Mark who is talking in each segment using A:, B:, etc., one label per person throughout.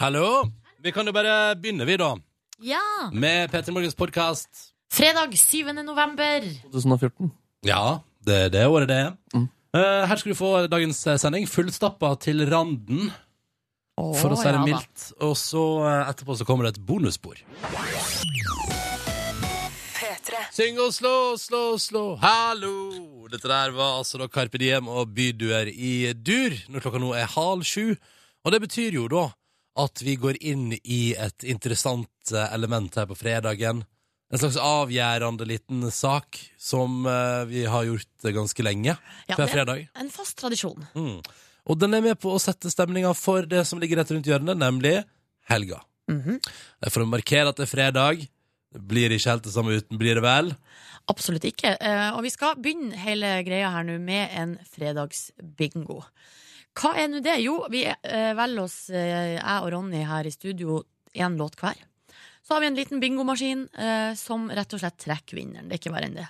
A: Hallo? Vi kan jo bare begynne, vi, da.
B: Ja!
A: Med P3 Morgens podkast.
B: Fredag 7. november.
C: 2014.
A: Ja, det er det året det er.
C: Mm.
A: Eh, her skal du få dagens eh, sending. Fullstappa til randen, for å si det
B: ja da.
A: mildt. Og så eh, etterpå så kommer det et bonusspor. Syng Oslo, Oslo, Oslo, hallo! Dette der var altså da Carpe Diem og Byduer i dur, når klokka nå er halv sju. Og det betyr jo da at vi går inn i et interessant eh, element her på fredagen. En slags avgjørende liten sak som eh, vi har gjort eh, ganske lenge.
B: Ja,
A: hver
B: det-
A: fredag.
B: En fast tradisjon.
A: Mm. Og den er med på å sette stemninga for det som ligger rett rundt hjørnet, nemlig helga.
B: Mhm.
A: Det er For å markere at det er fredag. Det blir ikke helt det samme uten, blir det vel?
B: Absolutt ikke. Eh, Og vi skal begynne hele greia her nå med en fredagsbingo. Hva er nå det? Jo, vi eh, velger oss, eh, jeg og Ronny her i studio, én låt hver. Så har vi en liten bingomaskin eh, som rett og slett trekker vinneren. Det er ikke verre enn det.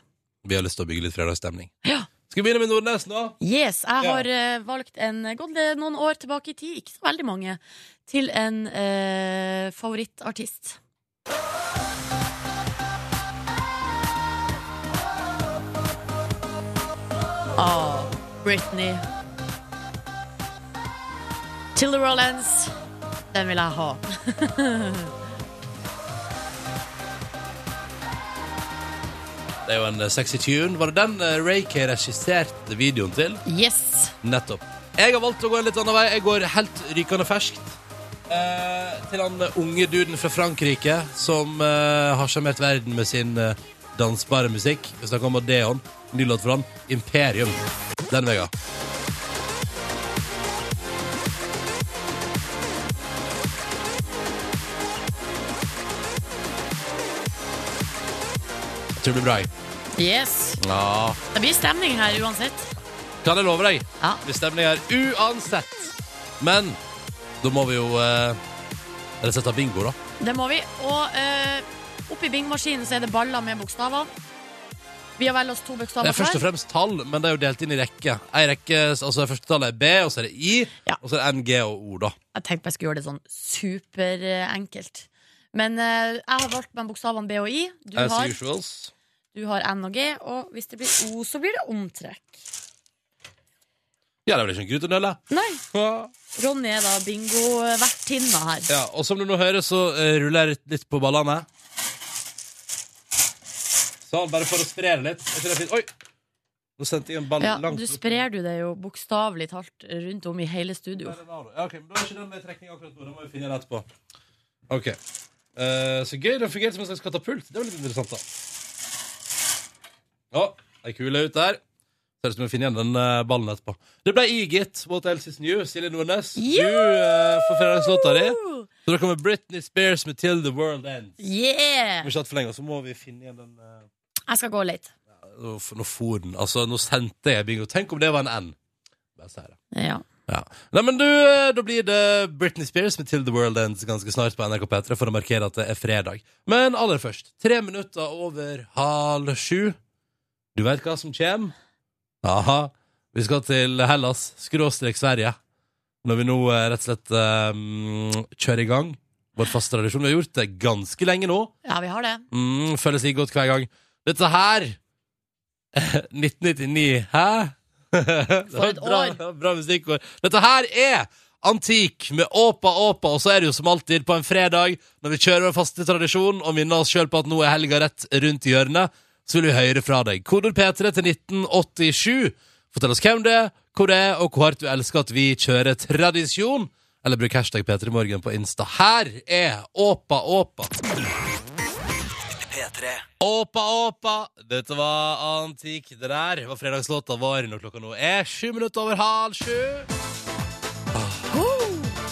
A: Vi har lyst til å bygge litt fredagsstemning.
B: Ja.
A: Skal vi begynne med Nordnes nå?
B: Yes, jeg
A: Ja.
B: har eh, valgt en gått det noen år tilbake i tid, ikke så veldig mange, til en eh, favorittartist. Ah, Britney. Tilly Rollins. Den vil jeg ha.
A: Det er jo en eh, sexy tune. Var det den eh, Ray Kay regisserte videoen til?
B: Yes.
A: Nettopp. Jeg har valgt å gå en litt annen vei. Jeg går helt rykende ferskt. Eh, til han eh, unge duden fra Frankrike som eh, har sjarmert verden med sin eh, dansbare musikk. Vi snakker om Odeon. Ny låt for han. Imperium. Den vega. Jeg tror det blir bra. jeg.
B: Yes.
A: Ja.
B: Det blir stemning her uansett.
A: Kan jeg love deg?
B: Ja.
A: blir stemning her uansett. Men da må vi jo eh, Eller sette bingo, da.
B: Det må vi. Og eh, oppi bingmaskinen så er det baller med bokstaver. Vi har valgt oss to
A: Det
B: bokstaver
A: er først og fremst tall, men det er jo delt inn i rekke. Ei rekke, altså det Første tallet er B, og så er det I,
B: Ja.
A: og så er det NG og O, da.
B: Jeg tenkte jeg skulle gjøre det sånn superenkelt. Men eh, jeg har valgt meg bokstavene B og I. Du
A: As
B: har,
A: usuals.
B: du har N og G. Og hvis det blir O, så blir det omtrekk.
A: Ja, det sånn er vel ikke en grunn til å nøle.
B: Nei.
A: Ja.
B: Ronny er da bingovertinna her.
A: Ja, og som du nå hører, så eh, ruller jeg litt på ballene. Sånn, bare for å spre det litt. Er ikke det fint? Oi! Nå sendte jeg en ball
B: Ja,
A: langt
B: Du
A: opp.
B: sprer du det jo bokstavelig talt rundt om i hele studio.
A: Ja, ok, men da er ikke den med trekning akkurat nå. Da må vi finne den etterpå. Ok. Eh, så gøy. Den fungerte som en slags katapult. Det var litt interessant, da. Å, ei kule ut der. Ser ut som vi finner igjen den eh, ballen etterpå. Det ble i, gitt. What else is new? Silje Nordnes.
B: Jo!
A: Du eh, får fredagslåta di. Så da kommer Britney Spears med 'Till the World Ends'.
B: Yeah!
A: Om ikke alt for lenge, så må vi finne igjen den eh,
B: Jeg skal gå og lete.
A: Nå f- nå for den. Altså, nå sendte jeg bingo. Tenk om det var en N. Bare si det.
B: Ja.
A: Ja. Nei, men du, eh, da blir det Britney Spears med Till the World Ends ganske snart på NRK P3 for å markere at det er fredag. Men aller først, tre minutter over halv sju. Du veit hva som kommer? Aha. Vi skal til Hellas, skråstrek Sverige, når vi nå eh, rett og slett eh, mm, kjører i gang vår faste tradisjon. Vi har gjort det ganske lenge nå.
B: ja, vi har det.
A: Mm, føles like godt hver gang. Dette her 1999, hæ? For
B: et
A: Bra, bra musikkår. Dette her er Antik med Åpa Åpa, og så er det jo som alltid på en fredag, når vi kjører vår faste tradisjon og minner oss sjøl på at nå er helga rett rundt hjørnet, så vil vi høre fra deg. Kodord P3 til 1987. Fortell oss hvem det er, hvor det er, og hvor hardt du elsker at vi kjører tradisjon. Eller bruk hashtag P3morgen på Insta. Her er Åpa Åpa. Åpa, åpa! Dette var antikk. Det der var fredagslåta vår når klokka nå er sju minutter over halv sju. Ah,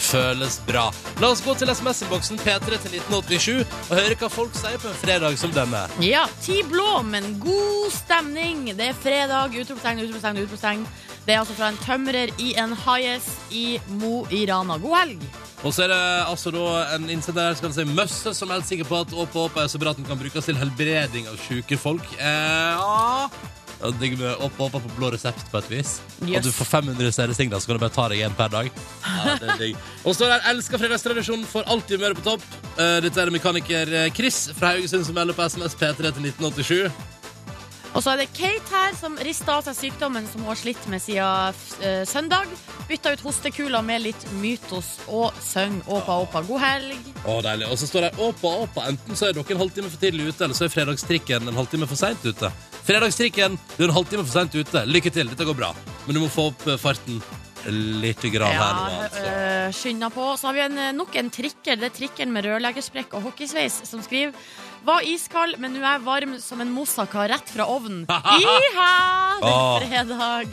A: Føles bra. La oss gå til SMS-innboksen P3 til 1987 og høre hva folk sier på en fredag som denne.
B: Ja, ti blå, men god stemning. Det er fredag. Utropstegn, utropstegn, utropstegn. Det er altså fra en tømrer i en highas i Mo i Rana. God helg.
A: Og så er det altså da en innsender her som kan si Møsse, som er helt sikker på at Åpa, åpa er så bra at den kan brukes til helbreding av sjuke folk. Eh, ja Ja, Digg med opp og opp på blå resept på et vis.
B: Yes.
A: At du får 500 stjernesingler, så kan du bare ta deg en per dag. Ja, det er digg. Og så der elsker fredagstradisjonen, får alltid humøret på topp. Eh, Dette er mekaniker eh, Chris fra Haugesund som melder på SMS P3 til 1987.
B: Og så er det Kate her som rister av seg sykdommen som hun har slitt med siden eh, søndag. Bytta ut hostekula med litt mytos og syng åpa åpa god helg.
A: Å, deilig. Og så står det åpa, åpa. Enten så er dere en halvtime for tidlig ute, eller så er fredagstrikken en halvtime for seint ute. Fredagstrikken, du er en halvtime for seint ute. Lykke til, dette går bra. Men du må få opp eh, farten litt grann her nå,
B: Ja,
A: altså.
B: øh, skynda på. Så har vi en, eh, nok en trikker. Det er trikkeren med rørleggersprekk og hockeysveis som skriver Var iskald, men nå er jeg varm som en moussaka rett fra ovnen. Iha! Det
A: Åh.
B: er fredag.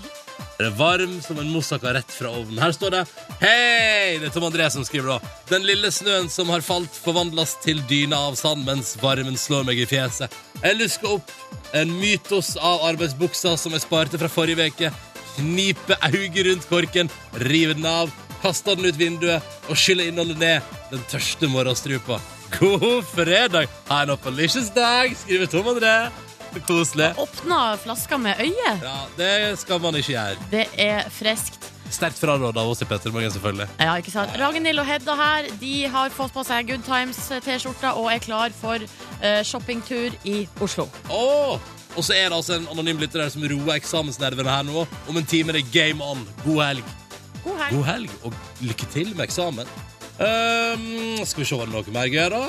A: Det er varm som en moussaka rett fra ovnen. Her står det Hei! Det er Tom André som skriver da. Den lille snøen som har falt, forvandles til dyne av sand mens varmen slår meg i fjeset. Jeg lusker opp en mytos av arbeidsbuksa som jeg sparte fra forrige uke. Kniper auget rundt korken, river den av, kaster den ut vinduet og skyller innholdet ned den tørste morgenstrupa. God fredag! Ha en oppalicious dag, skriver Tom André. Så koselig.
B: Åpna flaska med øye.
A: Ja, det skal man ikke gjøre.
B: Det er friskt.
A: Sterkt fraråd av oss i Petter Morgen, selvfølgelig.
B: Ja, ikke sant? Ragnhild og Hedda her De har fått på seg Good Times-T-skjorta og er klar for øh, shoppingtur i Oslo.
A: Åh! Og så er det altså en anonym lytter her som roer eksamensnervene her nå. Om en time er det game on. God helg.
B: God helg.
A: God helg, og lykke til med eksamen. Ehm, skal vi se hva det er noe mer gøy, da?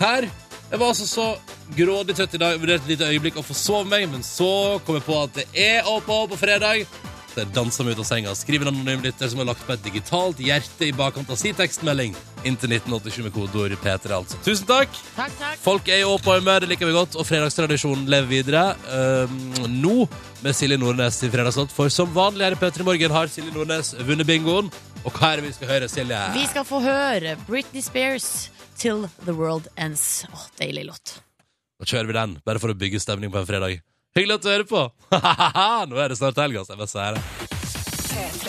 A: Her. Jeg var altså så grådig trøtt i dag. Jeg vurderte et lite øyeblikk å forsove meg, men så kom jeg på at det er opp og opp på fredag. Så jeg dansa meg ut av senga. Skriv en anonym lytter som har lagt på et digitalt hjerte i bakkant av sin tekstmelding. Inntil 1987 med kodeord P3, altså. Tusen takk!
B: Takk, takk.
A: Folk er i åpa humør, det liker vi godt, og fredagstradisjonen lever videre. Ehm, nå med Silje Nordnes i Fredagslåt, for som vanlig her i P3 Morgen har Silje Nordnes vunnet bingoen. Og hva er det vi skal høre, Silje?
B: Vi skal få høre Britney Spears Till The World Ends. Åh, Deilig låt.
A: Da kjører vi den, bare for å bygge stemning på en fredag. Hyggelig at du hører på! Nå er det snart helg, altså. Jeg bare sier det.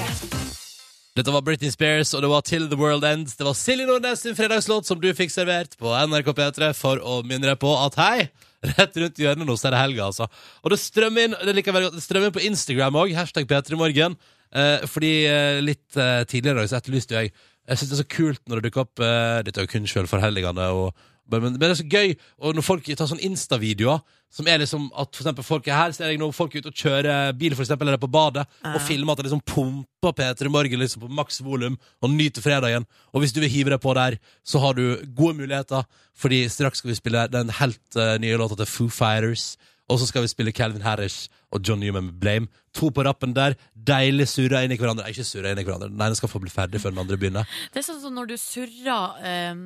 A: Dette var Britney Spears, og det var Till The World Ends. Det var Silje Nordnes sin fredagslåt som du fikk servert på NRK P3 for å minne deg på at hei, rett rundt hjørnet nå, så er det helga, altså. Og det strømmer inn, det liker jeg veldig godt, det strømmer inn på Instagram òg, hashtag P3morgen. Eh, fordi eh, litt eh, tidligere i dag så etterlyste jeg Jeg syns det er så kult når det dukker opp eh, Dette er jo kun sjølforhelligende og men, men det er så gøy og når folk tar sånne Insta-videoer som er liksom at for eksempel folk er her, så er det når folk er ute og kjører bil, for eksempel, eller på badet, og filmer at det liksom pumper P3 Morgen liksom på maks volum og nyter fredagen. Og hvis du vil hive deg på der, så har du gode muligheter, fordi straks skal vi spille den helt eh, nye låta til Foo Fighters. Og så skal vi spille Calvin Harris og John Newman med Blame. To på rappen der. Deilig surra inn i hverandre. Nei, ikke surra inn i hverandre. Den ene skal få bli ferdig før den andre begynner.
B: Det er sånn som når du surrer ehm,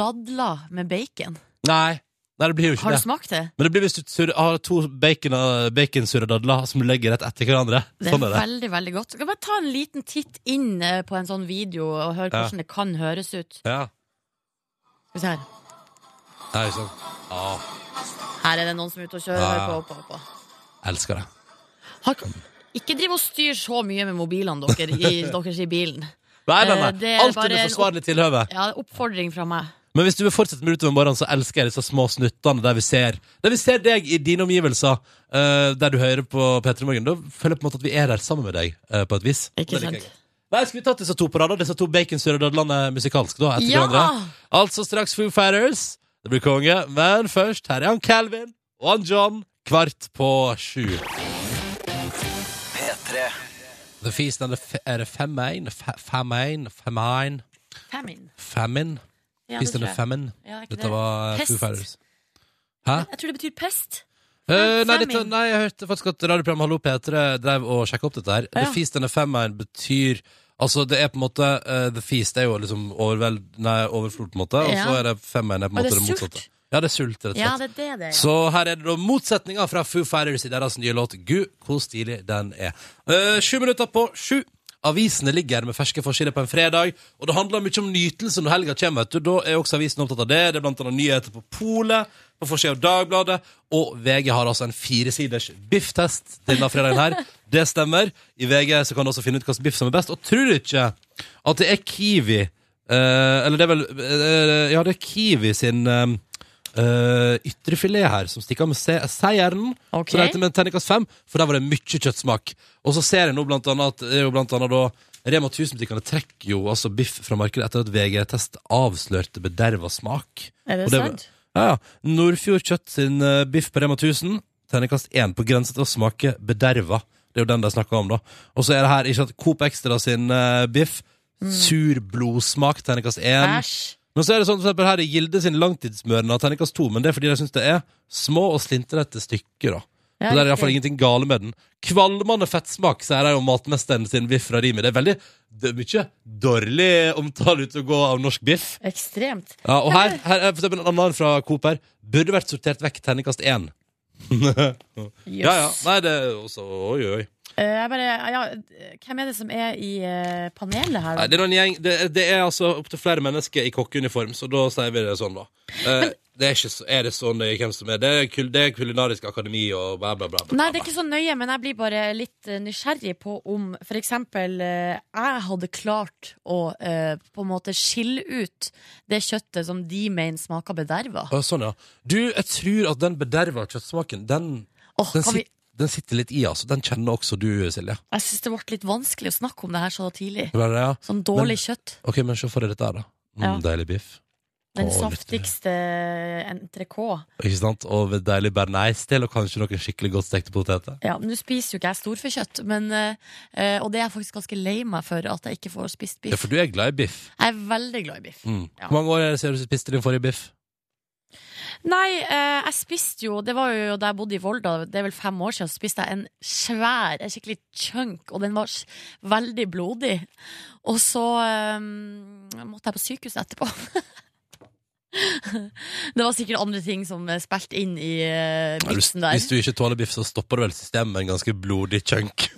B: dadler med bacon.
A: Nei, Nei det blir jo ikke
B: Har du
A: det.
B: smakt det?
A: Men det blir hvis du surrer- har to bacon, baconsurredadler som du legger rett etter hverandre.
B: Det er
A: Sånn er det.
B: veldig, veldig godt. Skal vi bare ta en liten titt inn eh, på en sånn video og høre
A: Ja.
B: hvordan det kan høres ut?
A: Ja.
B: Skal vi se her.
A: Det er jo sånn. Ah,
B: Her er det noen som er ute og kjører.
A: Ja.
B: Hør på, hør på, hør
A: elsker det.
B: på. Har, ikke driv og styr så mye med mobilene dere i, deres i bilen.
A: Nei, nei,
B: Eh,
A: nei.
B: det er
A: Alt
B: bare
A: under
B: en
A: forsvarlig tilhøve.
B: Ja, oppfordring fra meg.
A: Men hvis du vil fortsette med utover morgenen, så elsker jeg disse små snuttene der vi ser Der vi ser deg i dine omgivelser, eh, der du hører på P3 Morgen. Da føler jeg på en måte at vi er der sammen med deg, eh, på et vis.
B: Ikke
A: Det liker jeg
B: sant?
A: godt. Nei, Skulle vi tatt disse to på rad, da? Disse to baconsurredadlene musikalsk, da? Etter
B: Ja!
A: hverandre. Altså straks Foo Fighters. Det blir konge. Men først, her er han Calvin og han John. Kvart på sju.
C: P3
A: The Feast and the F Er det Famine? Fa- Famine? Famine?
B: Famine.
A: Famine?
B: Ja, det
A: Feast
B: tror
A: and the
B: jeg.
A: Famine.
B: Ja, det er ikke
A: Dette
B: det.
A: var Foo
B: Pest.
A: Fighters.
B: Jeg tror det betyr pest.
A: Eh, nei,
B: Femming.
A: dette, nei, jeg hørte faktisk at radioprogrammet Hallo P3 drev og sjekka opp dette her.
B: Ja.
A: The Feast and the Famine betyr Altså, det er på en måte eh, The Feast er jo liksom overvel, nei, overflod, på en måte, og
B: Ja.
A: så er det Famine er på
B: Og
A: en
B: det
A: måte
B: er
A: det, motsatte.
B: sult.
A: Ja, det er sult, rett og slett.
B: Ja, det er det det er.
A: Så her er det da motsetninga fra Foo Fighters i deres nye låt. Gud, hvor stilig den er. Eh, sju minutter på sju. Avisene ligger med ferske forsider på en fredag, og det handler mye om nytelse når helga kommer. vet du. Da er også avisen opptatt av det. Det er blant annet nyheter på Polet, på forsida av Dagbladet, og VG har altså en firesiders bifftest denne fredagen her. Det stemmer. I VG så kan du også finne ut hvilken biff som er best. Og tror du ikke at det er Kiwi eh, Eller det er vel eh, Ja, det er Kiwi sin eh, eh, ytrefilet her, som stikker av med se seieren.
B: Ok.
A: Så det heter med terningkast fem, for der var det mye kjøttsmak. Og så ser jeg nå blant annet at det er jo blant annet da Rema 1000-butikkene trekker jo altså biff fra markedet etter at VG-test avslørte bederva smak.
B: Er det
A: Og det-
B: sant?
A: Ja, ja. Nordfjord Kjøtt sin eh, biff på Rema 1000. Terningkast 1 på grense til å smake bederva. Det er jo den de snakker om, da. Og så er det her ikke sant, Coop Extra sin eh, biff. Sur blodsmak, terningkast 1.
B: Mm. Æsj.
A: Men så er det sånn for eksempel her i Gilde sin langtidsmørende av terningkast 2, men det er fordi de syns det er små og slintrete stykker, da.
B: Ja,
A: Så der er det
B: riktig.
A: iallfall ingenting gale med den. Kvalmende fettsmak, sier de om matmesteren sin biff fra Rimi. Det er veldig det er mye dårlig omtale ute og gå av norsk biff.
B: Ekstremt.
A: Ja, og her, her er for eksempel en annen fra Coop her. Burde vært sortert vekk terningkast 1.
B: Jøss.
A: Ja, ja. Nei, det er også Oi, oi.
B: Eh, jeg bare, ja, hvem er det som er i eh, panelet her?
A: Nei,
B: da?
A: det er noen gjeng Det, det er altså opptil flere mennesker i kokkeuniform, så da sier vi det sånn, da. Eh, det er, ikke, så- er det sånn det er hvem som er Det er, kul, det er Kulinarisk akademi og bla, bla, bla. bla,
B: Nei,
A: bla.
B: det er ikke så nøye, men jeg blir bare litt eh, nysgjerrig på om for eksempel eh, jeg hadde klart å eh, på en måte skille ut det kjøttet som de mener smaker bederva.
A: Å, Sånn, ja. Du, jeg tror at den bederva kjøttsmaken, den,
B: Åh,
A: den,
B: kan vi...
A: sit, den sitter litt i, altså. Den kjenner også du, Silje.
B: Jeg syns det ble litt vanskelig å snakke om det her så tidlig.
A: Det var det, ja.
B: Sånn dårlig kjøtt.
A: OK, men se for deg dette her, da. Mm, Deilig biff.
B: Den
A: Å, litt-
B: saftigste eh, entrecôte.
A: Ikke sant? Og ved deilig bearnaisdel og kanskje noen skikkelig godt stekte poteter.
B: Ja, Nå spiser jo ikke jeg storfekjøtt, men, eh, eh, og det er jeg faktisk ganske lei meg for at jeg ikke får spist
A: Ja,
B: biff.
A: for du er glad i biff. Mm.
B: Jeg er veldig glad i biff. Ja.
A: Hvor mange år er det siden du spiste din forrige biff?
B: Nei, eh, jeg spiste jo Det var jo da jeg bodde i Volda, det er vel fem år siden, så spiste jeg en svær, en skikkelig chunk, og den var s- veldig blodig. Og så eh, måtte jeg på sykehus etterpå. det var sikkert andre ting som eh, spilte inn i eh,
A: Nei, Hvis,
B: miksen der.
A: hvis du ikke tåler biff, så stopper du vel systemet med en ganske blodig chunk.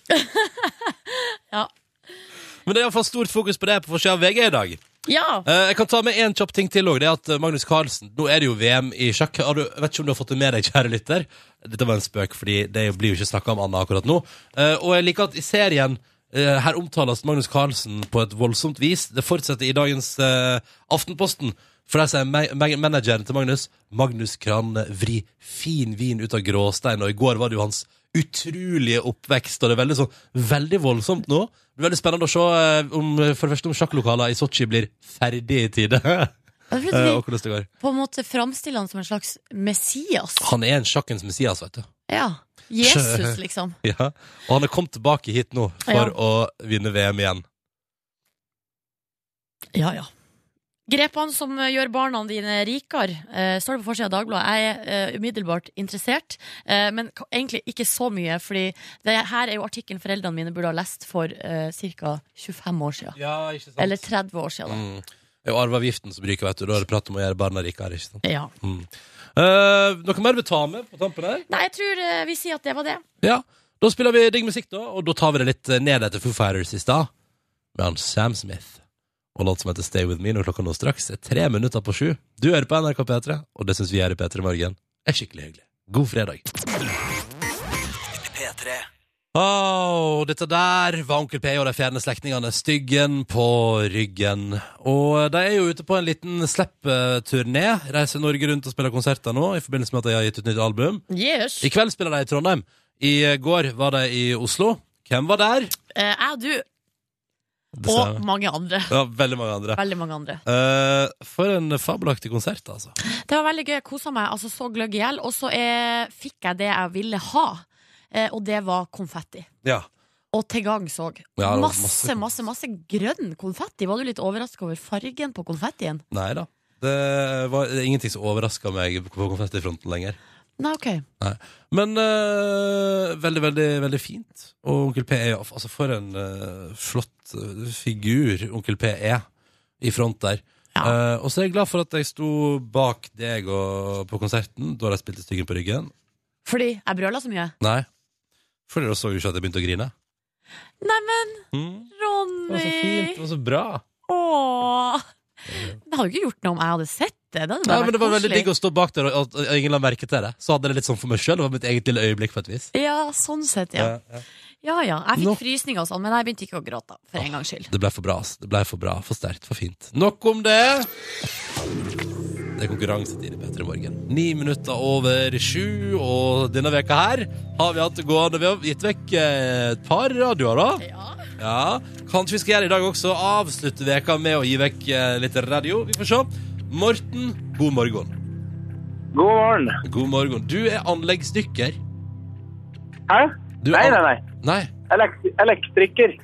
B: Ja.
A: Men det er iallfall stort fokus på det på forsida av VG i dag.
B: Ja!
A: Eh, jeg kan ta med én kjapp ting til òg. Det er at eh, Magnus Carlsen Nå er det jo VM i sjakk. Har du, vet ikke om du har fått det med deg, kjære lytter. Dette var en spøk, fordi det blir jo ikke snakka om annet akkurat nå. Eh, og jeg liker at i serien eh, her omtales Magnus Carlsen på et voldsomt vis. Det fortsetter i dagens eh, Aftenposten. For der sier ma- ma- manageren til Magnus Magnus Kran eh, vri fin vin ut av gråstein, og i går var det jo hans utrolige oppvekst, og det er veldig sånn veldig voldsomt nå. Det blir veldig spennende å se eh, om, for det første om sjakklokaler i Sotsji blir ferdig i tide.
B: Jeg følte
A: Eh,
B: vi
A: og hvordan det går.
B: på en måte framstiller han som en slags Messias.
A: Han er en sjakkens messias, vet du.
B: Ja. Jesus, liksom.
A: Ja. Og han er kommet tilbake hit nå for
B: Ja.
A: å vinne VM igjen.
B: Ja, ja. Grepene som eh, gjør barna dine rikere, eh, står det på forsida av Dagbladet. Jeg er eh, umiddelbart interessert, eh, men ka- egentlig ikke så mye. Fordi det her er jo artikkelen foreldrene mine burde ha lest for uh, ca. 25 år siden.
A: Ja, ikke sant?
B: Eller 30 år siden.
A: Mm. Det er jo arveavgiften som ryker, vet du. Da er det prat om å gjøre barna rikere, ikke sant.
B: Da. Ja.
A: Mm. Eh, noe mer vi tar med på tampen her?
B: Nei, jeg tror eh, vi sier at det var det.
A: Ja, da spiller vi digg musikk da Og da tar vi det litt eh, ned etter Foo Fighters i stad Med han Sam Smith Og låt som heter Stay With Me når klokka nå straks er Tre minutter på sju Du hører på NRK P3 Og det synes vi her i P3 Morgen er skikkelig hyggelig God fredag Åh, dette der var Onkel P og de fjerne slektningene styggen på ryggen. Og eh, de er jo ute på en liten slippturné. Reiser Norge rundt og spiller konserter nå i forbindelse med at de har gitt ut nytt album.
B: Yes.
A: I kveld spiller de i Trondheim. I går var de i Oslo. Hvem var der?
B: Eh, jeg og du,
A: Det ser
B: og
A: jeg.
B: mange andre.
A: Ja, veldig mange andre.
B: Veldig mange andre.
A: Eh, for en fabelaktig konsert, altså.
B: Det var veldig gøy, jeg kosa meg altså så gløgg i hjel. Og så eh, fikk jeg det jeg ville ha, eh, og det var konfetti.
A: Ja.
B: Og til gangs òg.
A: Ja, det var
B: masse,
A: masse
B: masse, masse, grønn konfetti. Var du litt overraska over fargen på konfettien?
A: Nei da. Det var det er ingenting som overraska meg på konfettifronten lenger.
B: Nei, ok.
A: Men eh, veldig, veldig veldig fint. Og Onkel P er jo- altså for en eh, flott eh, figur Onkel P er i front der.
B: Ja.
A: Eh, og så er jeg glad for at jeg sto bak deg og, på konserten da de spilte Styggen på ryggen.
B: Fordi jeg brøla så mye.
A: Nei. For dere så jo ikke at jeg begynte å grine. Hmm?
B: Neimen,
A: Det var så fint, det
B: Ronny!
A: var så bra.
B: Åh Det hadde jo ikke gjort noe om jeg hadde sett det. Det, hadde
A: Ja,
B: bare
A: men det var
B: vært
A: veldig
B: koselig.
A: digg å stå bak der, og at at ingen la merke til det. Så hadde jeg det litt sånn for meg sjøl. Det var mitt eget lille øyeblikk, på et vis.
B: Ja, sånn sett, ja.
A: Ja, ja.
B: Ja ja. Jeg
A: Nå-
B: fikk frysninger og sånn, men jeg begynte ikke å gråte, da, for en gangs skyld.
A: Det ble for bra, ass. Det ble for bra, for sterkt, for fint. Nok om det. Det er konkurransetid i P3 Morgen. Ni minutter over sju, og denne veka her har vi hatt det gående. Vi har gitt vekk eh, et par radioer, da.
B: Ja.
A: Ja, Kanskje vi skal gjøre det i dag også. Avslutte veka med å gi vekk eh, litt radio. Vi får se. Morten, god morgen.
C: God morgen.
A: God morgen. Du er anleggsdykker.
C: Hæ?
A: Du
C: nei,
A: an-
C: nei, nei.
A: Nei.
C: Elekt elektriker.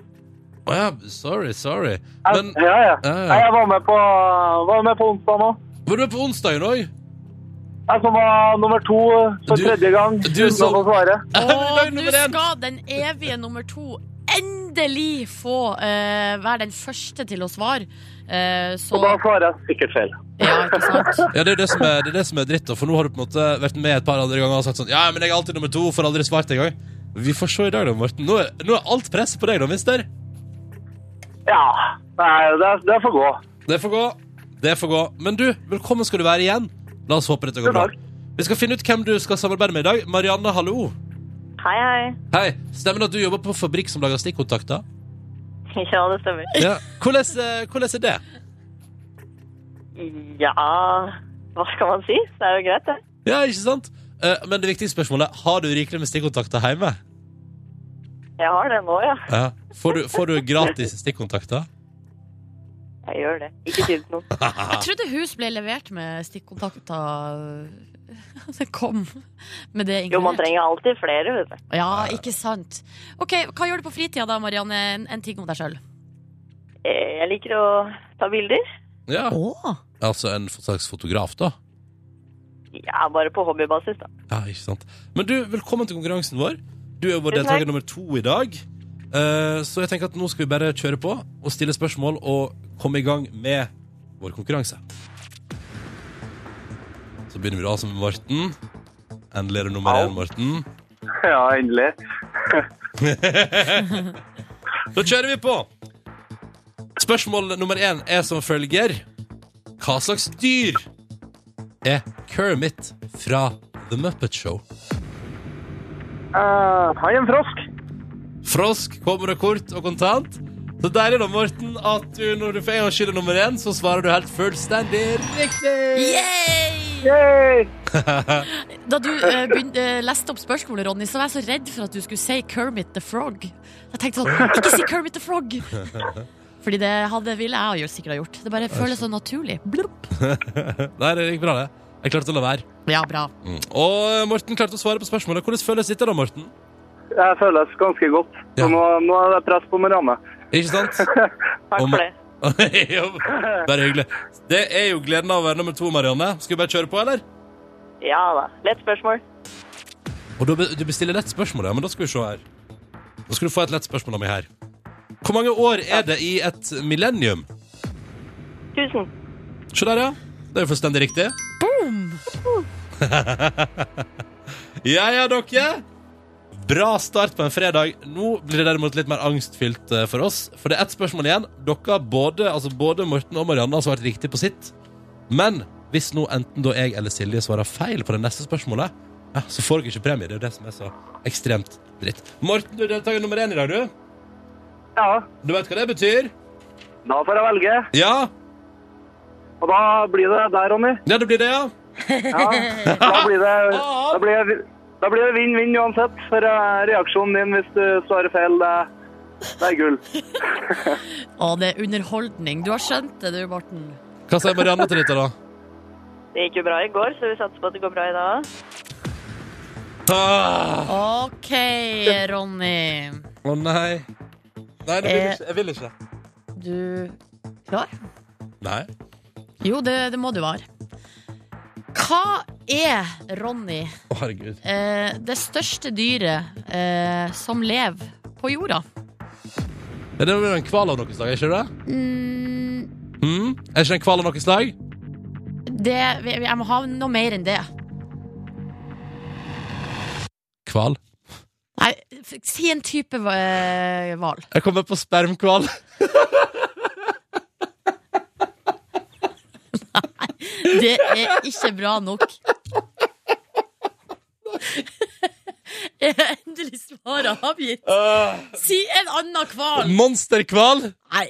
A: Å ja, sorry, sorry.
C: Jeg,
A: Men
C: ja, ja.
A: Ja, ja.
C: Nei, Jeg var med på, var med på onsdag nå.
A: var du med på onsdagen òg?
C: Jeg som var nummer to for
A: Du-
C: tredje gang.
A: du
C: uten å
A: som-
C: få svare.
B: Og nå
A: nummer én!
B: skal den evige nummer to endelig få eh, være den første til å svare. Eh, så
C: Og da svarer jeg sikkert feil.
B: Ja, ikke sant?
A: Ja, det er det, som er, det er det som er dritt, da, for nå har du på en måte vært med et par andre ganger og sagt sånn Ja, men jeg er alltid nummer to, får aldri svart engang. Vi får se i dag, da, Morten. Nå er, nå er alt press på deg, da, mister.
C: Ja. Nei, det, det får gå.
A: Det får gå. Det får gå. Men du, velkommen skal du være igjen. La oss håpe dette går
C: God
A: bra.
C: dag.
A: Vi skal finne ut hvem du skal samarbeide med i dag. Marianne, hallo.
D: Hei, hei.
A: Hei. Stemmer det at du jobber på fabrikk som lager stikkontakter?
D: Ja, det stemmer.
A: Ja. Hvordan, eh, hvordan er det?
D: Ja, hva skal man si? Det er jo greit, det.
A: Ja, ikke sant? Eh, Men det viktige spørsmålet er har du rikelig med stikkontakter hjemme.
D: Jeg har det nå, ja.
A: Ja. Får, du, får du gratis stikkontakter?
D: Jeg gjør det. Ikke si det til noen.
B: Jeg trodde hus ble levert med stikkontakter. Det kom med det
D: Jo, man
B: inkludert.
D: trenger alltid flere, vet du.
B: Ja, ikke sant. Ok, Hva gjør du på fritida da, Marianne? En, en ting om deg sjøl.
D: Eh, Jeg liker å ta bilder.
A: Ja.
B: Oh.
A: Altså en slags fotograf, da.
D: Ja, bare på hobbybasis, da.
A: Ja, ikke sant. Men du, velkommen til konkurransen vår. Du er vår
D: Tusen takk.
A: deltaker nummer to i dag. Eh, Så jeg tenker at nå skal vi bare kjøre på og stille spørsmål og komme i gang med vår konkurranse. Så begynner vi da altså med Morten. Endelig er du nummer
C: Au.
A: én, Morten.
C: Ja, endelig.
A: Da kjører vi på. Spørsmål nummer én er som følger. Hva slags dyr er Kermit fra The Muppet Show?
C: Eh, han er en frosk.
A: Frosk kommer det kort og kontant. Så deilig da, Morten, at du når du får en gang skylder nummer én, så svarer du helt fullstendig riktig.
B: Yay!
C: Yay!
B: Da du eh, begyn- eh, leste opp spørsmålet, Ronny, så var jeg så redd for at du skulle si Kermit the Frog. Jeg tenkte sånn, ikke si Kermit the Frog! Fordi det hadde, ville jeg jo sikkert ha gjort. Det bare føles så naturlig. Blup.
A: Nei, det gikk bra, det. Jeg klarte å la være.
B: Ja, bra.
A: Og eh, Morten klarte å svare på spørsmålet. Hvordan føles dette da, Morten?
C: Jeg føles ganske godt.
A: Ja.
C: Så nå, nå er det press på Marianne.
A: Ikke sant?
D: Takk
A: Om-
D: for det.
A: Jo, bare hyggelig. Det er jo gleden av å være nummer to, Marianne. Skal vi bare kjøre på, eller?
D: Ja da. Lett spørsmål.
A: Og du, du bestiller lett spørsmål, ja, men da skal vi se her. Da skal du få et lett spørsmål av meg her. Hvor mange år er det i et millennium?
D: Tusen.
A: Se der, ja. Det er jo fullstendig riktig. Boom! ja, ja, dere. Bra start på en fredag. Nå blir det derimot litt mer angstfylt eh, for oss. For det er ett spørsmål igjen. Dere, både, altså både Morten og Marianne, har svart riktig på sitt. Men hvis nå enten da jeg eller Silje svarer feil på det neste spørsmålet, ja, så får dere ikke premie. Det er jo det som er så ekstremt dritt. Morten, du er deltaker nummer én i dag, du.
C: Ja,
A: Du vet hva det betyr?
C: da får jeg velge.
A: Ja?
C: Og da blir det der, Ronny.
A: Ja, det blir det, ja?
C: Ja, da blir det Da blir det, da blir det vinn-vinn uansett, for eh, reaksjonen din hvis du svarer feil, det, det er gull.
B: Å, det er underholdning. Du har skjønt det, du, Morten.
A: Hva sier Marianne til dette, da?
D: Det gikk jo bra i går, så vi satser på at det går bra i dag.
A: Ah,
B: OK, Ronny.
A: Å nei. Nei, det vil jeg ikke. jeg vil ikke.
B: Du klar?
A: Nei.
B: Jo, det, det må du være. Hva er, Ronny,
A: Å, herregud.
B: eh, det største dyret eh, som lever på jorda?
A: Ja, det blir en hval av noe slag, er ikke det?
B: Mm,
A: Hmm? Er ikke det en hval av noe slag?
B: det Jeg må ha noe mer enn det.
A: Hval?
B: Nei, f- si en type eh, hval.
A: Jeg kommer på spermhval.
B: Det er ikke bra nok. Er endelig svaret avgitt?
A: Eh.
B: Si en annen hval!
A: Monsterhval.
B: Nei,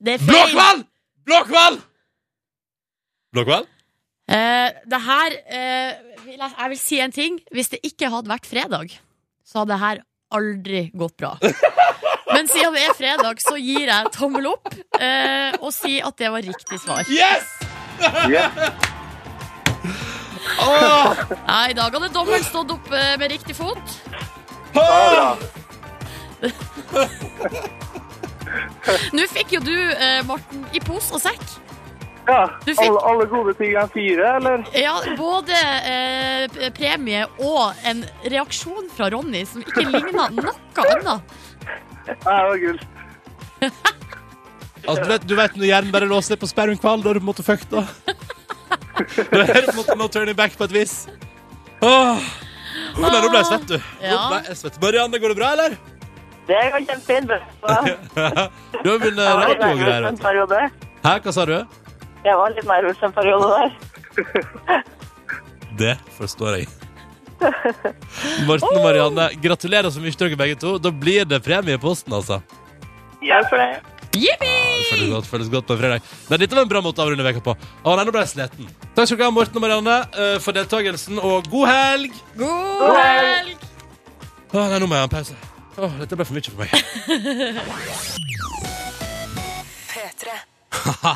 B: det er feil.
A: Blåhval! Blåhval! Blåhval?
B: Eh, det her eh, vil jeg, jeg vil si en ting. Hvis det ikke hadde vært fredag, så hadde det her aldri gått bra. Men siden det er fredag, så gir jeg tommel opp eh, og sier at det var riktig svar.
A: Yes!
C: Yes.
A: Åh!
B: Nei, I dag hadde dommeren stått opp eh, med riktig fot.
A: Åh!
B: Nå fikk jo du, eh, Morten, i pose og sekk.
C: Ja.
B: Du fikk-
C: Alle, alle gode ting er fire, eller?
B: Ja, både eh, p- premie og en reaksjon fra Ronny som ikke ligna noe annet.
C: Nei, det var gull.
A: Altså, du, vet, du vet når hjernen bare låser seg på spermkvall, da er du på en måte fucked, da. Du er helt på en måte no turning back på et vis. Åh. Nå ble nå ble jeg svett, du. Nå
B: Ja.
A: ble jeg svett. Marianne, går det bra, eller?
D: Det går kjempefint. bra.
A: Du har vunnet
D: Jeg var litt
A: radiogreier.
D: nervøs en periode.
A: Hæ, hva sa du?
D: Jeg var litt nervøs en periode der.
A: Det forstår jeg. Morten og Marianne, gratulerer så mye til dere begge to. Da blir det premie i posten, altså.
D: Takk for det.
A: Det
B: Jippi!
A: Føles godt, føles godt på en fredag. Nei, dette var en bra måte å avrunde veka på. Å, nei, nå ble jeg sliten. Takk skal dere ha, Morten og Marianne, eh, for deltakelsen, og god helg!
B: God helg!
A: Å, nei, nå må jeg ha en pause. Å, dette ble for mye for meg.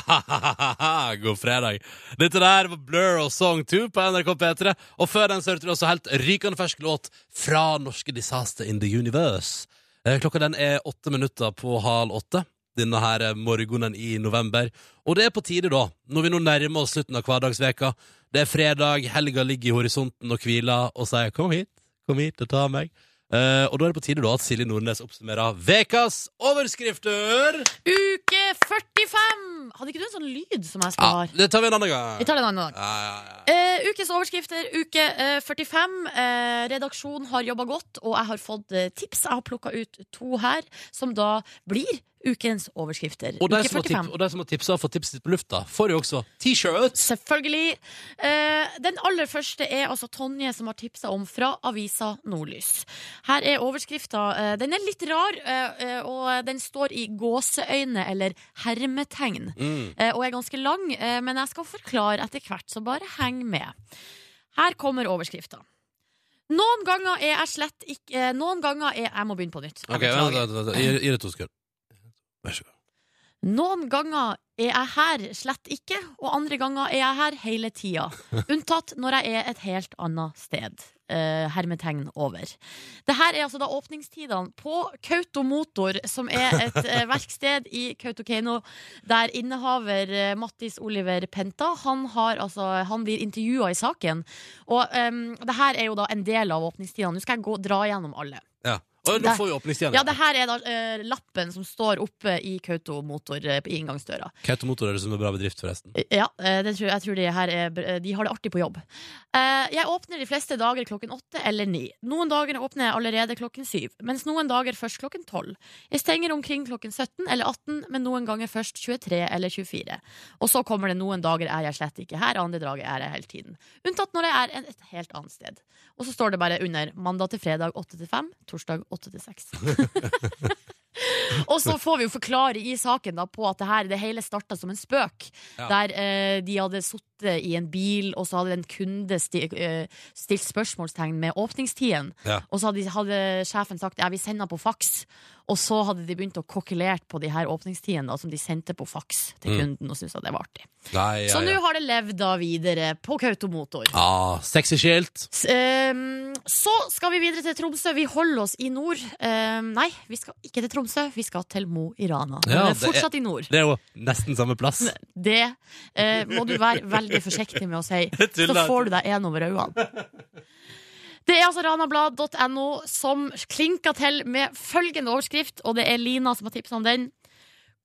A: God fredag. Dette der var Blur og Song 2 på NRK P3. Og før den så hørte du også helt rykende fersk låt fra norske Disaster in the Universe. Eh, Klokka den er åtte minutter på halv åtte. Denne her eh, morgenen i november. Og det er på tide, da, når vi nå nærmer oss slutten av hverdagsveka. Det er fredag, helga ligger i horisonten og hviler og sier 'kom hit, kom hit og ta meg'. Eh, og da er det på tide da at Silje Nordnes oppsummerer vekas overskrifter.
B: Uke 45! Hadde ikke du en sånn lyd som jeg skal
A: Ja,
B: ha?
A: det tar vi en annen gang.
B: Vi tar det en annen dag.
A: Ja, ja, ja.
B: Eh, ukes overskrifter, uke eh, 45. Eh, redaksjonen har jobba godt, og jeg har fått eh, tips. Jeg har plukka ut to her, som da blir ukens overskrifter.
A: Og de,
B: uke
A: som har
B: 45.
A: tips, og de som har tipsa og fått tipset sitt på lufta, får jo også T-shirts.
B: Selvfølgelig. Eh, den aller første er altså Tonje som har tipsa om fra avisa Nordlys. Her er overskrifta. Eh, den er litt rar, eh, eh, og den står i gåseøyne eller hermetegn.
A: Mm.
B: Eh, og er ganske lang, eh, men jeg skal forklare etter hvert, så bare heng med. Her kommer overskrifta. Noen ganger er jeg slett ikke eh, Noen ganger er Jeg må begynne på nytt. Jeg
A: Ok, altså,
B: beklager.
A: vent, vent, vent, vent. Gi, gi det to sekunder. Vær så god.
B: Noen ganger er jeg her slett ikke, og andre ganger er jeg her hele tida. Unntatt når jeg er et helt annet sted. Eh, hermetegn over. Det her er altså da åpningstidene på Kautomotor, som er et eh, verksted i Kautokeino, der innehaver eh, Mattis Oliver Penta Han, har, altså, han blir intervjua i saken. Og em, det her er jo da en del av åpningstidene. Nå skal jeg gå, dra gjennom alle.
A: Ja. Og nå
B: Der.
A: får vi
B: Ja,
A: åpningstjeneste.
B: det her er da eh, lappen som står oppe i Kautomotor eh, i inngangsdøra.
A: Kautomotor er det som er bra bedrift, forresten.
B: Ja, eh, det tror, jeg tror de her er, br- De har det artig på jobb. Eh, Jeg åpner de fleste dager klokken åtte eller ni. Noen dager åpner jeg allerede klokken syv, mens noen dager først klokken tolv. Jeg stenger omkring klokken 17 eller 18, men noen ganger først 23 eller 24. Og så kommer det noen dager er jeg slett ikke her, andre dager er jeg hele tiden. Unntatt når jeg er en- et helt annet sted. Og så står det bare under mandag til fredag 8 til 5, torsdag 8 til 6. Og så får vi jo forklare i saken da på at det her, det hele starta som en spøk.
A: Ja.
B: Der eh, de hadde sittet i en bil, og så hadde en kunde sti, eh, stilt spørsmålstegn med åpningstiden.
A: Ja.
B: Og så hadde, hadde sjefen sagt ja, vi sender på faks. Og så hadde de begynt å kokkelere på de her åpningstidene da, som de sendte på faks til
A: Mm.
B: kunden, og syntes at det var artig.
A: Nei,
B: Så
A: ja,
B: nå
A: ja.
B: har det levd da videre på Kautomotor.
A: Ah, sexy skilt.
B: S- ehm, Så skal vi videre til Tromsø. Vi holder oss i nord. Ehm, Nei, vi skal ikke til Tromsø, vi skal til Mo i Rana.
A: Ja,
B: Men
A: det er-
B: fortsatt i nord.
A: Det er jo nesten samme plass.
B: Det eh, må du være veldig forsiktig med å si.
A: Jeg tuller.
B: Så får du deg en over øynene. Det er altså ranablad.no som klinker til med følgende overskrift, og det er Lina som har tipsa om den.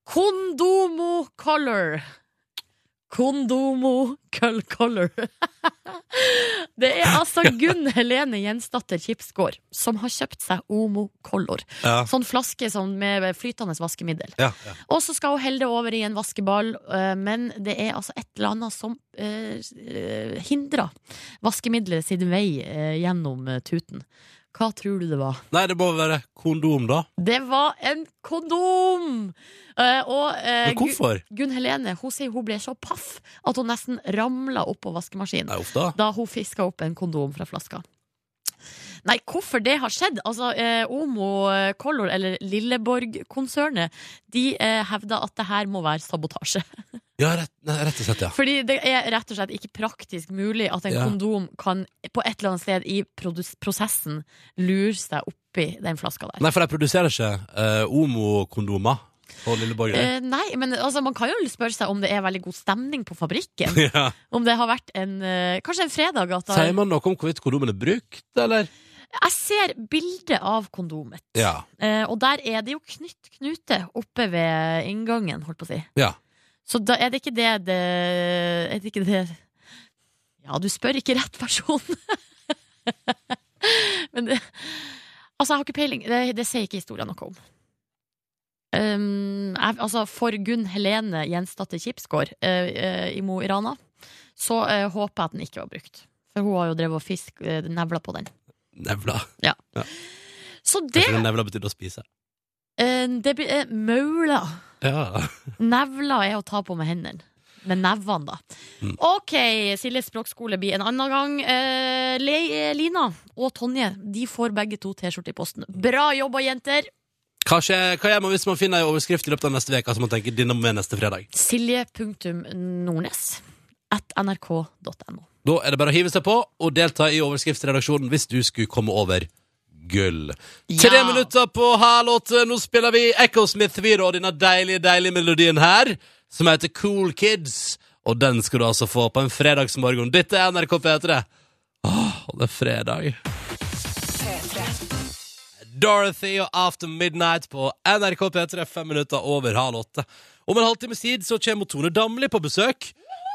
B: Kondomo color. Kondomo cull color. Det er altså Gunn Helene Jensdatter Kipsgård som har kjøpt seg Omo Color.
A: Ja.
B: Sånn flaske sånn med flytende vaskemiddel.
A: Ja, ja.
B: Og så skal hun helle det over i en vaskeball, eh, men det er altså et eller annet som eh, eh, hindrer vaskemiddelet sin vei eh, gjennom eh, tuten. Hva tror du det var?
A: Nei, det må være kondom, da.
B: Det var en kondom! Eh, og eh,
A: Men hvorfor?
B: Gunn- Gunn Helene hun sier hun ble så paff at hun nesten ramla oppå vaskemaskinen
A: Nei, uff da.
B: da hun fiska opp en kondom fra flaska. Nei, hvorfor det har skjedd? Altså, eh, Omo eh, Color, eller Lilleborg-konsernet, de eh, hevder at det her må være sabotasje.
A: Ja, rett, nei, rett og slett, ja.
B: Fordi det er rett og slett ikke praktisk mulig at en
A: Ja.
B: kondom kan på et eller annet sted i produs- prosessen lure seg oppi den flaska der.
A: Nei, for de produserer ikke eh, homokondomer på Lilleborg.
B: Eh, nei, men altså, man kan jo spørre seg om det er veldig god stemning på fabrikken.
A: ja.
B: Om det har vært en eh, Kanskje en fredag at da-
A: Sier man noe om hvorvidt kondomen er brukt, eller?
B: Jeg ser bilde av kondomet,
A: Ja.
B: eh, og der er det jo knytt knute oppe ved inngangen, holdt på å si.
A: Ja.
B: Så da er det ikke det det Er det ikke det Ja, du spør ikke rett person. men det Altså, jeg har ikke peiling. Det, det sier ikke historien noe om. Um, jeg, altså, for Gunn Helene Jensdatter Kipsgård eh, eh, i Mo i Rana, så eh, håper jeg at den ikke var brukt. For hun har jo drevet og fisk, eh, nevla på den.
A: Nevla.
B: Så det
A: Kanskje nevla betydde å spise.
B: eh, Det blir eh, maula.
A: Ja.
B: Nevla er å ta på med hendene. Med nevene, da.
A: Mm.
B: Ok, Siljes språkskole blir en annen gang. Eh, Le eh, Lina og Tonje de får begge to T-skjorte i posten. Bra jobba, jenter!
A: Kanskje, hva gjør man hvis man finner en overskrift i løpet av neste uke som man tenker denne må med neste fredag?
B: Silje.nordnes at nrk.no.
A: Da er det bare å hive seg på og delta i overskriftsredaksjonen hvis du skulle komme over gull. Tre
B: Ja.
A: minutter på halv åtte. Nå spiller vi Echo Smith Weir og denne deilige, deilige melodien her, som heter Cool Kids. Og den skal du altså få på en fredagsmorgen. Dette er NRK P3. Åh, og det er fredag. Dorothy og After Midnight på NRK P3, fem minutter over halv åtte. Om en halvtimes tid så kommer Tone Damli på besøk.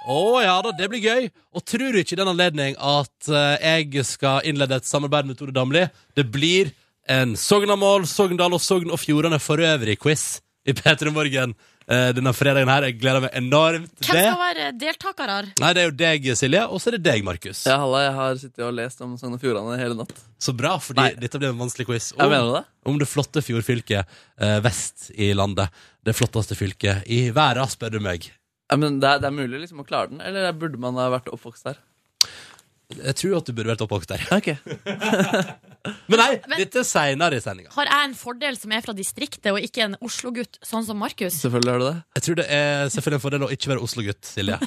A: Å ja da, det blir gøy. Og tror du ikke i den anledning at eh, jeg skal innlede et samarbeid med Tone Damli? Det blir en Sognamål, Sogndal og Sogn og Fjordane for øvrig-quiz i P3 Morgen eh, denne fredagen her. Jeg gleder meg enormt til
B: Hvem
A: det.
B: skal være deltakere?
A: Nei, det er jo deg, Silje, og så er det deg, Markus.
E: Ja, halla, jeg har sittet og lest om Sogn og Fjordane hele natt.
A: Så bra, fordi
E: Nei.
A: dette blir en vanskelig quiz.
E: Jeg mener det.
A: om det flotte fjordfylket eh, vest i landet. Det flotteste fylket i verden, spør du meg.
E: Ja, men det er, det er mulig liksom å klare den, eller burde man ha vært oppvokst der?
A: Jeg tror at du burde vært oppvokst der.
E: Ok.
A: Men nei,
B: Men-
A: dette er seinere i sendinga.
B: Har jeg en fordel som er fra distriktet, og ikke en Oslo-gutt, sånn som Markus?
E: Selvfølgelig har du det.
A: Jeg tror det er selvfølgelig en fordel å ikke være Oslo-gutt, Silje.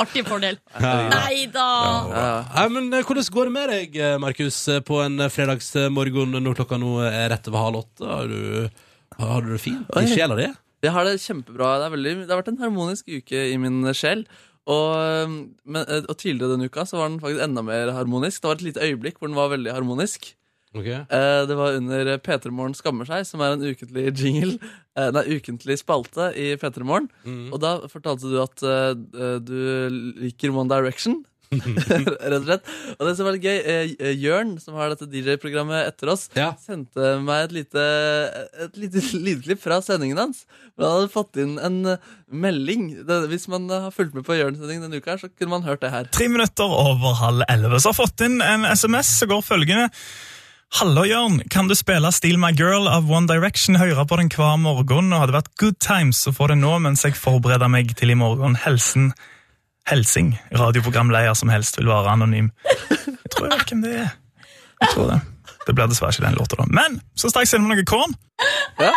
B: Artig fordel.
A: Ja.
B: Nei da!
E: Ja.
A: Nei, men eh, Hvordan går det med deg, eh, Markus, eh, på en eh, fredagsmorgen når klokka nå er rett over halv åtte? Har du, har du det fint i sjela di?
E: Jeg har det kjempebra. Det, er veldig, det har vært en harmonisk uke i min sjel. Og, øhm, men, øh, og tidligere denne uka så var den faktisk enda mer harmonisk. Det var et lite øyeblikk hvor den var veldig harmonisk.
A: Okay.
E: Eh, Det var under P3 Morgen skammer seg, som er en ukentlig jingle eh, Nei, ukentlig spalte i P3 Morgen. Og da fortalte du at eh, du liker One Direction. Rett og slett. Og det som var litt gøy, eh, Jørn, som har dette DJ-programmet etter oss,
A: Ja.
E: sendte meg et lite, et lite lydklipp fra sendingen hans. Men han hadde fått inn en eh, melding. Det, hvis man eh, har fulgt med på Jørn-sendingen denne uka, her, så kunne man hørt det her.
F: Tre minutter over halv elleve. Så har jeg fått inn en SMS som går følgende. Hallo, Jørn. Kan du spille Steal My Girl av One Direction? Høre på den hver morgen. Og hadde vært good times å få det nå mens jeg forbereder meg til i morgen. Helsen Helsing. Radioprogramleder som helst vil være anonym. Jeg tror jeg vet hvem det er. Jeg tror det. Det blir dessverre ikke den låta, da. Men så stakk jeg innom noe korn.
E: Ja?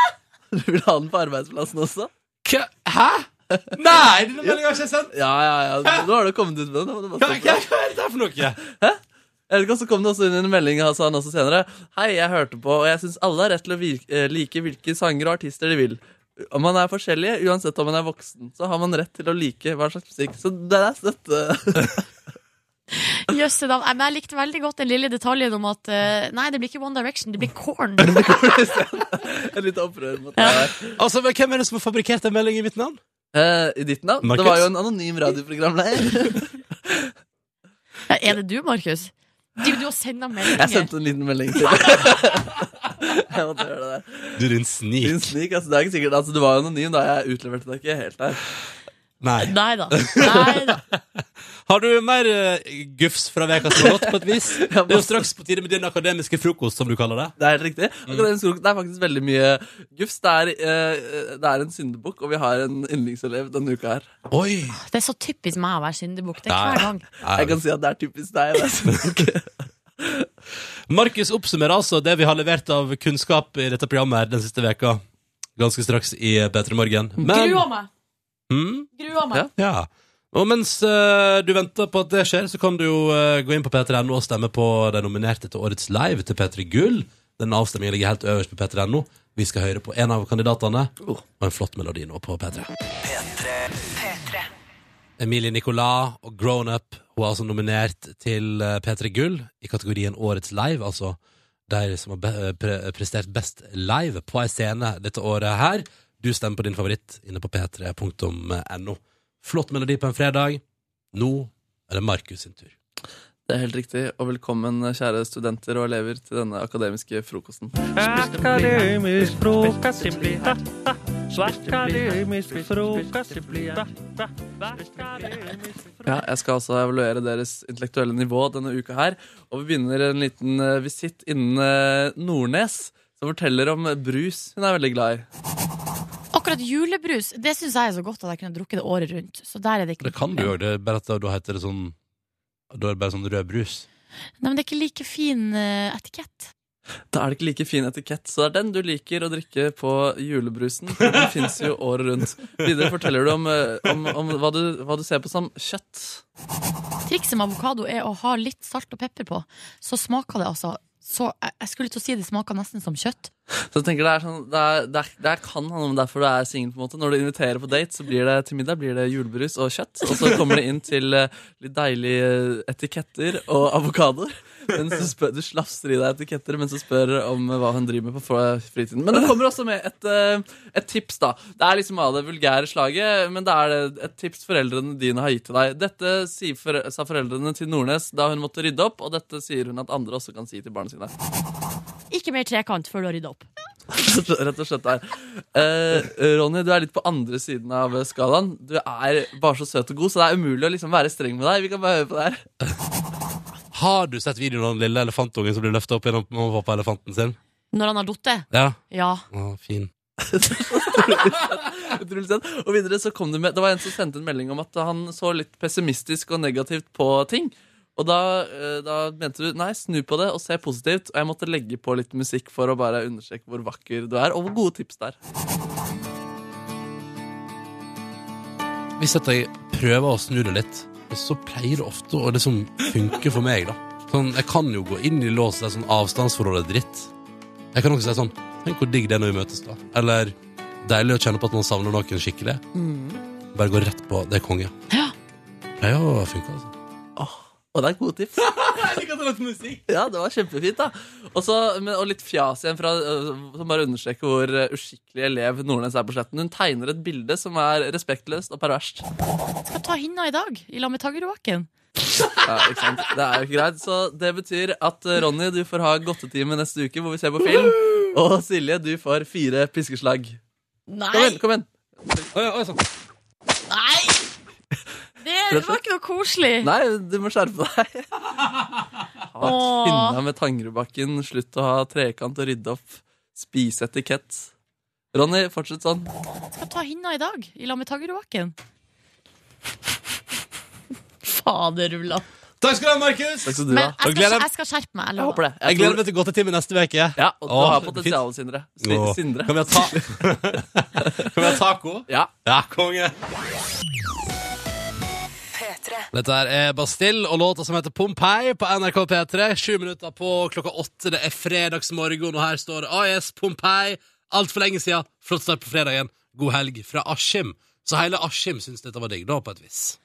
E: Du vil ha den på arbeidsplassen også?
A: Hva- Hæ?! Nei, denne meldinga har jeg ikke sendt!
E: Ja, ja, ja. Nå har du kommet ut med den. da må du
A: Hva,
E: bare stå på
A: hva,
E: det.
A: hva er dette for noe?
E: Jeg vet ikke, Så kom det også inn en melding sa han også senere. Hei, jeg hørte på, og jeg syns alle har rett til å virke, eh, like hvilke sanger og artister de vil. Om man er forskjellige, uansett om man er voksen, så har man rett til å like hva slags musikk. Så det er støtte.
B: Jøsse navn. Nei, Men jeg likte veldig godt den lille detaljen om at eh, Nei, det blir ikke One Direction, det blir Corn.
E: Et lite opprør mot det her.
A: Altså, men Hvem er det som har fabrikkert en melding i mitt navn?
E: Eh, I ditt navn?
A: Markus?
E: Det var jo en anonym radioprogramleder.
B: Ja, er det du, Markus? Du, du har sendt meg
E: Jeg
B: meldinger.
E: sendte en liten melding til deg. Jeg måtte gjøre det der.
A: Du, din
E: Din
A: snik.
E: snik, altså, det er ikke sikkert, altså, du var jo anonym da jeg utleverte deg ikke helt der.
A: Nei.
B: Nei da. Nei da.
A: Har du mer eh, gufs fra veka som har gått, på et vis? Det er jo straks på tide med din akademiske frokost, som du kaller det.
E: Det er helt riktig. Akademisk frokost, Det er faktisk veldig mye gufs. Det er, eh, det er en syndebukk, og vi har en yndlingselev denne uka her.
A: Oi!
B: Det er så typisk meg å være syndebukk. Det er
A: Nei.
B: hver gang.
E: Jeg kan si at det altså. er typisk deg. å være syndebukk.
A: Markus oppsummerer altså det vi har levert av kunnskap i dette programmet her den siste veka. Ganske straks i P3 Morgen. Men
B: Gruer meg!
A: mm,
B: Gruer meg.
E: Ja.
A: Ja. Og mens eh, du venter på at det skjer, så kan du jo eh, gå inn på p3.no og stemme på de nominerte til årets live til P3 Gull. Den avstemningen ligger helt øverst på p3.no. Vi skal høre på en av kandidatene, og en flott melodi nå på P3. Emilie Nicolas og Grown Up Hun er altså nominert til eh, P3 Gull i kategorien Årets live, altså de som har be eh, pre prestert best live på ei scene dette året her. Du stemmer på din favoritt inne på p3.no. Flott melodi på en fredag. Nå er det Markus sin tur.
E: Det er helt riktig, og velkommen kjære studenter og elever til denne akademiske frokosten.
G: Akademisk frokost det blir da, da. Akademisk frokost det blir da, da. Akademisk
E: Ja, jeg skal også evaluere deres intellektuelle nivå denne uka her, og vi begynner en liten eh, visitt innen eh, Nordnes, som forteller om brus hun er veldig glad i.
B: Akkurat julebrus det syns jeg er så godt at jeg kunne drukket det året rundt. Så der er det ikke
A: Det kan du òg, det er bare at da- da heter det sånn Da er det bare sånn rød brus.
B: Nei, men det er ikke like fin eh, etikett.
E: Da er det ikke like fin etikett, så det er den du liker å drikke på julebrusen. for Den fins jo året rundt. Videre forteller du om, eh, om, om hva, du, hva du ser på som kjøtt.
B: Trikset med avokado er å ha litt salt og pepper på. Så smaker det altså så, jeg, jeg skulle til å si det smaker nesten som kjøtt.
E: Så jeg tenker det er sånn, det, er, det, er, det er kan handle om derfor du er singel. på en måte. Når du inviterer på date, så blir det til middag blir det julebrus og kjøtt. Og så kommer det inn til eh, litt deilige eh, etiketter og avokadoer. Mens du, spør, du slafser i deg etiketter mens du spør om hva hun driver med på fr- fritiden. Men det kommer også med et, eh, et tips, da. Det er liksom av det vulgære slaget, men det er det- et tips foreldrene dine har gitt til deg. Dette sier for, sa foreldrene til Nordnes da hun måtte rydde opp, og dette sier hun at andre også kan si til barna sine.
H: Ikke mer trekant før du har rydda opp.
E: Rett og slett der. Eh, Ronny, du er litt på andre siden av skalaen. Du er bare så søt og god, så det er umulig å liksom være streng med deg. Vi kan bare høre på det her.
A: Har du sett videoen av den lille elefantungen som blir løfta opp gjennom mamma og pappa elefanten sin?
B: Når han har datt det.
A: Ja,
B: Ja.
A: Å, fin.
E: Utrolig søt. liksom- Og videre så kom det med Det var en som sendte en melding om at han så litt pessimistisk og negativt på ting. Og da, eh, da mente du nei, snu på det og se positivt. Og jeg måtte legge på litt musikk for å bare understreke hvor vakker du er, og hvor gode tips det er.
A: Hvis at jeg prøver å snu det litt, så pleier det ofte å liksom funke for meg, da. Sånn, jeg kan jo gå inn i lås der sånn avstandsforhold er dritt. Jeg kan også si sånn Tenk hvor digg det er når vi møtes, da. Eller deilig å kjenne på at man savner noen skikkelig. Bare gå rett på det er konge.
B: Ja.
A: Pleier å funke, altså.
E: Og det er gode tips. Ja, det var kjempefint, da. Og, så, men, og litt fjas igjen, fra, øh, som bare understreker hvor øh, uskikkelig elev Nordnes er på sletten. Hun tegner et bilde som er respektløst og perverst.
B: Skal ta hinna i dag, i lag med Tangerudbakken.
E: Ja, ikke sant? Det er jo ikke greit. Så det betyr at øh, Ronny, du får ha godtetime neste uke, hvor vi ser på film. Og Silje, du får fire piskeslag. Kom
B: Nei!
E: igjen, kom igjen.
A: Oi, oi, sånn.
B: Nei! Det var ikke noe koselig.
E: Nei, du må skjerpe deg. Har vært
B: Åh.
E: finna med Tangerudbakken. Slutt å ha trekant og rydde opp. Spise etikett. Ronny, fortsett sånn.
B: Skal ta hinna i dag, i lag med Tangerudbakken. Faderulla.
A: Takk skal du ha, Markus!
E: Takk skal du
B: Men
E: ha.
B: jeg
A: gleder
B: skal,
A: jeg-
B: jeg skal skjerpe meg. Jeg
E: Jeg
B: lover.
E: håper det.
A: Jeg
E: tror-
A: gleder meg til godtetime neste uke.
E: Ja, og du
A: Åh,
E: har
A: fint.
E: potensial, Sindre. Si-
A: Åh.
E: Sindre.
A: Kan vi ha ta Kan vi ha taco?
E: Ja.
A: Ja, konge. Dette her er Bastille og låta som heter Pompeii på NRK P3. Sju minutter på klokka åtte. Det er fredagsmorgen, og her står det AS Pompeii. Altfor lenge siden. Flott start på fredagen. God helg fra Askim. Så hele Askim syns dette var digg, da, på et vis.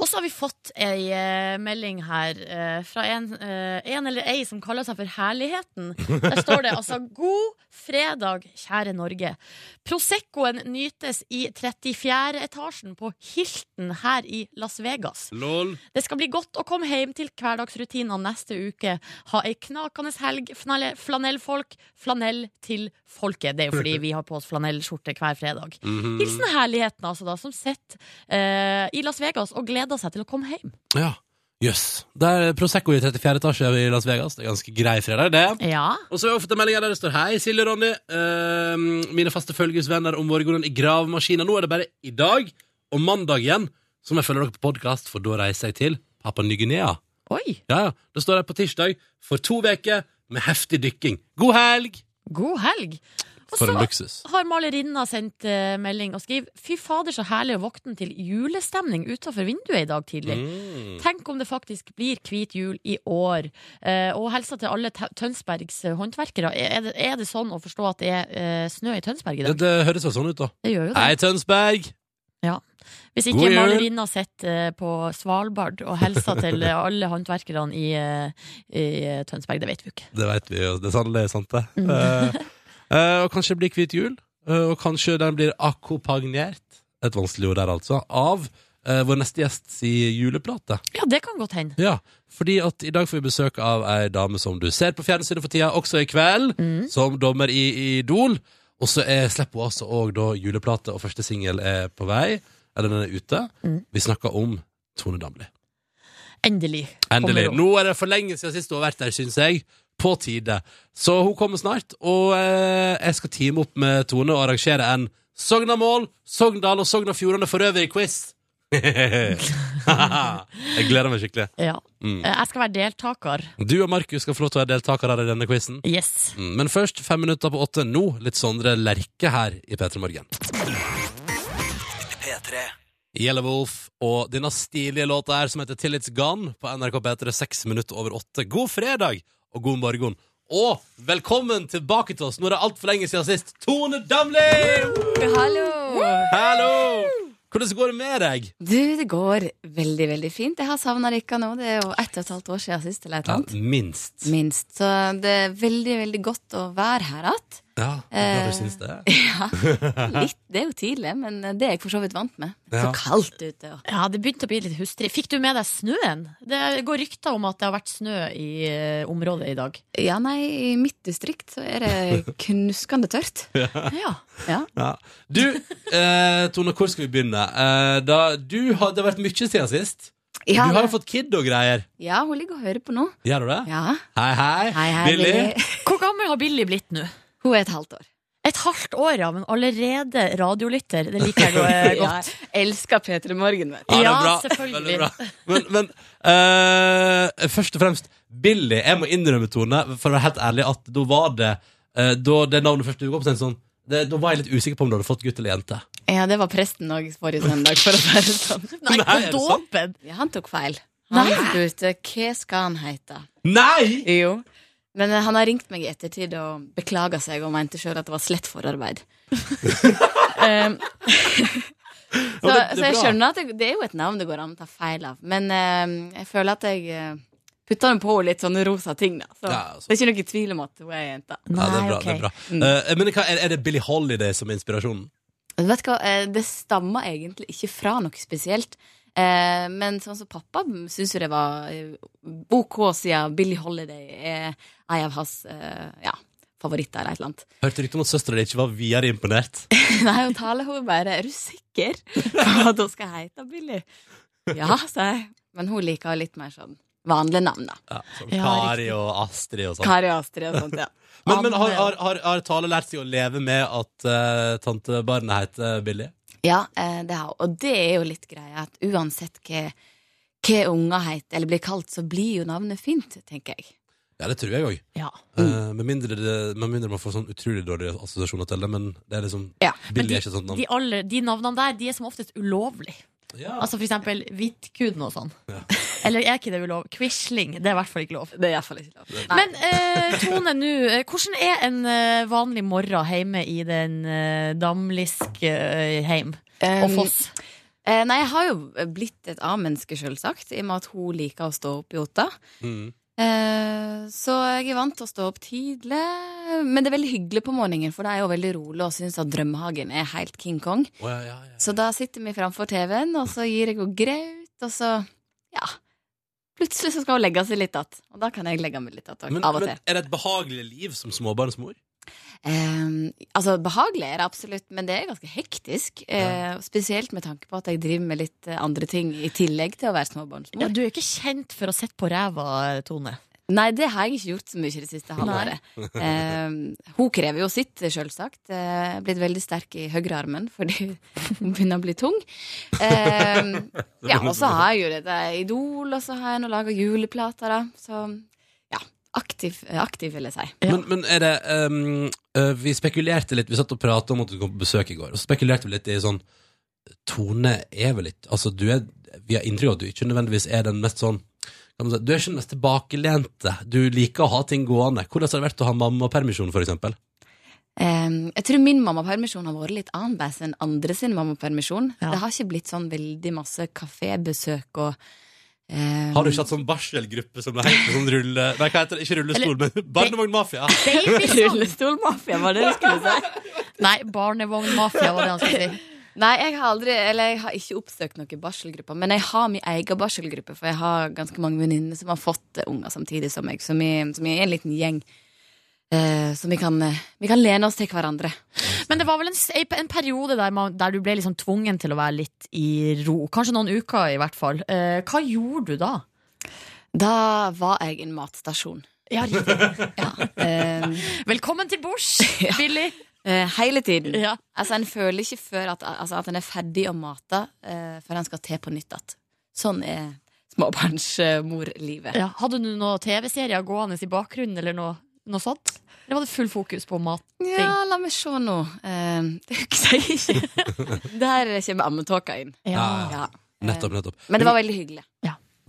B: Og så har vi fått ei eh, melding her eh, fra en, eh, en eller ei som kaller seg for Herligheten. Der står det altså 'God fredag, kjære Norge'. Proseccoen nytes i 34. etasjen på Hilton her i Las Vegas.
A: Lol.
B: Det skal bli godt å komme hjem til hverdagsrutinene neste uke. Ha ei knakende helg, flanell- flanellfolk. Flanell til folket. Det er jo fordi vi har på oss
A: Mhm.
B: flanellskjorte hver fredag. Hilsen herligheten, altså, da, som sitter eh, i Las Vegas og gleder gleda seg til å komme hjem.
A: Ja. Jøss. Det er Prosecco i 34. etasje i Las Vegas. Det er ganske grei fredag, det.
B: Ja.
A: Og så har jeg fått en melding her der det står Hei, Silje og Ronny. Eh, mine faste følgesvenner om morgenen i gravemaskinen. Nå er det bare i dag og mandag igjen som jeg følger dere på podkast, for da reiser jeg til Papua Ny-Guinea.
B: Oi.
A: Ja, ja. Da står jeg på tirsdag for to uker med heftig dykking. God helg!
B: God helg. Og
A: For en
B: så
A: luksus.
B: har malerinna sendt eh, melding og skriver Fy fader, så herlig å våkne til julestemning utafor vinduet i dag tidlig.
A: Mm.
B: Tenk om det faktisk blir hvit jul i år. Eh, og helsa til alle Tø- Tønsbergs eh, håndverkere. Er er det, er det sånn å forstå at det er eh, snø i Tønsberg i
A: Det,
B: dag?
A: det høres vel sånn ut, da.
B: Det gjør jo det.
A: Hei, Tønsberg!
B: Hvis
A: God
B: ikke
A: jul.
B: malerinna sitter eh, på Svalbard og helsa til eh, alle håndverkerne i, eh, i eh, Tønsberg, det vet vi jo ikke.
A: Det veit vi jo. Det er sannelig sant, det.
B: Mm.
A: Eh, eh, og kanskje det blir hvit jul. eh, og kanskje den blir akkompagnert, et vanskelig ord der, altså, av eh, vår neste gjest si juleplate.
B: Ja, det kan godt hende.
A: Ja, fordi at i dag får vi besøk av ei dame som du ser på fjernsynet for tida, også i kveld,
B: Mm.
A: som dommer i, i Idol. Og så er- slipper hun altså òg da juleplate, og første singel er på vei. Eller den er ute.
B: Mm.
A: Vi snakker om Tone Damli.
B: Endelig.
A: Endelig.
B: Kommer hun.
A: Nå er det for lenge siden sist hun har vært der, syns jeg. På tide. Så hun kommer snart, og eh, jeg skal teame opp med Tone og arrangere en Sognamål, Sogndal og Sogn og Fjordane for øvrig-quiz. jeg gleder meg skikkelig.
B: Ja.
A: Mm.
B: Eh, Jeg skal være deltaker.
A: Du og Markus skal få lov til å være deltakere her i denne quizen.
B: Yes.
A: Mm, Men først fem minutter på åtte nå. Litt Sondre Lerche her i P3 Morgen. Yellow Wolf og denne stilige låta her som heter Tillits Gone på NRK P3 seks minutter over åtte. God fredag og god morgen. Og velkommen tilbake til oss. Nå er det altfor lenge siden sist. Tone Damli!
I: Hallo!
A: Hallo! Hvordan går det med deg?
I: Du, det går veldig, veldig fint. Jeg har savna dere nå. Det er jo ett og et halvt år siden sist, eller et
A: Ja,
I: eller annet.
A: minst.
I: Minst. Så det er veldig, veldig godt å være her igjen.
A: Ja, jeg er glad
I: Eh,
A: du syns det.
I: Litt, det er jo tidlig, men det er jeg for så vidt vant med. Det er
A: Ja.
I: så kaldt ute. Og.
B: Ja, det begynte å bli litt hustrig. Fikk du med deg snøen? Det går rykter om at det har vært snø i eh, området i dag.
I: Ja, nei, i mitt distrikt så er det knuskende tørt.
B: Ja.
I: Ja.
A: Ja. Du, eh, Tone, hvor skal vi begynne? Eh, da, du har, det har vært mye siden sist.
I: Ja,
A: du har jo
I: det-
A: fått kid og greier.
I: ja, hun ligger og hører på nå.
A: Gjør du det?
I: Ja.
A: Hei, hei.
I: Hei, hei,
A: Billy.
I: Billy.
B: Hvor gammel har Billy blitt nå?
I: Hun er et halvt år.
B: Et halvt år, ja, men allerede radiolytter. Det liker jeg go- eh, godt.
I: Ja, jeg elsker P3 Morgen, vet du.
A: Ja, det er
B: Ja,
A: bra.
B: selvfølgelig.
A: Veldig bra. Men, men eh, først og fremst, Billy, jeg må innrømme, Tone, for å være helt ærlig, at da var det eh, Da det navnet først dukket opp, så tenkte jeg sånn det, Da var jeg litt usikker på om du hadde fått gutt eller jente.
I: Ja, det var presten òg forrige søndag, for å være sånn.
B: Nei,
A: Nei, er det
B: på
A: sant?
B: dåpen!
I: Ja, han tok feil. Han
B: Nei.
I: spurte hva skal han hete.
A: Nei!
I: Jo. Men eh, han har ringt meg i ettertid og beklaga seg og mente sjøl at det var slett forarbeid. um, så,
A: Ja, men det- det er
I: så jeg
A: bra.
I: skjønner at det, det er jo et navn det går an å ta feil av. Men eh, jeg føler at jeg eh, putter den på litt sånne rosa ting, da. Så
A: Ja, altså.
I: det er ikke noe tvil om at hun er jenta.
A: Ja, det er bra.
B: ok.
A: Det er, bra.
I: Mm.
A: Eh, men hva, er, er det Billy Holiday som er inspirasjonen?
I: Du vet hva, eh, Det stammer egentlig ikke fra noe spesielt. Eh, men sånn som pappa syns jo det var eh, OK siden Billie Holiday er en av hans eh, ja, favoritter eller et eller annet.
A: Hørte rykte om at søstera di ikke var videre imponert.
I: Nei, hun taler hun bare Er du sikker på at hun skal hete Billy? Ja, sa jeg. Men hun liker litt mer sånn vanlige navn, da.
A: Ja, som
B: Ja,
A: Kari
B: riktig.
A: og Astrid og sånn.
I: Kari og Astrid og sånt, ja.
A: Men, men har, har, har, har Tale lært seg å leve med at eh, tantebarnet heter Billy?
I: Ja, eh, det har hun. Og det er jo litt greia at uansett hva, hva unger heter eller blir kalt, så blir jo navnet fint, tenker jeg.
A: Ja, det tror jeg òg.
B: Ja.
A: Eh, med, mindre det- med mindre man får sånn utrolig dårlige assosiasjoner til det. Men det er liksom
I: Ja,
A: Billy
B: de-
A: er ikke et sånt navn.
B: De, aller, de navnene der de er som oftest ulovlige.
A: ja.
B: Altså for eksempel Hvittkuden og sånn.
A: Ja.
B: Eller er ikke det ulov? Quisling, det er i hvert fall ikke lov.
I: Det er iallfall ikke lov. Nei.
B: Men eh, Tone, nå, eh, hvordan er en eh, vanlig morgen hjemme i den eh, damlisk eh, heim?
I: Eh,
B: Og Foss?
I: eh, nei, jeg har jo blitt et A-menneske, sjølsagt, i og med at hun liker å stå opp i åtta.
A: Mm.
I: Eh, Så jeg er vant til å stå opp tidlig. Men det er veldig hyggelig på morgenen, for det er jo veldig rolig og syns at drømmehagen er helt King Kong.
A: Å, ja, ja, ja.
I: Så da sitter vi framfor TV-en, og så gir jeg henne graut, og så ja. Plutselig så skal hun legge seg litt att, og da kan jeg legge meg litt att
A: Men,
I: av og
A: men
I: til.
A: er det et behagelig liv som småbarnsmor?
I: Eh, altså Behagelig er det absolutt, men det er ganske hektisk. eh, Spesielt med tanke på at jeg driver med litt eh, andre ting i tillegg til å være småbarnsmor.
B: Ja, du er ikke kjent for å sitte på ræva, Tone.
I: Nei, det har jeg ikke gjort så mye i det siste halvåret. Eh, hun krever jo sitt, selvsagt. Eh, blitt veldig sterk i høyrearmen fordi hun begynner å bli tung. Eh, ja, og så har jeg jo dette Idol, og så har jeg nå laga juleplater, da. Så ja, aktiv, eh, aktiv vil jeg si.
A: Men, men er det ehm, eh, Vi spekulerte litt, vi satt og pratet om at du kom på besøk i går, og så spekulerte vi litt i sånn Tone er vel ikke Altså, du er Vi har inntrykk av at du ikke nødvendigvis er den mest sånn kan man si, Du er ikke den mest tilbakelente. Du liker å ha ting gående. Hvordan har det vært å ha mammapermisjon, for eksempel?
I: Eh, jeg tror min mammapermisjon har vært litt annerledes enn andre sin mammapermisjon.
B: Ja.
I: Det har ikke blitt sånn veldig masse kafébesøk og eh,
A: Har du ikke hatt sånn barselgruppe som det heter? Sånn rulle... Nei, hva heter det? Ikke rullestol, men barnevognmafia.
B: Babysang!
I: Rullestolmafia, var det du skulle si?
B: Nei, barnevognmafia var det han skulle si.
I: Nei, jeg har aldri, eller jeg har ikke oppsøkt noen barselgrupper. Men jeg har min egen barselgruppe, for jeg har ganske mange venninner som har fått eh, unger samtidig som meg. Så vi, så vi er en liten gjeng. Eh, så vi kan, eh, vi kan lene oss til hverandre.
B: Men det var vel en, s- ei- en periode der, man, der du ble liksom tvungen til å være litt i ro. Kanskje noen uker, i hvert fall. Eh, hva gjorde du da?
I: Da var jeg en matstasjon.
B: Ja, riktig.
I: Eh,
B: Velkommen til bords, Billy.
I: eh, hele tiden.
B: Ja.
I: Altså, en føler ikke før at, altså, at en er ferdig å mate, eh, før en skal til på nytt igjen. Sånn er småbarnsmorlivet.
B: Ja. Hadde du noen TV-serier gående i bakgrunnen, eller noe, noe sånt? Eller var det full fokus på mat?
I: Ja, la meg se nå. Eh, det husker jeg ikke. Der kommer ammetåka inn.
A: Ja.
I: Ja.
A: Nettopp, nettopp.
I: Men det var veldig hyggelig.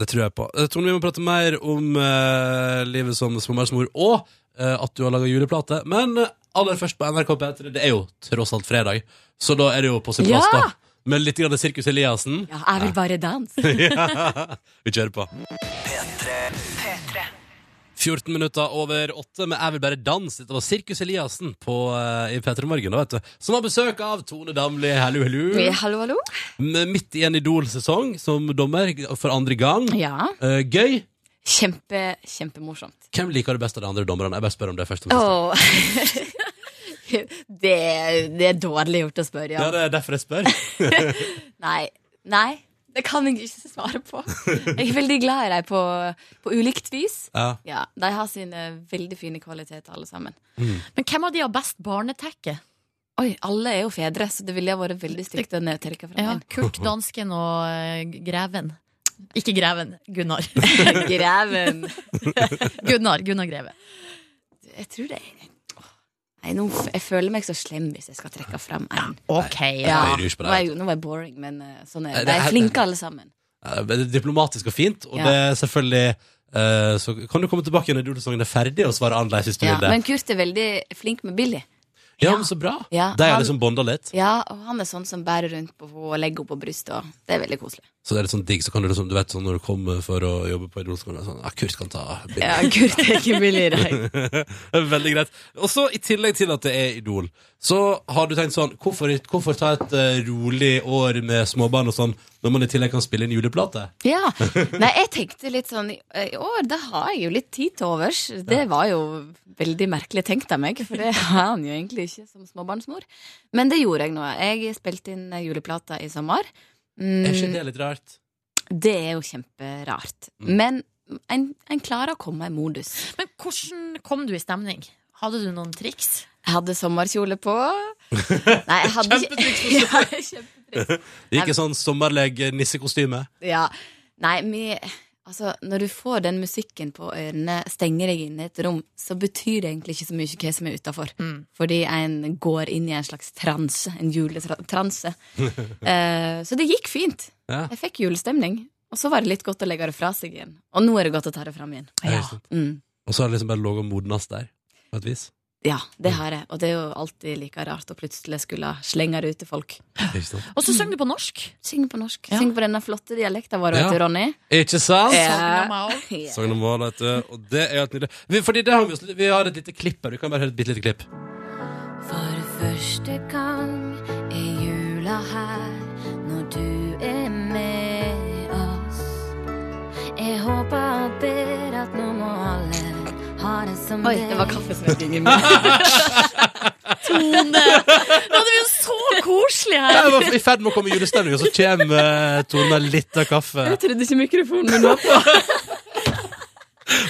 A: Det tror jeg på. Eh, Tone, vi må prate mer om eh, livet som småbarnsmor, og eh, at du har laga juleplate. Men eh, aller først på NRK P3, det er jo tross alt fredag, så da er det jo på sin plass,
I: Ja!
A: da. Med litt grann Sirkus Eliassen.
I: Ja, jeg vil bare danse.
A: Vi kjører på. 14 minutter over 8 med Jeg vil bare danse. Dette var Sirkus Eliassen på, eh, i P3 Morgen, da, vet du. Som har besøk av Tone Damli. Hallo, hallo.
I: hallo, hallo.
A: Med- Midt i en Idol-sesong som dommer for andre gang.
I: Ja.
A: Eh, gøy.
I: Kjempe, kjempemorsomt.
A: Hvem liker du best av de andre dommerne? Jeg bare spør om det først. og fremst.
I: Åh. det, det er dårlig gjort å spørre,
A: Ja,
I: ja.
A: det er derfor jeg spør.
I: Nei. Nei. Det kan jeg ikke svare på. Jeg er veldig glad i dem på, på ulikt vis.
A: Ja.
I: Ja, De har sine veldig fine kvaliteter, alle sammen.
B: Men hvem av de har best barnetekke?
I: Oi, alle er jo fedre, så det ville ha vært veldig stygt å nedtrekke fra
B: Ja,
I: min.
B: Kurt, dansken og eh, Greven. Ikke Greven, Gunnar.
I: Greven.
B: Gunnar, Gunnar Greve.
I: Jeg tror det er Åh. Nei, nå, f- jeg føler meg så slem hvis jeg skal trekke fram en.
B: Ok,
I: Ja,
A: Nei,
I: nå
A: det er ikke på
I: var
A: det.
I: jeg, jo- nå var jeg boring, men eh, sånn
A: Nei,
I: er
A: det
I: det. De
A: er-
I: er flinke alle sammen.
A: Ja, Det er diplomatisk og fint, og
I: Ja.
A: det er selvfølgelig eh, Så kan du komme tilbake igjen når idolsesongen er ferdig, og svare annerledes hvis du
I: Ja,
A: vil det.
I: men Kurt er veldig flink med Billy.
A: ja, men så bra.
I: Ja,
A: De har
I: han-
A: liksom bonda litt,
I: Ja, og han er sånn som bærer rundt på henne og legger henne på brystet. og Det er veldig koselig.
A: så det er litt sånn digg. Så kan du liksom, du vet sånn når du kommer for å jobbe på idolsesongen, det er sånn Ja, Kurt kan ta bildet.
I: Ja, Kurt er ikke Billy i dag.
A: Veldig greit. Og så I tillegg til at det er Idol, så har du tenkt sånn Hvorfor, hvorfor ta et eh, rolig år med småbarn og sånn, når man i tillegg kan spille inn juleplate?
I: Ja. Nei, jeg tenkte litt sånn I i år, da har jeg jo litt tid til overs. Det var jo veldig merkelig tenkt av meg, for det har han jo egentlig ikke som småbarnsmor. Men det gjorde jeg nå. Jeg spilte inn eh, juleplata i sommer. Mm.
A: Er ikke det litt rart?
I: Det er jo kjemperart.
A: Mm.
I: Men en, en klarer å komme i modus.
B: Men hvordan kom du i stemning? Hadde du noen triks?
I: Jeg hadde sommerkjole på. Nei, jeg hadde
A: Kjempetriks
I: Ja, kjempetriks.
A: Det gikk i sånn sommerleg nissekostyme.
I: Ja. Nei, vi Altså, når du får den musikken på ørene, stenger deg inne i et rom, så betyr det egentlig ikke så mye hva som er utafor.
B: Mm.
I: Fordi en går inn i en slags transe. En juletranse. Eh, så det gikk fint.
A: Ja.
I: Jeg fikk julestemning. Og så var det litt godt å legge det fra seg igjen. Og nå er det godt å ta det fram igjen.
A: Ja, ikke sant?
I: Mm.
A: Og så har det liksom bare ligget og modnes der. På et vis.
I: Ja, det har jeg. Og det er jo alltid like rart å plutselig skulle slenge det ut til folk.
A: Ikke sant?
B: Og så sang du på norsk.
I: Syng på norsk.
B: Ja.
I: Syng på denne flotte dialekten vår,
A: Ja.
I: vet du, Ronny.
A: Ikke sant?
I: Ja.
B: Savner meg også.
I: Yeah.
A: Sogn og Mål, vet du. Og det er helt nydelig. Vi, fordi det har vi, oss- vi har et lite klipp her. Du kan bare høre et bitte lite klipp.
I: For første gang er jula her når du er med oss. Jeg håper og ber at nå må alle ha Oi, det var kaffesmekkingen min.
B: Tone! Nå hadde vi jo så koselig her!
A: Jeg var i ferd med å komme i julestemning, og så kommer eh, Tone litt av kaffe.
I: Jeg trodde ikke mikrofonen min var på.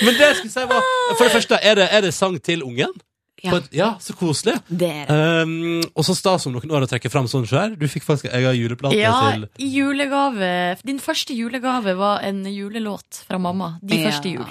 A: Men det jeg skulle si var For det første, er det, er det sang til ungen?
I: Ja.
A: På et- ja så koselig.
I: Det er det.
A: Um, og så stas om noen år å trekke fram sånn sjøl. Du fikk faktisk ei juleplate
B: Ja,
A: til
B: i julegave. Din første julegave var en julelåt fra mamma. De
I: Ja.
B: første jul.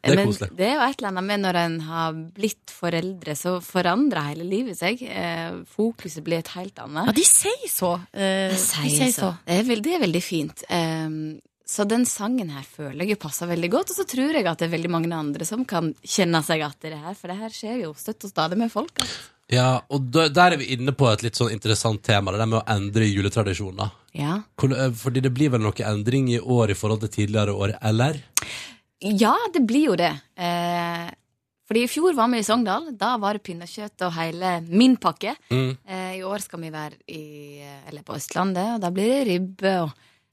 A: Det er
I: Men
A: koselig.
I: det er jo et eller annet med når en har blitt foreldre, så forandrer hele livet seg. Eh, Fokuset blir et helt annet.
B: Ja, de sier så. Eh,
I: Jeg
B: de
I: sier
B: sier
I: så.
B: så.
I: Det er veldig, det er veldig fint. Ehm, så den sangen her føler jeg jo passer veldig godt. Og så tror jeg at det er veldig mange andre som kan kjenne seg igjen i det her, for det her skjer jo støtt og stadig med folk. altså.
A: Ja, og da, der er vi inne på et litt sånn interessant tema, det der med å endre juletradisjoner.
I: Ja.
A: Hvor- eh, Fordi det blir vel noe endring i år i forhold til tidligere år, eller?
I: ja, det blir jo det. Eh, fordi i fjor var vi i Sogndal. Da var det pinnekjøtt og hele min pakke.
A: Mm.
I: Eh, I år skal vi være i, eh, eller på Østlandet, og da blir det ribbe og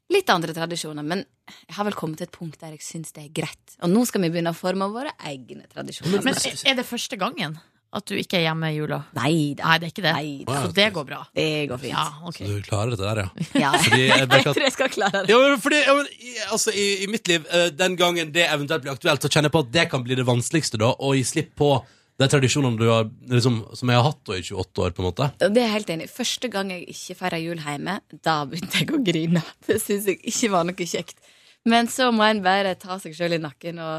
I: litt andre tradisjoner. Men jeg har vel kommet til et punkt der jeg syns det er greit. Og nå skal vi begynne å forme våre egne tradisjoner.
B: Men er det første gangen at du ikke er hjemme i jula?
I: Nei da.
B: Nei, det er ikke det.
I: Nei,
A: Wow.
B: Så det går bra.
I: det går fint.
B: Ja, ok.
A: Du klarer dette der, ja.
I: Ja.
A: Fordi jeg merker at
I: jeg skal klare
A: Ja, men fordi, ja, men, i, altså, i, I mitt liv, eh, den gangen det eventuelt blir aktuelt, så kjenner jeg på at det kan bli det vanskeligste, da, å gi slipp på de tradisjonene du har, liksom, som jeg har hatt da, i 28 år, på en måte.
I: Det er jeg helt enig. i. Første gang jeg ikke feira jul hjemme, da begynte jeg å grine. Det syns jeg ikke var noe kjekt. Men så må en bare ta seg sjøl i nakken og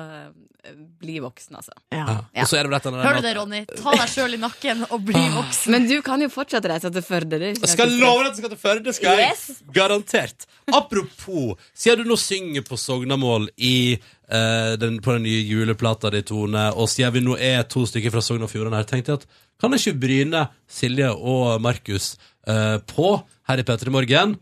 I: eh, bli voksen, altså.
A: Ja. Og så er det vel et eller
B: Hører du
A: annet
B: det, Ronny? Ta deg sjøl i nakken og bli
I: Ah.
B: voksen.
I: Men du kan jo fortsatt reise til Førde. det er ikke
A: Jeg skal
I: noe
A: love deg at du skal til Førde, skal jeg.
I: Yes.
A: Garantert. Apropos, siden du nå synger på Sognamål i, eh, den, på den nye juleplata di, Tone, og siden vi nå er to stykker fra Sogn og Fjordane her, tenkte jeg at kan ikke Bryne, Silje og Markus eh, på her i P3 Morgen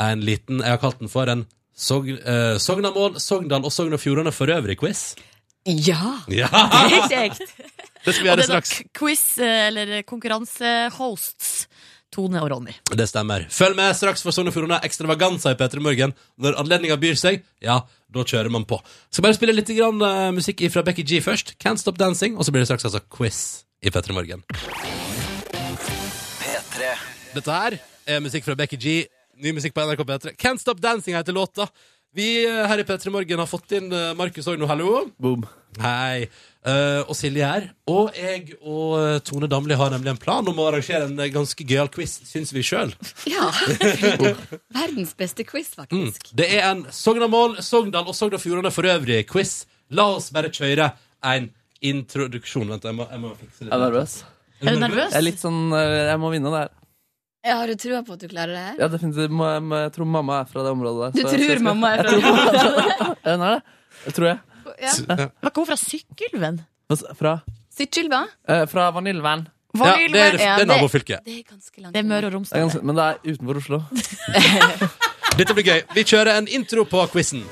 A: en liten Jeg har kalt den for en Sog, eh, Sognamål, Sogndal og Sogn og Fjordane for øvrig-quiz.
I: Ja!
A: Ja,
I: Det er kjekt.
A: det skal vi
B: Og
A: gjøre
B: det er da
A: straks.
B: k- quiz, eh, eller konkurransehosts, Tone og Ronny.
A: Det stemmer. Følg med straks for Sogn og Fjordane Ekstravaganza i P3 Morgen. Når anledninga byr seg, ja, da kjører man på. Skal bare spille litt grann, eh, musikk fra Becky G først. Can't Stop Dancing. Og så blir det straks altså quiz i P3 Morgen. Dette her er musikk fra Becky G. Ny musikk på NRK P3. Can't Stop Dancing heter låta. Vi eh, her i P3 Morgen har fått inn eh, Markus Ogno, hallo.
E: Boom.
A: Hei. Eh, og Silje her. Og jeg og eh, Tone Damli har nemlig en plan om å arrangere en eh, ganske gøyal quiz, syns vi sjøl.
I: Ja. Verdens beste quiz, faktisk.
A: Det er en Sognamål, Sogndal og Sogn og Fjordane for øvrig-quiz. La oss bare kjøre en introduksjon. Vent, jeg må, jeg må fikse
E: Jeg er
A: det.
E: nervøs.
B: Er du nervøs?
E: Jeg er litt sånn eh, Jeg må vinne det her.
I: Ja, har du trua på at du klarer det her?
E: Ja, definitivt. Må- Jeg, må- jeg tror mamma er fra det området der. så jeg-
I: Du
E: så jeg
I: tror
E: skal-
I: mamma er fra
E: Jeg tror mamma er fra- Ja, Hun er det. Jeg tror jeg.
I: ja.
B: Var ikke hun fra Sykkylven?
E: Hva s- Fra,
I: Sykkylva?
E: eh, fra Vaniljevann.
A: Ja, det er, det
I: Ja,
A: er
I: det-
A: nabofylket.
I: Det er ganske langt.
B: Det er Møre og
E: Det er
B: Romsdal.
E: ganske- Men det er utenfor Oslo.
A: Dette blir gøy. Vi kjører en intro på quizen.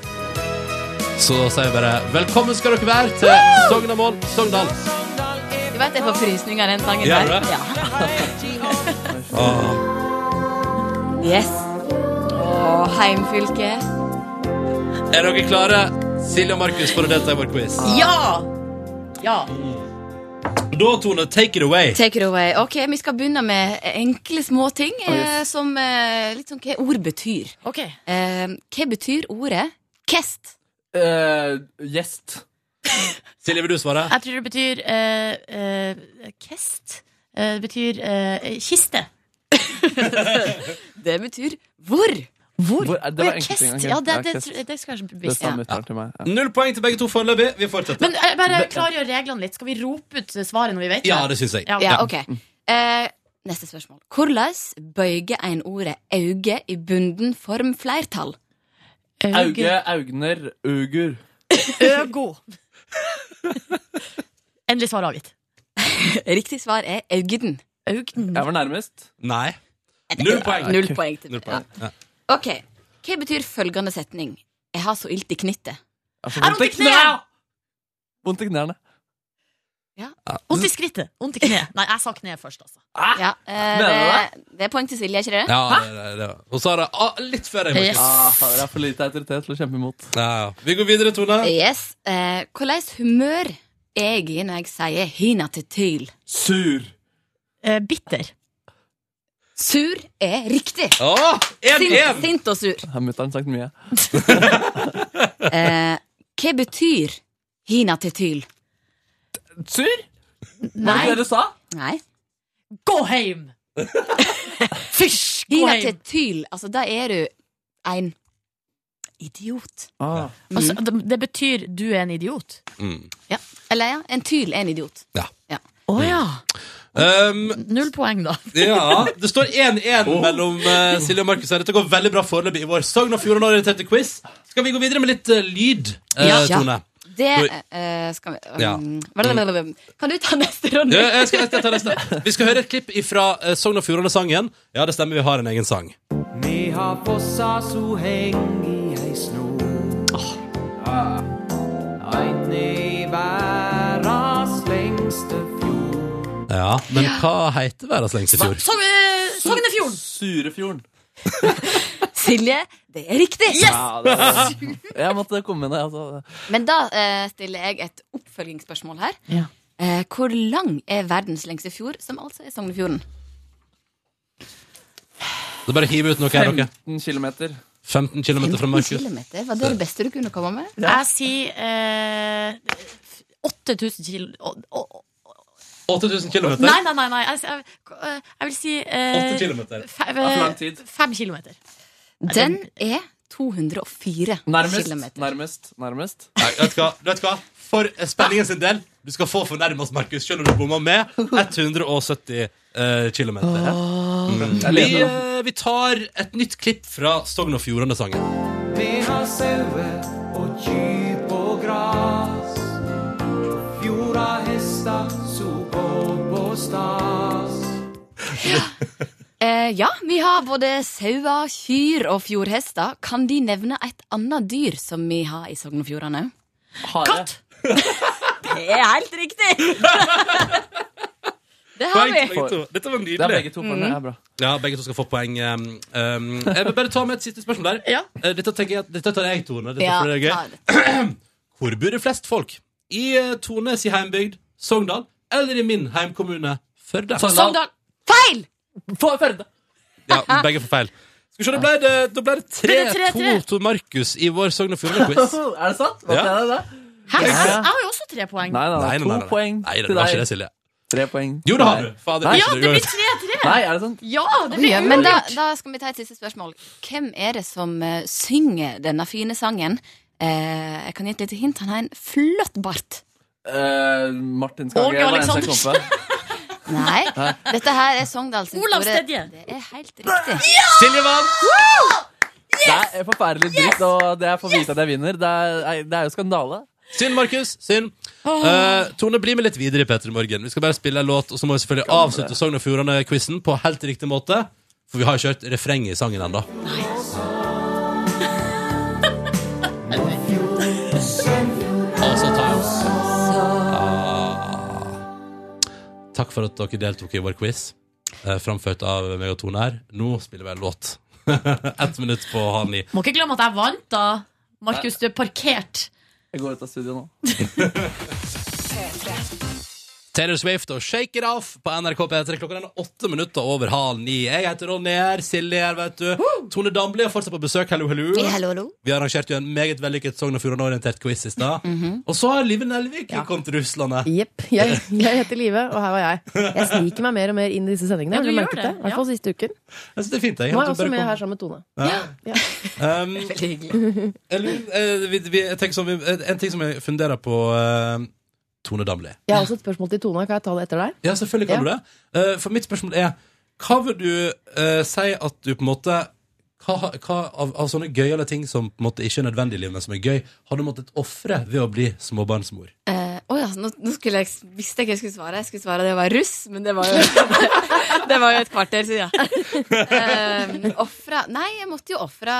A: Så sier vi bare velkommen skal dere være til Sognamål, Sogndal.
I: Du vet jeg får frysninger av den sangen
A: Gjør du
I: der?
A: det? Ah.
I: Ja.
A: Åh.
I: Yes. Å, heimfylke.
A: Er dere klare, Silje og Markus, for å delta i vår quiz? Mm.
I: Ja! Ja.
A: Da, Tone, take it away.
I: Take it away. Ok, Vi skal begynne med enkle små ting. eh, Som eh, litt sånn hva ord betyr.
B: Ok,
I: Eh, hva betyr ordet kest?
E: Eh, Gjest.
A: Silje, vil du svare?
B: Jeg tror det betyr eh, eh, kest. Eh, Det betyr eh, kiste.
I: Det betyr hvor.
B: Hvor?
E: Hvor er- det
B: Å ja,
E: var enkelt
B: kest.
E: en gang.
B: Ja, det,
E: Ja,
B: det,
E: kest.
B: det, skal jeg
E: Det
B: bevisst.
E: stammer til meg. Ja.
A: Null poeng til begge to foreløpig. Vi fortsetter.
B: Men eh, bare klargjør reglene litt. Skal vi rope ut svaret når vi vet
A: Ja, det syns jeg.
B: Ja,
I: Ja, ok eh, Neste spørsmål. Hvordan bøyger en ordet auge i bunden form flertall?
E: Auge, Augner, Ugur.
B: Øgo. Endelig svar avgitt.
I: Riktig svar er augden.
B: Augden.
E: Jeg var nærmest.
A: Nei. Null poeng.
I: Null poeng til
A: Null
I: meg. Ja.
A: poeng. Ja.
I: Ok, Hva betyr følgende setning? Jeg har så ilt i knittet.
E: Jeg får
B: Er vondt i kneet?
E: Vondt i knærne.
B: Vondt i skrittet. Vondt i kneet. Nei, jeg sa kneet først, altså.
A: Ah!
I: Ja, eh,
E: Mener
I: det, det er poeng til Silje, er ikke det?
A: Ja, det, det, det. Og så er det ah, litt før jeg
B: Yes.
A: Markus.
E: Ah, fader, jeg har for lite autoritet til å kjempe imot.
A: Ja, ja. Vi går videre, Tone.
I: Yes. Eh, hvordan humør jeg i når jeg sier hina til tyl?
J: Sur.
B: Eh, bitter.
I: Sur er riktig.
A: Åh, en,
I: Sint,
A: en.
I: sint og sur.
E: Har mutter'n sagt mye?
I: Eh, hva betyr hina til tyl?
E: Sur? Var
B: Nei,
E: det det du sa?
I: Nei.
B: gå hjem! Fysj, gå
I: Hina til
B: hjem!
I: tyl, altså da er du en idiot. Mm.
E: Ah.
B: Altså, det, det betyr du er en idiot.
A: Mm.
I: Ja. Eller ja, en tyl er en idiot.
B: Å ja.
A: Um,
B: Null poeng, da.
A: Ja, det står 1-1 mellom eh, Silje og Markus her. Dette går veldig bra foreløpig i vår Sogn og Fjordane-orienterte quiz. Skal vi gå videre med litt eh, lyd, eh,
I: Ja.
A: Tone?
I: Det
A: Du-
I: eh, skal vi
A: Ja.
I: um, blablabla. Kan du ta neste runde?
A: Ja, jeg skal, jeg skal ta neste. Vi skal høre et klipp fra Sogn og Fjordane-sangen. Ja, det stemmer, vi har en egen sang. Ja, men hva heter verdens lengste fjord?
B: Sog- eh, Sognefjorden!
E: Surefjorden.
I: Silje, det er riktig.
E: Ja, det jeg måtte komme med det. Altså.
I: Men da eh, stiller jeg et oppfølgingsspørsmål her.
B: Ja.
I: Eh, hvor lang er verdens lengste fjord, som altså er Sognefjorden?
A: Det er bare å hive ut noe her, dere.
E: 15 km.
A: 15 km fra
I: 15
A: Markus.
I: kilometer? Var det det beste du kunne komme med?
B: Jeg sier eh, 8000 kilo... å- å-
A: 8000 km.
B: Nei, nei, nei. nei. Jeg, jeg, eh, jeg vil si eh,
A: 8 km.
B: fe-
E: for lang tid.
B: Fem kilometer.
I: Den er 204
E: Nærmest.
I: kilometer.
E: Nærmest. Nærmest.
A: Nei, vet du hva? Vet du hva? For eh, spenningen sin del, du skal få fornærmest, Markus, selv om du bomma med 170 eh, km.
E: Jeg
A: Vi,
E: leder nå.
A: eh, vi tar et nytt klipp fra Sogn og Fjordane-sangen.
I: Eh, ja, vi har både sauer, kyr og fjordhester. Kan De nevne et annet dyr som vi har i Sogn og Fjordane?
E: Hare.
B: Katt!
I: Det er helt riktig! det har vi.
A: Begge to. Dette var
E: Det er
A: nydelig.
E: begge to for det er bra.
A: Ja, begge to skal få poeng. Um, um, jeg vil bare ta med et siste spørsmål der.
B: Ja.
A: Eh, Dette, tenker jeg, at- dette tar jeg, Tone. Dette
I: Ja,
A: får dere gøy.
I: ta det.
A: Hvor bor det flest folk? I eh, Tones i heimbygd, Sogndal, eller i min heimkommune, Førde?
E: Sogndal.
I: Feil!
E: Få Førde.
A: Ja, begge får feil. Skal vi se, da ble det, da ble
B: Ble det
A: det 3-2
B: 3-3?
A: til Markus i vår Sogn og Fjordane-quiz.
E: Altså, Er det sant? Hva
A: Ja.
E: er det da?
B: Hæ? Jeg
E: Ja.
B: jeg har jo også tre poeng.
E: Nei, nei, nei, to poeng
A: nei, det
E: til
A: var ikke det,
E: deg.
A: Silje.
E: Tre poeng.
A: Jo, det har
E: til
A: du.
E: deg.
A: Fader,
E: Nei.
A: ikke
B: Ja,
A: det
B: det
A: går.
B: blir tre-tre!
E: Nei, er det sånn? sant?
B: Ja, det
I: Ja,
B: blir
I: men da,
B: uavgjort!
I: da skal vi ta et siste spørsmål. Hvem er det som eh, synger denne fine sangen? Eh, jeg kan gi et lite hint. Han har en flott bart.
E: Eh, Martin
B: Åge
E: Skage var eneste jeg kom
B: Aleksandersen.
E: på.
I: Nei, dette her er Sogndal sin
B: Olav
I: store-
B: Stedje.
I: Det er helt riktig.
A: Silje vant!
E: Det er forferdelig dritt, og det jeg får vite at jeg vinner. Det er, nei, det er jo skandale.
A: Synd, Markus. Synd. Eh, Tone, bli med litt videre i Petter i morgen. Vi skal bare spille en låt, og så må vi selvfølgelig avslutte Sogn og Fjordane-quizen på helt riktig måte. For vi har ikke hørt refrenget i sangen ennå. Og så tar jeg Ah. Takk for at dere deltok i vår quiz, eh, framført av meg og Tone her. Nå spiller vi en låt. Ett minutt på halv ni.
B: Må ikke glemme at jeg vant, da. Markus, du er parkert.
E: Jeg går ut av studio nå.
A: Taylor Swift og Shake It Off på NRK P3. Klokka den er åtte minutter over halv ni. Jeg heter Ronny her, Silje her, vet du. Tone Damli er fortsatt på besøk. Hello, hello.
I: Hallo, hallo.
A: Vi arrangerte jo en meget vellykket Sogn og Fjordane-orientert quiz i stad.
K: Mhm.
A: Og så har Live Nelvik kommet til Russland.
K: Jepp. Jeg, jeg heter Live, og her var jeg. Jeg sniker meg mer og mer inn i disse
B: Ja,
K: sendingene. Har
B: du
K: du
B: gjør
K: merket
B: det,
K: det? I hvert fall siste uken.
A: Jeg synes det er fint, jeg.
K: Nå
A: at
K: er jeg
A: du
K: også
A: bare
K: med
A: kom.
K: her sammen med Tone.
A: Um, jeg lurer- eh, vi, vi, jeg tenker sånn, vi, eh, en ting som jeg funderer på eh, Tone Damli.
K: Jeg har også et spørsmål til Tone. Kan jeg ta det etter deg?
A: Ja, selvfølgelig kan
K: Ja.
A: du det. Eh, for mitt spørsmål er Hva vil du eh, si at du på en måte hva, hva av, av sånne gøyale ting som på en måte ikke er nødvendig i livet, men som er gøy, har du måttet ofre ved å bli småbarnsmor?
I: Eh, å ja, nå, nå skulle jeg, visste jeg ikke jeg skulle svare. Jeg skulle svare det å være russ, men det var jo, det var jo et kvarter siden. Eh, ofra Nei, jeg måtte jo ofra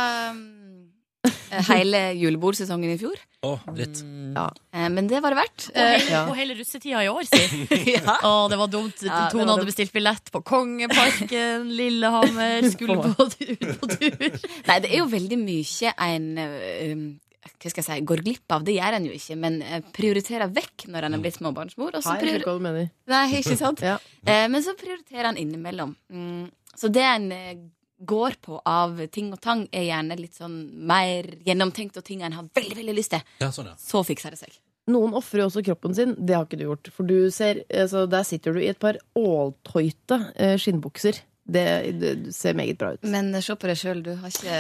I: eh, hele julebordsesongen i fjor.
A: Å, dritt.
I: Eh, men det var det verdt.
B: Og
I: Eh,
B: hele, og hele russetida i år, si. Å, det var dumt.
I: Ja, det
B: Tone
I: var
B: hadde
I: dumt.
B: bestilt billett på Kongeparken, Lillehammer, skulle på, ut på tur.
I: Nei, det er jo veldig mye en eh, um, hva skal jeg si, går glipp av. Det gjør en jo ikke, men eh, prioriterer vekk når en er blitt småbarnsmor. Og så
K: Nei, jeg skjønner
I: prior
K: ikke hva du mener.
I: Nei, ikke sant?
K: Ja.
I: Eh, men så prioriterer en innimellom. Mm, så det en eh, går på av ting og tang, er gjerne litt sånn mer gjennomtenkt, og ting en har veldig, veldig lyst til.
A: Ja, sånn, ja.
I: Så fikser det seg.
K: Noen ofrer jo også kroppen sin. Det har ikke du gjort. For du ser, altså, der sitter du i et par åltøyte eh, skinnbukser. Det, det ser meget bra ut.
I: Men se på deg sjøl, du har ikke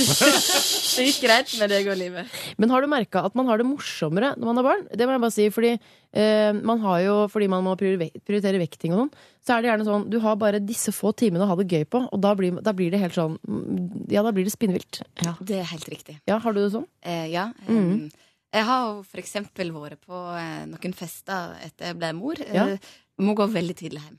I: Det gikk greit med deg og livet.
K: Men har du merka at man har det morsommere når man har barn? Det må jeg bare si, fordi eh, man har jo, fordi man må priori- prioritere vekting og sånn, så er det gjerne sånn du har bare disse få timene å ha det gøy på, og da blir, da blir det helt sånn mm, Ja, da blir det spinnvilt. Ja.
I: Det er helt riktig.
K: ja, har du det sånn?
I: Eh, ja. eh,
K: Mhm.
I: Jeg har jo for eksempel vært på eh, noen fester etter jeg ble mor.
K: Ja.
I: Eh, må gå veldig tidlig hjem.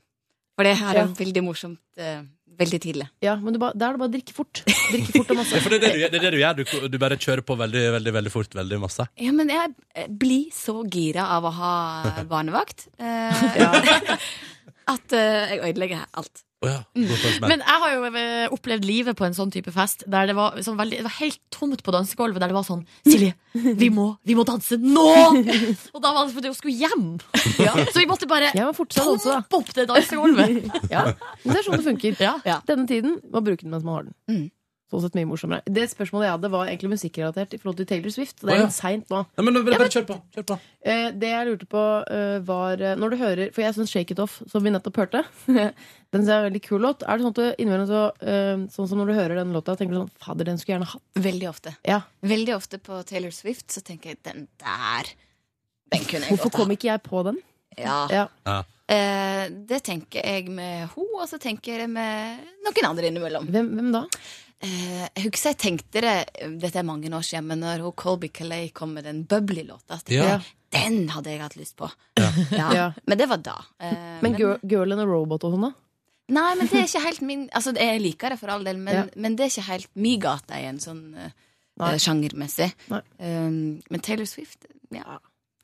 I: For det her
K: Ja.
I: er veldig morsomt eh, veldig tidlig.
K: Ja, men du ba, da er det bare å drikke fort. Drikke fort og
A: Ja,
K: masse.
A: for det er det du, gjør- det er det du gjør. Du, du bare kjører på veldig, veldig, veldig fort. Veldig masse.
I: Ja, men jeg eh, blir så gira av å ha barnevakt eh, at eh, jeg ødelegger alt.
A: Å ja.
K: Mm.
A: god følelse med.
B: Men jeg har jo eh, opplevd livet på en sånn type fest der det var, sånn veldig, det var helt tomt på dansegulvet. Der det var sånn Silje, vi må, vi må danse nå! Og da var det fordi hun skulle hjem. Så vi måtte bare
K: Jeg var fortsatt også, da.
B: pumpe opp det dansegulvet.
K: sånn Ja, men det er sånn det funker.
B: Ja.
K: Denne tiden må bruke den mens man har den.
I: Mm.
K: Sånn sett mye morsommere. Det spørsmålet jeg hadde, var egentlig musikkrelatert i forhold til Taylor Swift. Det
A: Å,
K: er
A: ja.
K: litt seint nå.
A: Nei, men nå bare, bare kjør på. Kjør på.
K: Eh, det jeg lurte på, eh, var eh, Når du hører For jeg syns Shake It Off, som vi nettopp hørte, den synes jeg er en veldig kul låt. Er det sånn at du innimellom så eh, Sånn som når du hører den låta, tenker du sånn Fader, den skulle jeg gjerne hatt.
I: Veldig ofte.
K: Ja.
I: Veldig ofte på Taylor Swift så tenker jeg den der, den kunne jeg
K: Hvorfor
I: godt
K: kom ikke jeg på den?
I: ha. Ja.
K: Ja.
I: Eh, det tenker jeg med ho, og så tenker jeg med noen andre innimellom.
K: Hvem, hvem da?
I: Eh, jeg husker jeg tenkte det Dette er mange år siden, men når hun Colby Calais kom med den Bubbly-låta, så tenkte
A: Ja.
I: jeg den hadde jeg hatt lyst på.
A: Ja.
I: Ja.
K: Ja.
I: Men det var da. Eh,
K: Men Girl, girl and a Robot og sånn, da?
I: Nei, men det er ikke helt min Altså, jeg liker det for all del, men,
K: Ja.
I: men det er ikke helt min gate igjen, sånn eh,
K: Nei.
I: sjangermessig.
K: Nei.
I: Um, men Taylor Swift, ja,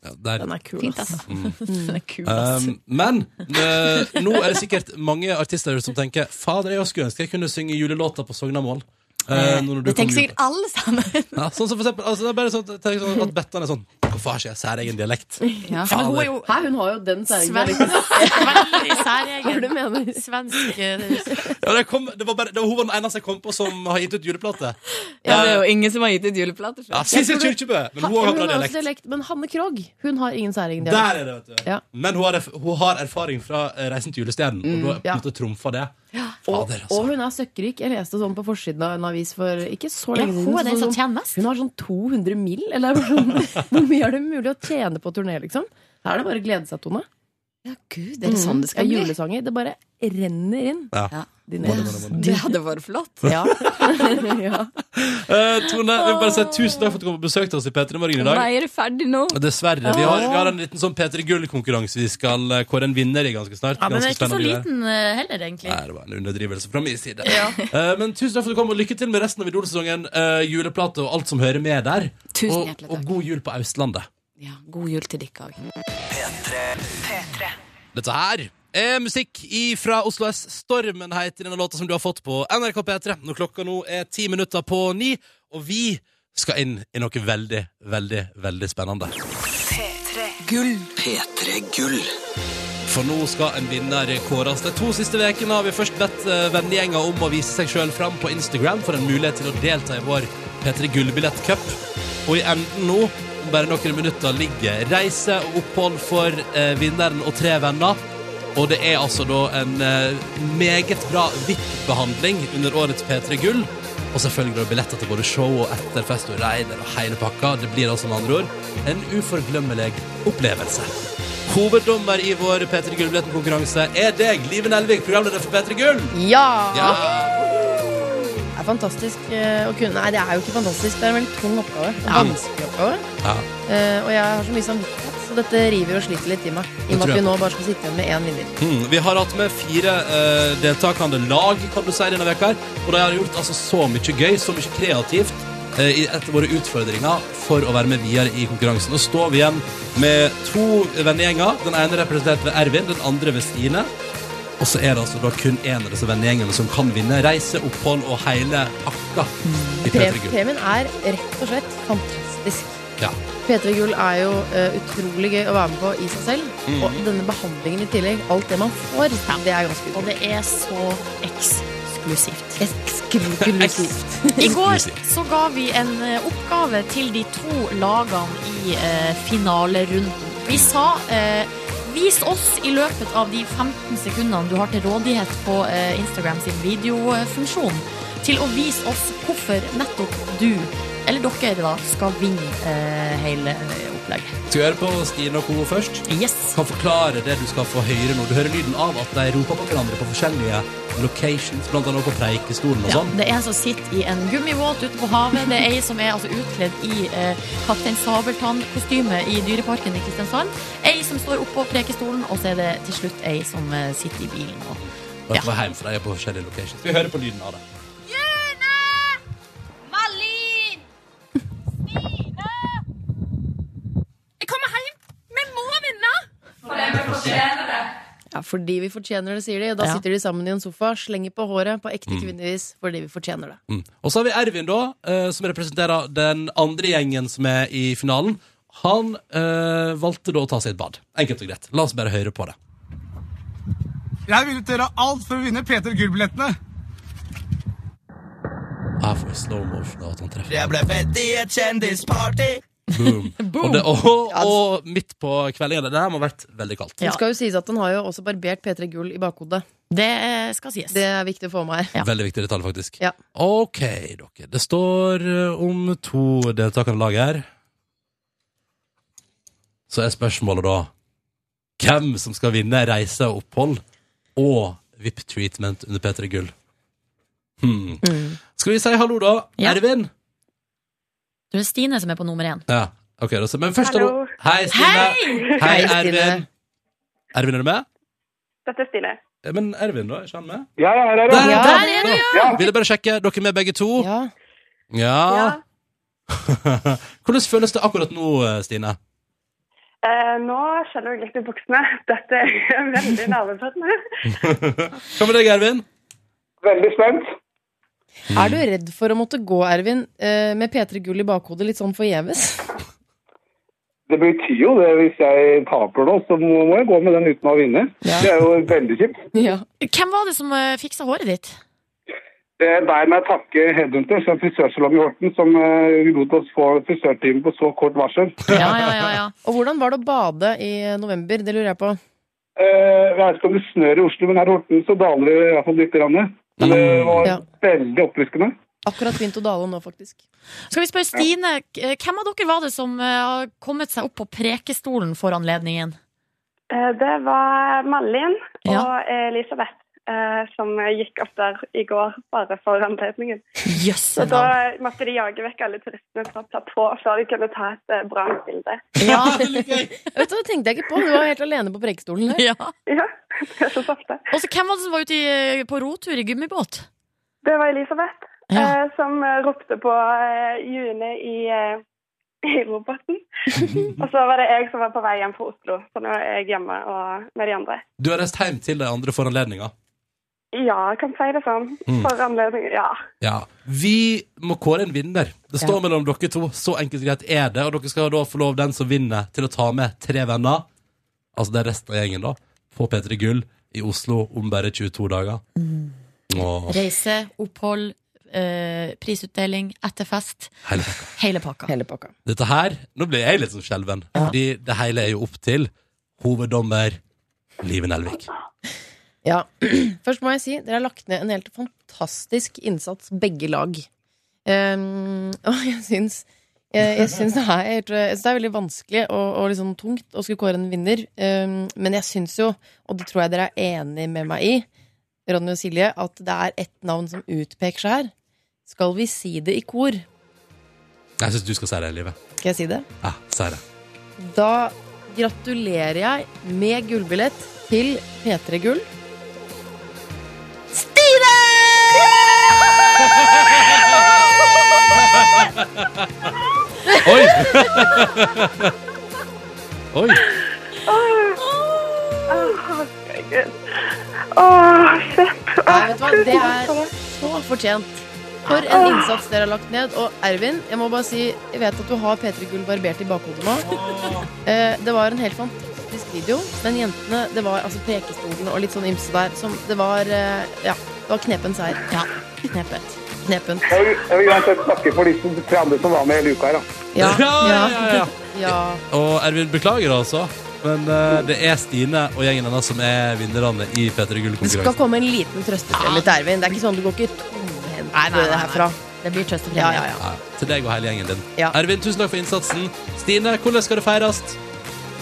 A: Ja, der.
K: Den er kul,
I: fint,
K: ass.
I: altså.
B: Den er kul, ass.
A: Um, Mm. men eh, nå er det sikkert mange artister som tenker Fader, jeg også skulle ønske jeg kunne synge julelåter på Sognamål. Eh, når du
I: det
A: kom
I: tenker
A: jul-
I: sikkert alle sammen.
A: ja, sånn som for eksempel, altså, det er bare sånn, tenk sånn at Bettan er sånn Hvorfor har ikke jeg særegen dialekt?
I: Ja.
B: Men hun er jo
K: Hæ, hun har jo den
B: svensk.
K: særegen
B: Veldig
K: Hva er det
B: særegen.
K: du mener?
B: Svensk eh,
A: Ja, det kom, det var bare, det var, hun var den eneste jeg kom på som har gitt ut juleplate.
I: Ja, det er jo ingen som har gitt ut juleplater.
A: Ja, Sissel Kyrkjebø! Men
K: Ha-
A: hun har
K: hun
A: bra
K: har også
A: dialekt.
K: dialekt. Men Hanne Krogh hun har ingen særegen dialekt.
A: Der er det, vet du.
K: Ja.
A: Men hun har, erf- hun har erfaring fra eh, Reisen til julestjernen, og da på
K: ja.
A: en måte trumfa det.
K: Og,
A: Fader, altså.
K: og hun er søkkrik. Jeg leste sånn på forsiden av en avis for ikke så
B: Ja,
K: lenge siden.
B: hun er den
K: så-
B: som tjener mest.
K: Hun har sånn 200 mil, eller er det bare sånn, hvor mye er det mulig å tjene på turné, liksom? Her er det bare å glede seg, Tone.
I: Ja, gud, er det sånn det skal
K: Ja,
I: bli?
K: Julesanger. Det bare renner inn.
A: Ja.
I: Ja.
K: Din
A: Må det, må det, må det.
I: Det sånn. hadde vært flott.
K: Ja. ja.
A: Eh, Tone, jeg vil bare si tusen takk for at du kom på besøk til oss i P3 Morgen i dag.
I: er det ferdig nå?
A: Dessverre. Vi har, vi har en liten sånn P3 Gull-konkurranse vi skal eh, kåre en vinner i ganske snart.
B: Ja, men den er
A: ganske
B: ikke så
A: spennende greier.
B: liten eh, heller, egentlig.
A: Nei, det var en underdrivelse fra min side. Eh, men tusen takk for at du kom, og lykke til med resten av Idol-sesongen. eh, juleplate og alt som hører med der.
I: Tusen
A: Og,
I: hjertelig
A: og
I: takk.
A: god jul på Østlandet.
I: Ja, god jul til dere òg.
A: Dette her er musikk fra Oslo S. Stormen heter denne låta som du har fått på NRK P3. Når klokka nå er ti minutter på ni, og vi skal inn i noe veldig, veldig, veldig spennende.
J: P3 Gull.
A: For nå skal en vinner kåres. De to siste ukene har vi først bedt eh, vennegjenga om å vise seg sjøl fram på Instagram for en mulighet til å delta i vår P3 Gullbillett-cup. Og i enden nå, om bare noen minutter, ligger reise og opphold for eh, vinneren og tre venner. Og det er altså da en eh, meget bra VIP-behandling under årets P3 Gull. Og selvfølgelig da billetter til både show og etterfest og regner og hele pakka. Det blir altså med andre ord en uforglemmelig opplevelse. Hoveddommer i vår P3 Gull-billetten-konkurranse er deg, Live Nelvik, programleder for P3 Gull. Ja.
K: Det er fantastisk eh, å kunne Nei, det er jo ikke fantastisk. Det er en veldig tung oppgave. En
A: Ja.
K: Vanskelig oppgave.
A: Ja.
K: Eh, og jeg har så mye samvittighet, så dette river og sliter litt i meg. I og med
A: tror
K: at
A: jeg
K: vi nå bare skal sitte igjen med én vinner.
A: Mm, vi har hatt med fire eh, deltakende lag kan du si, denne veka her, og de har gjort altså, så mye gøy, så mye kreativt eh, i- etter våre utfordringer for å være med videre i konkurransen. Nå står vi igjen med to vennegjenger. Den ene representert ved Ervin, den andre ved Stine. Og så er det altså da kun en av disse vennegjengene som kan vinne reise, opphold og hele akka i
I: Pre-
A: P3 Gull.
I: Premien er rett og slett fantastisk.
A: Ja.
I: P3 Gull er jo eh, utrolig gøy å være med på i seg selv.
A: Mhm.
I: Og denne behandlingen i tillegg, alt det man får, det er ganske utrolig. Og det er så eksklusivt. Eksklusivt.
B: I går så ga vi en eh, oppgave til de to lagene i eh, finalerunden. Vi sa eh, vis oss i løpet av de 15 sekundene du har til rådighet på eh, Instagram sin videofunksjon, til å vise oss hvorfor nettopp du, eller dere da, skal vinne eh, hele opplegget.
A: Skal vi høre på Stine og Co først? Kan forklare det du skal få høre nå. Du hører lyden av at de roper på hverandre på forskjellige locations, blant annet på Preikestolen og
B: Ja,
A: sånn.
B: det er en som sitter i en gummivåt ute på havet. Det er ei som er altså utkledd i eh, Kaptein Sabeltann-kostyme i Dyreparken i Kristiansand. Ei som står oppå prekestolen, og så er det til slutt ei som eh, sitter i bilen. Og...
A: Og jeg kommer hjem, for de er på forskjellige locations. Vi hører på lyden av det.
L: Malin! Stine! Jeg kommer hjem! Vi må vinne!
I: Ja, fordi vi fortjener det, sier de. Og da
A: Ja.
I: sitter de sammen i en sofa, slenger på håret på ekte
A: Mm.
I: kvinnevis fordi vi fortjener det.
A: Mm. Og så har vi Ervin, da, eh, som representerer den andre gjengen som er i finalen. Han eh, valgte da å ta seg et bad. Enkelt og greit. La oss bare høre på det.
F: Jeg vil gjøre alt for å vinne Peter Gull-billettene.
A: Her får vi slow motion av at han treffer.
M: Jeg ble bedt i et kjendisparty.
A: Boom. Og, det, og, og midt på kveldingen. Det her må ha vært veldig kaldt.
I: Det skal jo sies at han har jo også barbert P3 Gull i bakhodet.
B: Det eh, skal sies.
I: Det er viktig å få med her.
A: Veldig viktig detalj, faktisk.
I: Ja.
A: OK, dere. Det står eh, om to deltakere i laget her. Så er spørsmålet da hvem som skal vinne reise og opphold og VIP-treatment under P3 Gull. Hmm. Skal vi si hallo, da? Ervin?
B: Du er Stine som er på nummer én.
A: Ja. Ok, da, så, men først hallo.
B: Hallo.
A: Hei, Stine.
B: Hei!
A: Hei,
B: Hei, Stine.
A: Ervin. Ervin, er du med?
N: Dette er Stine.
A: Eh, Men Ervin, da? Er ikke han med?
G: Ja, jeg er her,
A: Der,
N: ja.
A: der,
N: Der er
A: der,
N: du,
A: ja. Ville bare sjekke. Dere er med begge to?
I: Ja.
A: Hvordan føles det akkurat nå, Stine?
K: Eh, nå skjelver jeg litt i buksene. Dette er jeg veldig nervepirrende.
A: Hva med deg, Ervin?
G: Veldig spent.
I: Er du redd for å måtte gå, Ervin, eh, med P3 Gull i bakhodet litt sånn forgjeves?
G: Det betyr jo det hvis jeg taper nå, så må må jeg gå med den uten å vinne. Det er jo veldig kjipt.
B: Hvem var det som eh, fiksa håret ditt?
G: Eh, Der må jeg takke Headhunter, som er frisørsalong i Horten, som eh, lot oss få frisørtime på så kort varsel.
I: Og hvordan var det å bade i november? Det lurer jeg på.
G: Eh, Jeg vet ikke om det snør i Oslo, men her i Horten så daler det i hvert fall litt. Grann. Men Det var
I: Ja.
G: veldig oppfriskende.
I: Akkurat begynt å dale nå, faktisk.
B: Skal vi spørre Stine, eh, hvem av dere var det som eh, har kommet seg opp på prekestolen for anledningen?
K: Eh, det var Malin
B: Ja.
K: og Elisabeth eh, som gikk opp der i går bare for anledningen. Så da måtte de jage vekk alle turistene fra platå før de kunne ta et eh, bra bilde.
I: Vet du, Det tenkte jeg ikke på. Du var helt alene på prekestolen der.
B: Ja. Og så hvem var det som var ute i, eh, på rotur i gummibåt?
K: Det var Elisabeth eh, som eh, ropte på eh, June i, eh, i roboten. og så var det jeg som var på vei hjem fra Oslo, så nå er jeg hjemme og med de andre.
A: Du har reist hjem til de andre for anledninga.
K: Ja, jeg kan si det sånn.
A: Mm.
K: For anledning, ja.
A: Ja. Vi må kåre en vinner. Det står
K: Ja.
A: mellom dere to. Så enkelt og greit er det. Og dere skal da få lov den som vinner, til å ta med tre venner. Altså det er resten av gjengen, da. På P3 Gull i Oslo om bare 22 dager. Åh.
B: Reise, opphold, eh, prisutdeling, etterfest.
A: Hele
B: Hele pakka.
A: Dette her Nå blir jeg litt sånn skjelven. Fordi det hele er jo opp til hoveddommer Live Nelvik.
I: Ja. Først må jeg si dere har lagt ned en helt fantastisk innsats, begge lag. Ehm, og jeg syns jeg, jeg syns det, er, jeg, tror- jeg syns det er veldig vanskelig og, og litt sånn tungt å skulle kåre en vinner. Ehm, men jeg syns jo, og det tror jeg dere er enig med meg i, Ronny og Silje, at det er ett navn som utpeker seg her. Skal vi si det i kor?
A: Jeg syns du skal si det, Live.
I: Skal jeg si det?
A: Ja, si det.
I: Da gratulerer jeg med gullbillett til P3 Gull.
A: Oi! Oi!
K: Åh, åh, herregud.
O: Åh, shit.
K: Nei, vet du hva? Det er så fortjent. For en innsats dere har lagt ned. Og Ervin, jeg må bare si Jeg vet at du har P3 Gull barbert i bakhodet nå. Eh, Det var en helt fantastisk video. Men jentene, det var altså prekestolen og litt sånn ymse der som Det var eh, Ja, det var knepen seier. Ja. Knepet. Knepen.
P: Jeg vil- jeg vil uansett takke for de som- tre andre som var med hele uka her, da.
K: Ja.
A: ja, ja, ja.
K: ja.
A: Og Ervin, beklager altså, men eh, det er Stine og gjengen hennes som er vinnerne i P3
K: Det skal
A: Gull-konkurransen.
K: komme en liten trøstefremme til Ervin. Det er ikke sånn, du går ikke tomhendt eh, herfra. Det blir trøstefremme. Ja, ja, ja.
A: Ja, Til deg og hele gjengen din.
K: Ja.
A: Ervin, tusen takk for innsatsen. Stine, hvordan skal det feires?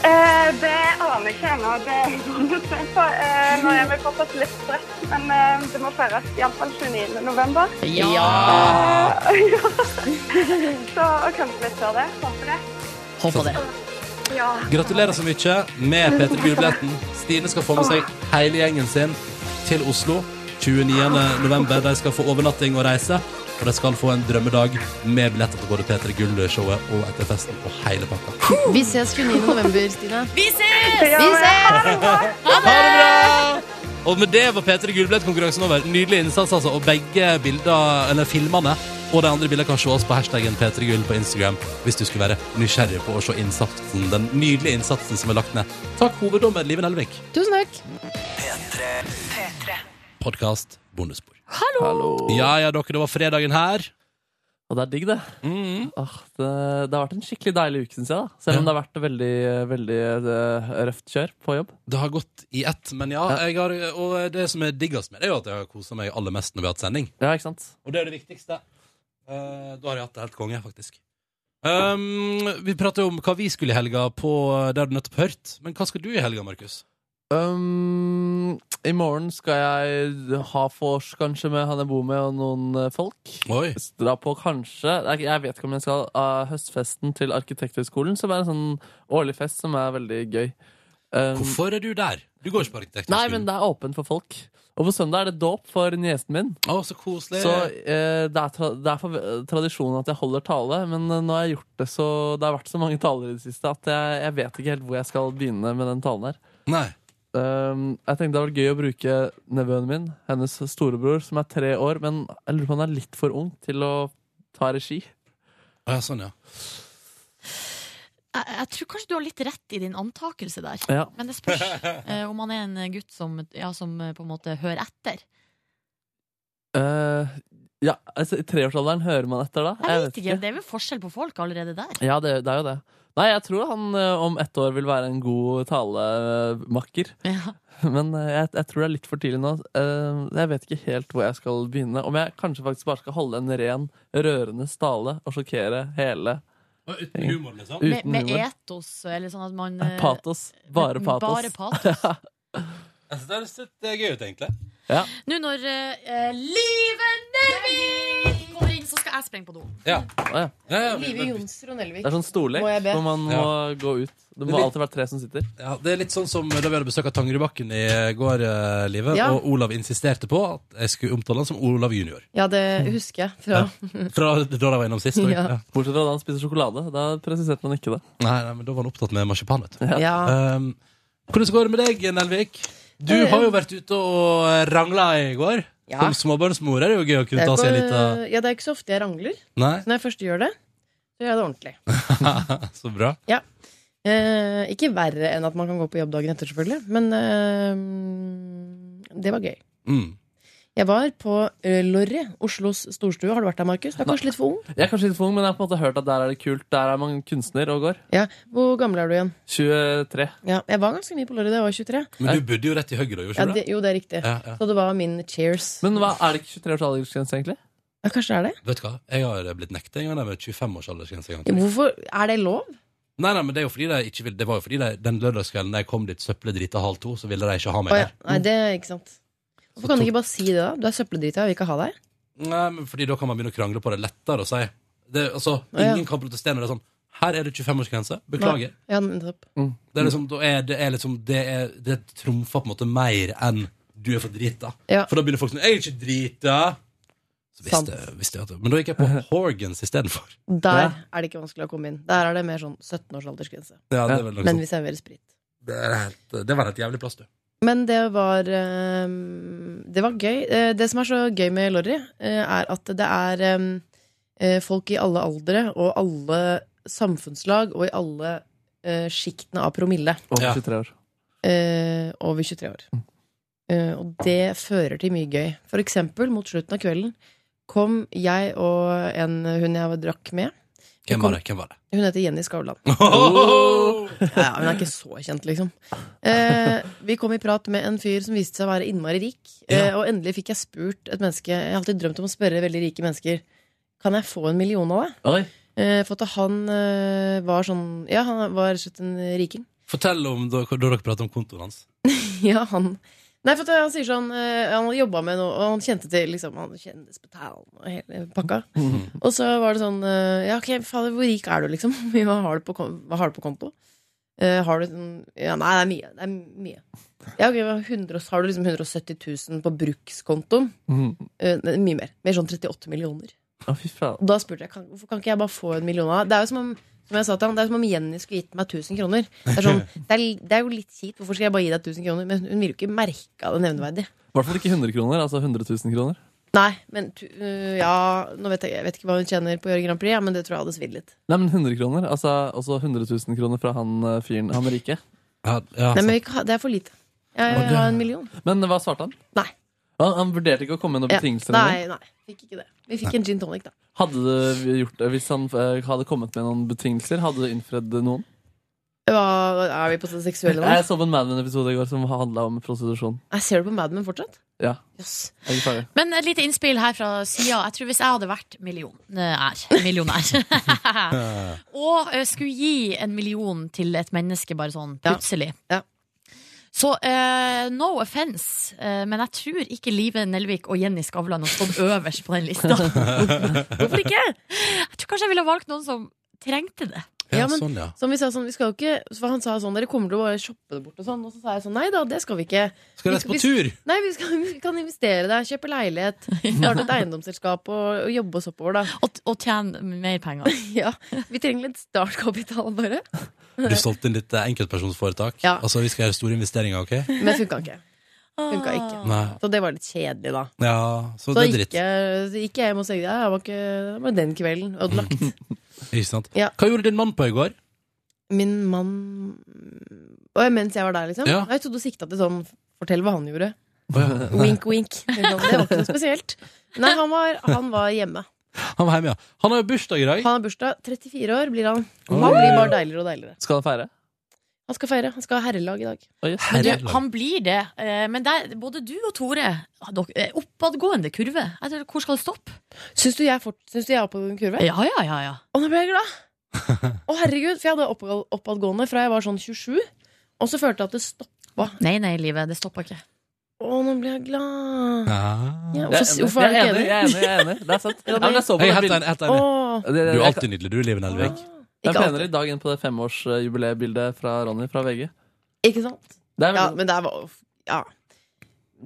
O: Eh, det aner jeg ikke ennå. Det er vondt å se på. Eh, nå er vi fortsatt litt stress, men eh, det må feires iallfall 29. november.
K: Ja.
O: Eh, ja. Så og kanskje litt før det. Håper det.
A: Håper det.
O: Ja.
A: Gratulerer så mye med P3 Gull-billetten. Stine skal få med seg hele gjengen sin til Oslo 29. november. De skal få overnatting og reise, og de skal få en drømmedag med billetter til både P3 Gull-showet og etter festen og hele pakka.
K: Vi ses 29. november, Stine.
J: Vi ses!
K: Vi ses!
A: Ha det bra! Og med det var P3 Gullbillett-konkurransen over. Nydelig innsats, altså. Og begge bilder, eller filmene og de andre bildene kan ses på hashtaggen P3 Gull på Instagram hvis du skulle være nysgjerrig på å se innsatsen, den nydelige innsatsen som er lagt ned. Takk, hoveddommer Liven Elvik.
K: Tusen takk.
A: Podkast Bondespor.
E: Hallo.
A: Ja ja, dere, det var fredagen her.
E: Og det er digg, det.
A: Mm.
E: Åh, det. Det har vært en skikkelig deilig uke, syns jeg. da Selv om det har vært veldig, veldig eh, røft kjør på jobb.
A: Det har gått i ett, men ja. Jeg har, og det som er diggest med det, er jo at jeg har kosa meg aller mest når vi har hatt sending.
E: Ja, ikke sant?
A: Og det er det viktigste. Eh, da har jeg hatt det helt konge, faktisk. Um, vi prater jo om hva vi skulle i helga på eh, Det har du nettopp hørt. Men hva skal du i helga, Markus?
E: Um, I morgen skal jeg ha vors kanskje med han jeg bor med, og noen eh, folk.
A: Oi.
E: Dra på kanskje Jeg- Jeg vet ikke om jeg skal ha høstfesten til Arkitekthøgskolen, som er en sånn årlig fest som er veldig gøy. Um,
A: Hvorfor er du der? Du går ikke på Arkitekthøgskolen.
E: Nei, men det er åpent for folk. Og på søndag er det dåp for niesen min.
A: så koselig
E: Så eh, det er, tra det er for eh, tradisjonen at jeg holder tale, men eh, nå har jeg gjort det så Det har vært så mange taler i det siste at jeg, jeg vet ikke helt hvor jeg skal begynne med den talen her.
A: Nei.
E: Um, jeg tenkte det hadde vært gøy å bruke nevøen min, hennes storebror, som er tre år, men jeg lurer på om han er litt for ung til å ta regi.
A: Ja, sånn, ja.
B: Jeg, jeg tror kanskje du har litt rett i din antakelse der.
E: Ja.
B: Men det spørs eh, om han er en gutt som, ja, som eh, på en måte hører etter.
E: Eh, ja, altså, I treårsalderen hører man etter da?
B: Jeg vet ikke, Det er vel forskjell på folk allerede der.
E: Ja, det, det er jo det. Nei, jeg tror han eh, om ett år vil være en god talemakker. Men eh, jeg, jeg tror det er litt for tidlig nå. Eh, Jeg vet ikke helt hvor jeg skal begynne. Om jeg kanskje faktisk bare skal holde en ren, rørende tale og sjokkere hele
A: Uten humor, liksom?
B: Med,
E: Uten
B: med
E: humor.
B: etos, eller sånn at man eh,
E: Patos. Bare
B: med-
E: patos.
B: Bare patos.
A: Jeg synes det høres litt eh, gøy ut, egentlig.
E: Ja.
B: Nå når uh, Liven Nelvik kommer inn, så skal jeg sprenge på do.
A: Ja.
E: Å, ja.
K: Live Jonsrud Nelvik.
E: Det er sånn storlek
K: Må jeg be?
E: hvor man må gå ut. Det må
A: Litt-
E: alltid være tre som sitter.
A: Ja, det er litt sånn som da vi hadde besøk av Tangerudbakken i går, eh, Live,
K: Ja.
A: og Olav insisterte på at jeg skulle omtale han som Olav junior.
K: Ja, det husker jeg fra
A: Fra da de var innom sist. og-
K: Ja.
A: Ja.
E: Bortsett fra da han spiser sjokolade. Da presiserte han ikke det.
A: Nei, nei, men da var han opptatt med marsipan, vet du.
K: Ja.
A: Um, hvordan går det med deg, Nelvik? Du
K: Eh,
A: har jo vært ute og rangla i går.
K: Ja.
A: Som småbarnsmor er det jo gøy å
K: Det
A: kunne
K: er
A: ta seg
K: ikke-
A: litt av
K: Ja, det er ikke så ofte jeg rangler.
A: Nei?
K: Så når jeg først gjør det, så gjør jeg det ordentlig.
A: Så bra.
K: Ja. Eh, ikke verre enn at man kan gå på jobb dagen etter, selvfølgelig. Men eh, det var gøy.
A: Mm.
K: Jeg var på eh, Lorry, Oslos storstue. Har du vært der, Markus? Du er kanskje litt for ung?
E: Jeg er kanskje litt for ung, men jeg har på en måte hørt at der er det kult. Der er man kunstner og går.
K: Ja. Hvor gammel er du igjen?
E: 23.
K: Ja, jeg var ganske ny på Lorry, da jeg var 23.
A: Men du bodde jo rett i høyre, da.
K: Eh. Ja,
A: Gjorde du
K: det,
A: det?
K: jo, det er riktig.
A: Ja, ja.
K: Så det var min cheers.
E: Men hva, er det ikke 23 års aldersgrense, egentlig?
K: Ja, kanskje det er det?
A: Vet du hva, jeg har blitt nekta en gang der med 25 års aldersgrense. en gang.
K: Hvorfor? Er det lov?
A: Nei, nei, men det, er jo fordi de ikke vil, det var jo fordi de, den lørdagskvelden da jeg kom dit søppelet drita halv to, så ville de ikke ha meg
K: Å, ja.
A: der.
K: Nei, det er ikke sant. Hvorfor kan du ikke bare si det, da? Du er søppeldrita, jeg vil ikke ha deg.
A: Nei, men fordi da kan man begynne å krangle på det lettere og si det, altså,
K: Å, ja.
A: Ingen kan protestere når det er sånn Her er det 25-årsgrense. Beklager.
K: Nei. Ja, nettopp.
A: Det er liksom, da er, det er liksom det, er, det trumfer på en måte mer enn du er for drita.
K: Ja.
A: For da begynner folk sånn 'Jeg er ikke drita'. Så visste, visste jeg at, men da gikk jeg på Horgans istedenfor.
K: Der er det ikke vanskelig å komme inn. Der er det mer sånn 17 års aldersgrense.
A: Liksom. Ja, det er vel noe
K: Men
A: sånt.
K: vi serverer sprit.
A: Det, er helt- det var helt jævlig plass, du.
B: Men det var eh, Det var gøy. Eh, Det som er så gøy med Lorry, eh, er at det er eh, eh, folk i alle aldre og alle samfunnslag og i alle eh, sjiktene av promille.
E: Over 23 år.
B: Eh, over 23 år. Eh, og det fører til mye gøy. For eksempel, mot slutten av kvelden kom jeg og en hun jeg drakk med. Vi
A: Hvem
B: kom-
A: var det? Hvem var det? Oh!
B: Hun heter Jenny Skavlan.
A: Ohoho!
B: Ja, ja, hun er ikke så kjent, liksom. Eh, vi kom i prat med en fyr som viste seg å være innmari rik. Eh, og endelig fikk jeg spurt et menneske Jeg har alltid drømt om å spørre veldig rike mennesker Kan jeg få en million av deg.
E: Oi.
B: Eh, for at han eh, var sånn Ja, han var rett og slett en riking.
A: Fortell om da, da dere pratet om kontoen hans.
B: ja, han Nei, for at han sier sånn eh, Han hadde jobba med noe, og han kjente til liksom, Han kjentes på talen og hele pakka. Og så var det sånn eh, Ja, ok, fader, hvor rik er du, liksom? Hvor mye Har du på, kon- hva har du på konto? Eh, har du sånn- Ja, nei, det er mye. Det er mye. Ja, ok, hva, 100, og- Har du liksom 170 000 på brukskontoen? Eh, nei, mye mer. Mer sånn 38 millioner.
E: Å, fy faen.
B: Og da spurte jeg kan, hvorfor kan ikke jeg bare få en million av deg? Det er jo som om som jeg sa til han, det er som om Jenny skulle gitt meg 1000 kroner. Det er, sånn, det, er, det er jo litt kjipt. Hvorfor skal jeg bare gi deg 1000 kroner? Men hun vil jo ikke merke av det nevneverdig.
E: I hvert fall ikke 100 kroner, altså 100 000 kroner.
B: Nei, men tu- øh, ja Nå vet jeg, jeg vet ikke hva hun tjener på å gjøre Grand Prix, ja, men det tror jeg hadde svidd litt.
E: Nei, men 100 kroner. Altså også 100 000 kroner fra han eh, fyren, han rike.
B: Nei, men vi kan ha- Det er for lite. Jeg
E: Å,
B: vil
E: det-
B: ha en million.
E: Men hva svarte han?
B: Nei.
E: Han, han vurderte ikke å komme med noen
B: Ja,
E: betingelser?
B: Nei,
E: eller noe?
B: nei, fikk ikke det. Vi fikk en gin tonic, da.
E: Hadde du gjort det hvis han eh, hadde kommet med noen betingelser? Hadde du innfredd noen?
B: Hva, er vi på det seksuelle nå?
E: Jeg så på en Mad Men-episode i går som handla om prostitusjon.
B: Jeg ser du på Mad Men fortsatt?
E: Ja.
B: Yes.
E: Jeg er ikke ferdig.
I: Men et lite innspill her fra sida. Jeg tror hvis jeg hadde vært millionær, millionær og eh, skulle gi en million til et menneske bare sånn plutselig Så eh, no offense, eh, men jeg tror ikke Live Nelvik og Jenny Skavlan har stått øverst på den lista. Hvorfor ikke? Jeg tror kanskje jeg ville valgt noen som trengte det.
B: Ja, men som vi sa sånn, vi skal jo ikke For han sa sånn, dere kommer til å bare shoppe det bort og sånn. Og så sa jeg sånn, nei da, det skal vi ikke.
A: Skal
B: Vi
A: reise på
B: vi-
A: tur.
B: Nei, vi, skal, vi kan investere der, kjøpe leilighet, starte et eiendomsselskap og, og jobbe oss oppover, da.
I: Og, tjene mer penger.
B: ja. Vi trenger litt startkapital, bare.
A: Du solgte inn ditt eh, enkeltpersonsforetak.
B: Ja.
A: Altså, vi skal gjøre store investeringer, OK?
B: Men funka ikke. Funka ikke.
A: Nei.
B: Så det var litt kjedelig, da.
A: Ja, så Ah. det er dritt.
B: gikk jeg, så gikk jeg hjem og sa ja, det var, ikke, det var den kvelden ødelagt.
A: Ikke sant?
B: Ja.
A: Hva gjorde din mann på i går?
B: Min mann Og mens jeg var der, liksom?
A: Ja.
B: Jeg trodde og sikta til sånn Fortell hva han gjorde.
A: Å, ja.
B: Wink, wink. Det var ikke noe spesielt. Nei, han var, han var hjemme.
A: Han var hjemme, ja. Han har jo bursdag i dag.
B: Han har bursdag. 34 år blir han.
A: Oi.
B: Han blir bare deiligere og deiligere.
E: Skal han feire?
B: Han skal feire. Han skal ha herrelag i dag.
I: Men du, han blir det. eh, Men der, både du og Tore har dere- eh, Oppadgående kurve. Jeg tror, Hvor skal det stoppe?
B: Syns du jeg, fort, syns du jeg er på en kurve?
I: Ja, ja, ja, ja.
B: Og nå ble jeg glad! Å, herregud, for jeg hadde oppa- oppadgående fra jeg var sånn 27, og så følte jeg at det stoppa.
I: Nei, nei, livet. Det stoppa ikke.
B: Å, nå ble jeg glad. Ja,
E: Jeg er
B: hvorfor,
E: enig,
B: hvorfor er du
E: jeg
B: ikke
E: er
B: enig?
E: enig, jeg er enig, jeg er enig. Det er sant. Ja, men jeg så på
A: Jeg er helt
E: det bildet.
A: enig, helt enig.
B: Åh.
E: Det- det-
A: Du er
E: jeg-
A: alltid nydelig, du, Liven Elvik.
E: Det er
B: Ikke
E: penere i dag enn på det femårsjubileebildet fra Ronny fra VG.
B: Ikke sant?
E: Det er
B: ja,
E: veldig-
B: men det er, ja.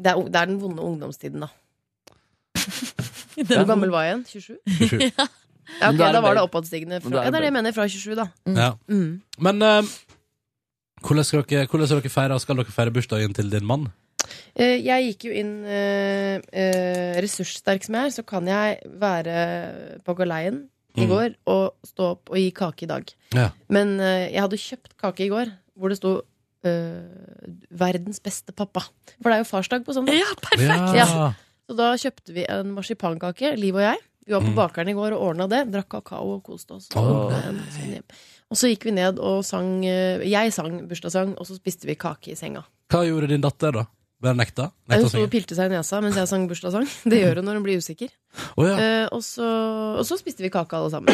B: det, er, det er den vonde ungdomstiden, da. Hvor gammel var jeg igjen? 27?
A: 27.
B: ja, ok,
A: Men da er
B: da
A: det
B: var det
A: baby.
B: oppadstigende.
A: Men da
B: Fra,
A: er
B: ja, det
A: det
B: er det jeg mener. Fra 27, da.
A: Ja.
B: Mm.
A: Men eh, hvordan, skal dere, hvordan skal dere feire Skal dere feire bursdagen til din mann?
B: Eh, Jeg gikk jo inn eh, eh, ressurssterk som jeg er, så kan jeg være på galeien i
A: Mm.
B: går og stå opp og gi kake i dag.
A: Ja.
B: Men eh, jeg hadde kjøpt kake i går hvor det sto eh, 'Verdens beste pappa'. For det er jo farsdag på søndag.
I: Ja,
A: perfekt. Ja.
B: Så da kjøpte vi en marsipankake, Liv og jeg. Vi var på
A: Mm.
B: bakeren i går og ordna det. Drakk kakao og koste oss.
A: Åh.
B: Og, eh, sånn og så gikk vi ned og sang eh, Jeg sang bursdagssang, og så spiste vi kake i senga.
A: Hva gjorde din datter, da? Ble hun nekta?
B: Nei, Hun
A: Nekta å
B: sto og
A: synge?
B: pilte seg i nesa mens jeg sang bursdagssang. Det gjør hun når hun blir usikker.
A: Å, ja.
B: Eh, og, så, og så spiste vi kake alle sammen.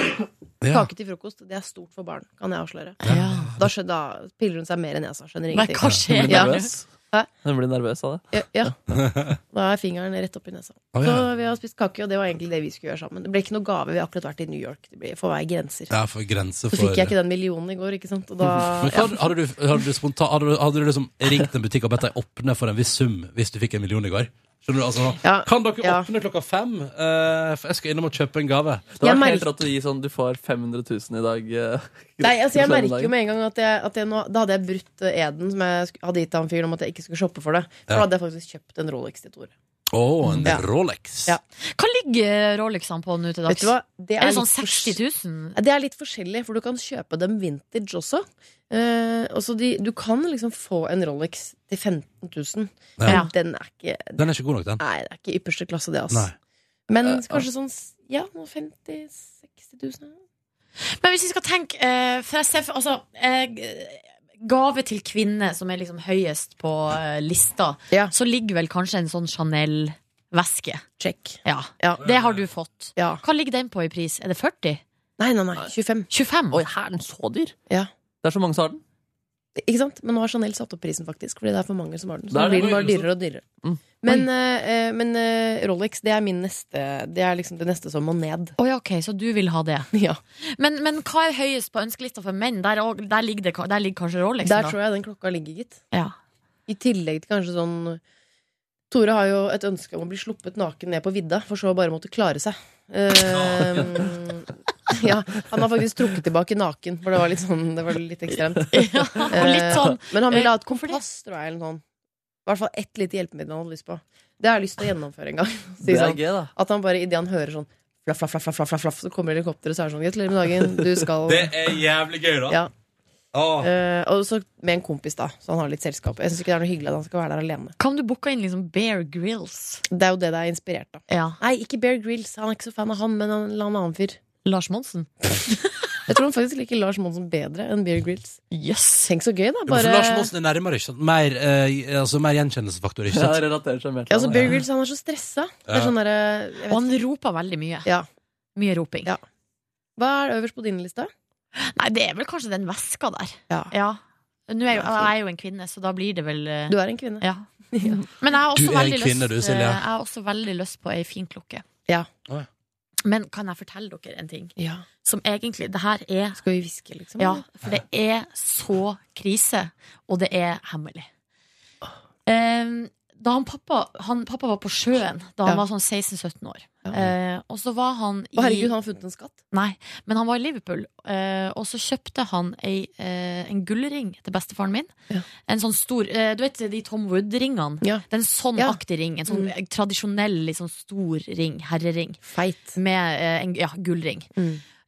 A: Ja.
B: Kake til frokost. Det er stort for barn, kan jeg avsløre. Da, skjø- da piller hun seg mer i nesa. Skjønner
E: Men
B: ingenting.
E: hva skjer? Hun blir
B: Ja.
E: nervøs.
B: Hæ?
E: Hun blir nervøs av
B: Ja, ja.
E: det.
B: Da er fingeren rett opp i nesa.
E: Å, ja.
B: Så vi har spist kake, og det var egentlig det vi skulle gjøre sammen. Det ble ikke noe gave. Vi har akkurat vært i New York. Det blir for hver grenser.
A: Ja, for
B: Så
A: grense for
B: fikk jeg ikke den millionen i går, ikke sant. Og da
A: Men hva, hadde- hadde, du, hadde, du spontan, hadde, du, hadde du liksom ringt en butikk og bedt deg åpne for en viss sum hvis du fikk en million i går? Skjønner du, altså, kan dere åpne klokka fem? Eh, for jeg skal innom og kjøpe en gave.
E: Det
K: Jeg
E: var
K: merker-
E: helt rått å gi sånn Du får 500 000 i dag. eh,
K: Nei, altså jeg
E: for den
K: merker jo
E: dagen.
K: med en gang at, jeg, at jeg nå, Da hadde jeg brutt eh, eden som jeg sk- hadde gitt han fyren om at jeg ikke skulle shoppe for det. For
A: Ja.
K: da hadde jeg faktisk kjøpt en Rolex til Tore.
A: Å, en
K: Ja.
A: Rolex.
K: Ja.
B: Hva ligger Rolexene på nå til dags?
K: Vet du hva? Det
B: er,
K: er
B: det sånn
K: litt for-
B: 60 000?
K: Det er litt forskjellig, for du kan kjøpe dem vintage også. Eh, også de, du kan liksom få en Rolex til 15 000.
A: Ja.
K: Men Den er ikke
A: Den er ikke god nok, den.
K: Nei, det er ikke ypperste klasse, det, altså.
A: Nei.
K: Men
B: Eh,
K: kanskje sånn s- Ja, noe 50 000-60 000.
B: Men hvis vi skal tenke eh, For jeg ser for- altså, eh, Gave til kvinne Som er liksom høyest på eh, lista Så ligger vel kanskje en sånn Chanel-veske
K: Check
B: ja. Det har du fått Hva ligger den på i pris? Er det 40?
K: Nei, nei, nei, 25
B: 25?
E: Oi, her er den så dyr
K: Ja.
E: Det er så mange som har den.
K: Ikke sant? Men nå har Chanel satt opp prisen, faktisk. Fordi det er for mange som har den. Så
E: Der
K: nå
E: er
K: blir
E: det
K: den bare
E: mange
K: dyrere og dyrere.
E: Mm.
K: Men, eh, eh, men eh, Rolex, det er min neste Det er liksom det neste som må ned.
B: Å ja, ok, så du vil ha det?
K: Ja.
B: Men, men hva er høyest på ønskelista for menn? Der, er også- der, ligger, det, ka- der ligger kanskje Rolex
K: Der
B: da.
K: tror jeg den klokka ligger, gitt.
B: Ja.
K: I tillegg til kanskje sånn Tore har jo et ønske om å bli sluppet naken ned på vidda, for så å bare måtte klare seg. Ehm, ja, han har faktisk trukket tilbake naken, for det var litt sånn Det var litt ekstremt.
B: og litt sånn,
K: Eh, men han ville ha et kompass, tror jeg, eller noe sånt. I hvert fall ett lite hjelpemiddel han hadde lyst på. Det har jeg lyst til å gjennomføre en gang. Si
E: Det er
K: sånn,
E: gøy, da.
K: At han bare idet han hører sånn flaff, flaff, flaff, flaff, flaff, flaff, så kommer helikopteret, så er det sånn Gratulerer med dagen, du skal
A: Det er jævlig gøy, da.
K: Ja.
A: Åh.
K: Eh, og så med en kompis, da, så han har litt selskap. Jeg syns ikke det er noe hyggelig at han skal være der alene.
B: Kan du booke inn liksom Bear Grills?
K: Det er jo det det er inspirert av.
B: Ja.
K: Nei, ikke Bear Grills. Han er ikke så fan av han, men han la en annen fyr.
B: Lars Monsen?
K: Jeg tror han faktisk liker Lars Monsen bedre enn Bear Grills. Tenk så gøy, da.
A: For
K: Bare...
A: Lars Monsen er nærmere, ikke sant? Mer, eh, altså, mer gjenkjennelsesfaktor, ikke sant?
E: Ja, relaterer seg mer
K: Ja, altså, Bear Grills han er så stressa. Det er
A: Ja.
K: sånn derre
B: Og han roper veldig mye.
K: Ja.
B: Mye roping.
K: Hva er øverst på din liste?
B: Nei, det er vel kanskje den veska der.
K: Ja.
B: Nå er jeg, jo- jeg er jo en kvinne, så da blir det vel eh,
K: Du er en kvinne.
B: Ja. Men jeg har også
A: Du er en
B: veldig
A: kvinne,
B: lyst,
A: du, Silje.
B: eh, Jeg har også veldig lyst på ei fin klokke.
K: Ja.
B: Men kan jeg fortelle dere en ting?
K: Ja.
B: Som egentlig Det her er
K: Skal vi hviske, liksom?
B: Ja,
K: eller?
B: for det er så krise, og det er hemmelig. Ehm, da han pappa, han, pappa var på sjøen da han
K: Ja.
B: var sånn 16-17 år, eh, og så var han i
K: Å, herregud, har han funnet en skatt?
B: Nei, men han var i Liverpool, eh, og så kjøpte han ei, eh, en gullring til bestefaren min. En sånn stor eh, Du vet de Tom Wood-ringene? Den sånn-aktig ring. En sånn
K: Mm.
B: eh, tradisjonell, litt sånn stor ring. Herrering.
K: Feit. Mm.
B: Med eh, en ja, gullring.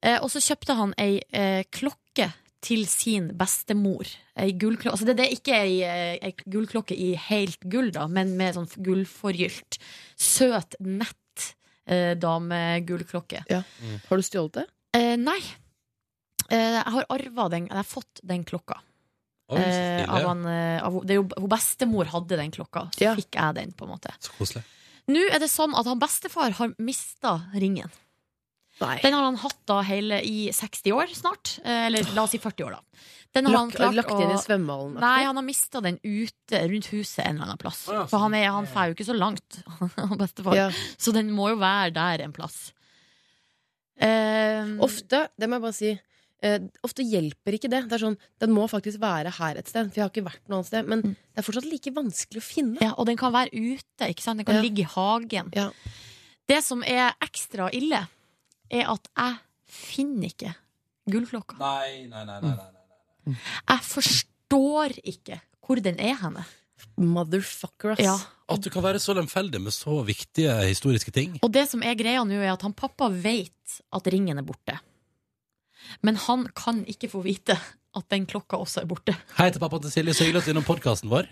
B: Eh, og så kjøpte han ei eh, klokke til sin bestemor. Ei gullklokke. Altså det, det er ikke ei, eh, ei gullklokke i helt gull, da, men med sånn gullforgylt. Søt, nett eh, damegullklokke.
K: Ja. Har du stjålet det?
B: Eh, nei. Eh, jeg har arva den Jeg har fått den klokka.
A: Oi, så stilig.
B: Eh, av han, eh, av, det er jo, hun bestemor hadde den klokka, så fikk jeg den. på en måte
A: Så koselig.
B: Nå er det sånn at han bestefar har mista ringen. Den har han hatt da hele i 60 år snart. eh, Eller la oss si 40 år, da. Den har
K: Lagt-
B: han klart
K: lagt inn i
B: å-
K: svømmehallen, akkurat?
B: Nei, han har mista den ute rundt huset en eller annen plass.
K: Å, ja, sånn.
B: For han, er, han fer jo ikke så langt, han bestefar.
K: Ja.
B: Så den må jo være der en plass. Eh, Mm.
K: ofte, det må jeg bare si eh, Ofte hjelper ikke det. Det er sånn, Den må faktisk være her et sted, for jeg har ikke vært noe annet sted. Men det er fortsatt like vanskelig å finne.
B: Mm. Ja, og den kan være ute, ikke sant? Den kan
K: Ja.
B: ligge i hagen. Det som er ekstra ille, er at jeg finner ikke gullklokka.
A: Nei, nei, nei, nei, nei.
B: Jeg forstår ikke hvor den er henne.
K: Motherfucker, ass.
B: Ja.
A: Mm. At du kan være så lemfeldig med så viktige historiske ting.
B: Og det som er greia nå, er at han pappa vet at ringen er borte. Men han kan ikke få vite at den klokka også er borte.
A: Hei til pappa til Silje, så hyggelig at du er innom podkasten vår.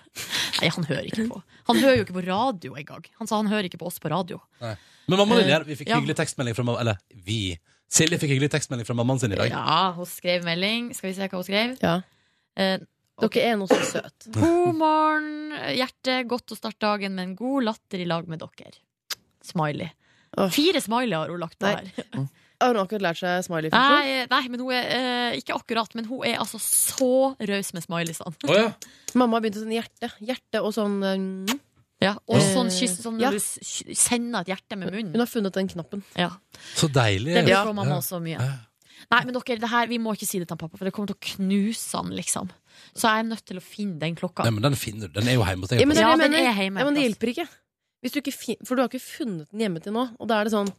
B: Nei, han hører ikke på. Han hører jo ikke på radio engang. Han sa han hører ikke på oss på radio.
A: Nei. Men mamma
B: Eh,
A: din, vi fikk
B: ja.
A: hyggelig tekstmelding fra mamma Eller vi. Silje fikk hyggelig tekstmelding fra mammaen sin i dag.
B: Ja, hun skrev melding. Skal vi se hva hun skrev? Eh,
K: Dere er nå så søte.
B: God morgen, hjerte. Godt å starte dagen med en god latter i lag med dere. Smiley. Fire smiley har hun lagt på her.
K: Har hun akkurat lært seg smiley-funksjon?
B: Nei, nei, men hun er eh, ikke akkurat, men hun er altså så raus med smileysene.
K: Mamma har begynt å sånn hjerte. Hjerte og sånn eh,
B: mm. Ja, og
K: Eh,
B: sånn kyss, sånn
K: ja.
B: når du s- s- sender et hjerte med munnen.
K: Hun har funnet den knappen.
B: Ja.
A: Så deilig.
B: Det bruker mamma også mye. Nei, men dere, det her, vi må ikke si det til han pappa, for det kommer til å knuse han, liksom. Så jeg er nødt til å finne den klokka.
A: Nei, men den finner du. Den er jo hjemme hos deg.
B: Ja, men det er det jeg
K: mener.
B: er hjemme.
K: Ja, men det hjelper ikke.
B: hvis du ikke fin For du har ikke funnet den hjemme til nå, og da er det sånn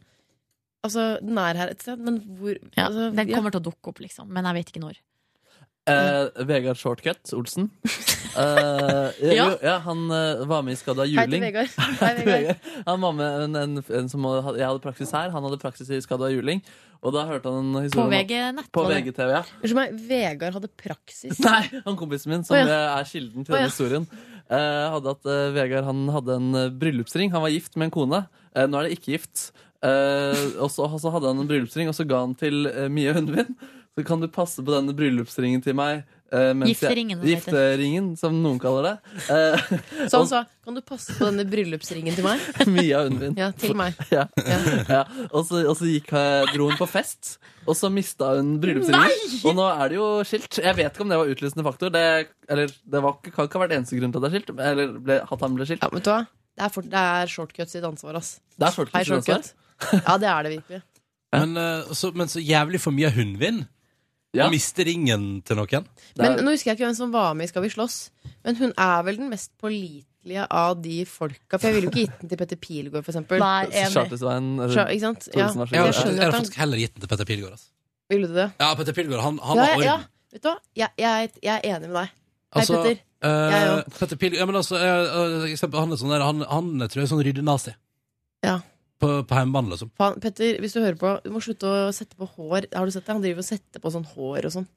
B: Altså, den er her et sted, men hvor
G: Ja,
B: altså,
G: den
B: ja.
G: kommer til å dukke opp, liksom. Men jeg vet ikke når.
E: Eh, Vegard Shortcut Olsen. Eh,
G: Ja.
E: jo, ja, han eh, var med i Skada
B: Hei til
E: juling.
B: Vegard. Hei, Vegard.
E: Vegard. Han var med en, en, en som hadde, Jeg hadde praksis her, han hadde praksis i Skada juling. Og da hørte han en historie om-
B: VG-nett,
E: På
B: var det?
E: VGTV, ja.
B: Unnskyld meg, Vegard hadde praksis.
E: Nei, han kompisen min, som
B: Å, ja.
E: eh, er kilden til
B: Å, ja.
E: denne historien, eh, hadde at eh, Vegard han hadde en eh, bryllupsring. Han var gift med en kone. Eh, nå er det ikke gift. Eh, og så og så hadde han en bryllupsring, og så ga han til eh, Mie, hunden min. Så kan du passe på denne bryllupsringen til meg. eh, mens
B: Gifteringen,
E: Jeg,
B: det heter.
E: gifteringen, som noen kaller det. Eh,
B: Så han
E: og-
B: sa kan du passe på denne bryllupsringen til meg?
E: Mia Undvin.
B: Ja, til meg.
E: Ja. Ja. Og, så, og så gikk, eh, dro hun på fest, og så mista hun bryllupsringen.
B: Nei!
E: Og nå er det jo skilt. Jeg vet ikke om det var utløsende faktor. Det, eller, det var, ikke- kan ikke ha vært eneste grunn til at det er skilt. Eller ble, at han ble skilt.
B: Vet du hva? Det er, for, det er shortcut sitt ansvar, ass.
E: Det er shortcut
B: Hei,
E: sitt ansvar.
B: Ja, det er det virkelig.
A: Men, eh, så, men så jævlig for mye av hundvin. Å miste ringen til noen.
B: Men nå husker jeg ikke hvem som var med i Skal vi slåss, men hun er vel den mest pålitelige av de folka. For jeg ville jo ikke gitt den til Petter Pilgaard, for eksempel.
G: Nei, enig.
E: Chartersveien, eller
B: Sja- Ikke sant? Ja.
E: Thoresen, vær så
A: Jeg
B: Jeg
A: har
B: skjønner
A: jeg har
B: at
A: faktisk heller gitt den til Petter Pilgaard. Altså.
B: han ville du det.
A: Ja, Petter Pilgaard, han,
B: ja,
A: han var
B: ja,
A: orden.
B: ja. Vet du hva? Jeg, jeg, jeg er enig med deg. Hei,
A: Altså,
B: Petter. Jeg
A: eh, Petter Pilgaard ja, men altså, eh, eh, eksempel, han, er sånn der, han, han tror jeg er sånn ryddenazi.
B: Ja.
A: På, på hjemmebane, liksom.
B: Faen, Petter, hvis du hører på, du må slutte å sette på hår. Har du sett det? Han driver og setter på sånn hår og sånn.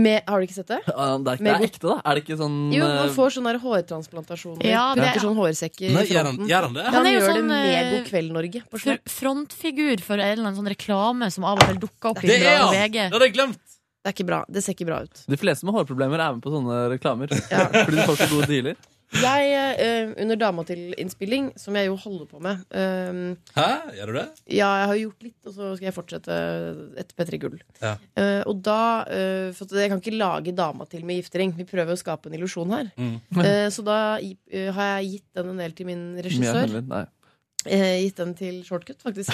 B: Med, har du ikke sett det?
E: Ja, Det er, ikke, det
B: Med
E: er ekte, da? Er det ikke sånn
B: Jo, man
E: eh,
B: får sånne der hårtransplantasjoner.
G: Ja, det-
B: putter sånn hårsekker
E: Nei,
B: i
E: gjør han-
B: fronten.
E: gjør han det?
B: Ja,
G: Han
B: Han
G: er jo
B: gjør
G: sånn,
B: det med
G: eh,
B: God kveld, Norge. På
G: For,
B: slutt.
G: frontfigur for en eller annen sånn reklame som av og til dukker opp i
E: Det er han!
G: VG. Det
A: hadde jeg glemt!
B: Det er ikke bra. Det ser ikke bra ut.
E: De fleste med hårproblemer er med på sånne reklamer. Fordi du får så gode dealer.
B: Jeg, eh, under Dama til innspilling, som jeg jo holder på med eh,
A: Hæ, gjør du det?
B: Ja, jeg har gjort litt, og så skal jeg fortsette etter P3 Gull.
A: Ja.
B: Eh, og da eh, For at jeg kan ikke lage dama til med giftering. Vi prøver å skape en illusjon her. Eh, så da gi- eh, har jeg gitt den en del til min
E: Mia
B: regissør.
E: Hundvin, nei.
B: Eh, gitt den til Shortcut, faktisk.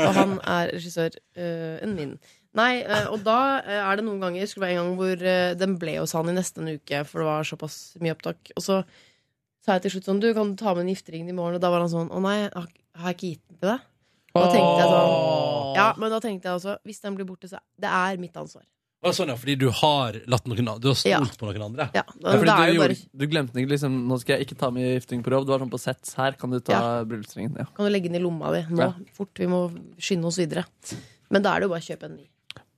B: og han er regissør eh, enn min. Nei, eh, og da eh, er det noen ganger Skulle være en gang hvor eh, den ble hos han i nesten en uke, for det var såpass mye opptak. Og så sa jeg til slutt sånn Du, kan du ta med en giftering i morgen? Og da var han sånn Å nei, jeg har har jeg ikke gitt den til deg? Og da tenkte jeg sånn Ja, men da tenkte jeg også Hvis den blir borte, så Det er mitt ansvar.
A: Å, Sånn, ja, fordi du har latt noen an- Du har stolt
B: Ja.
A: på noen andre?
B: Ja,
E: Ja,
B: da
E: fordi du,
B: er det
E: gjorde,
B: bare
E: du glemte ikke liksom Nå skal jeg ikke ta med gifting på rov. Du var sånn på sett. Her kan du ta
B: Ja.
E: bryllupsringen. Ja.
B: Kan du legge den i lomma di nå?
E: Ja.
B: Fort. Vi må skynde oss videre. Men da er det jo bare å kjøpe en ny.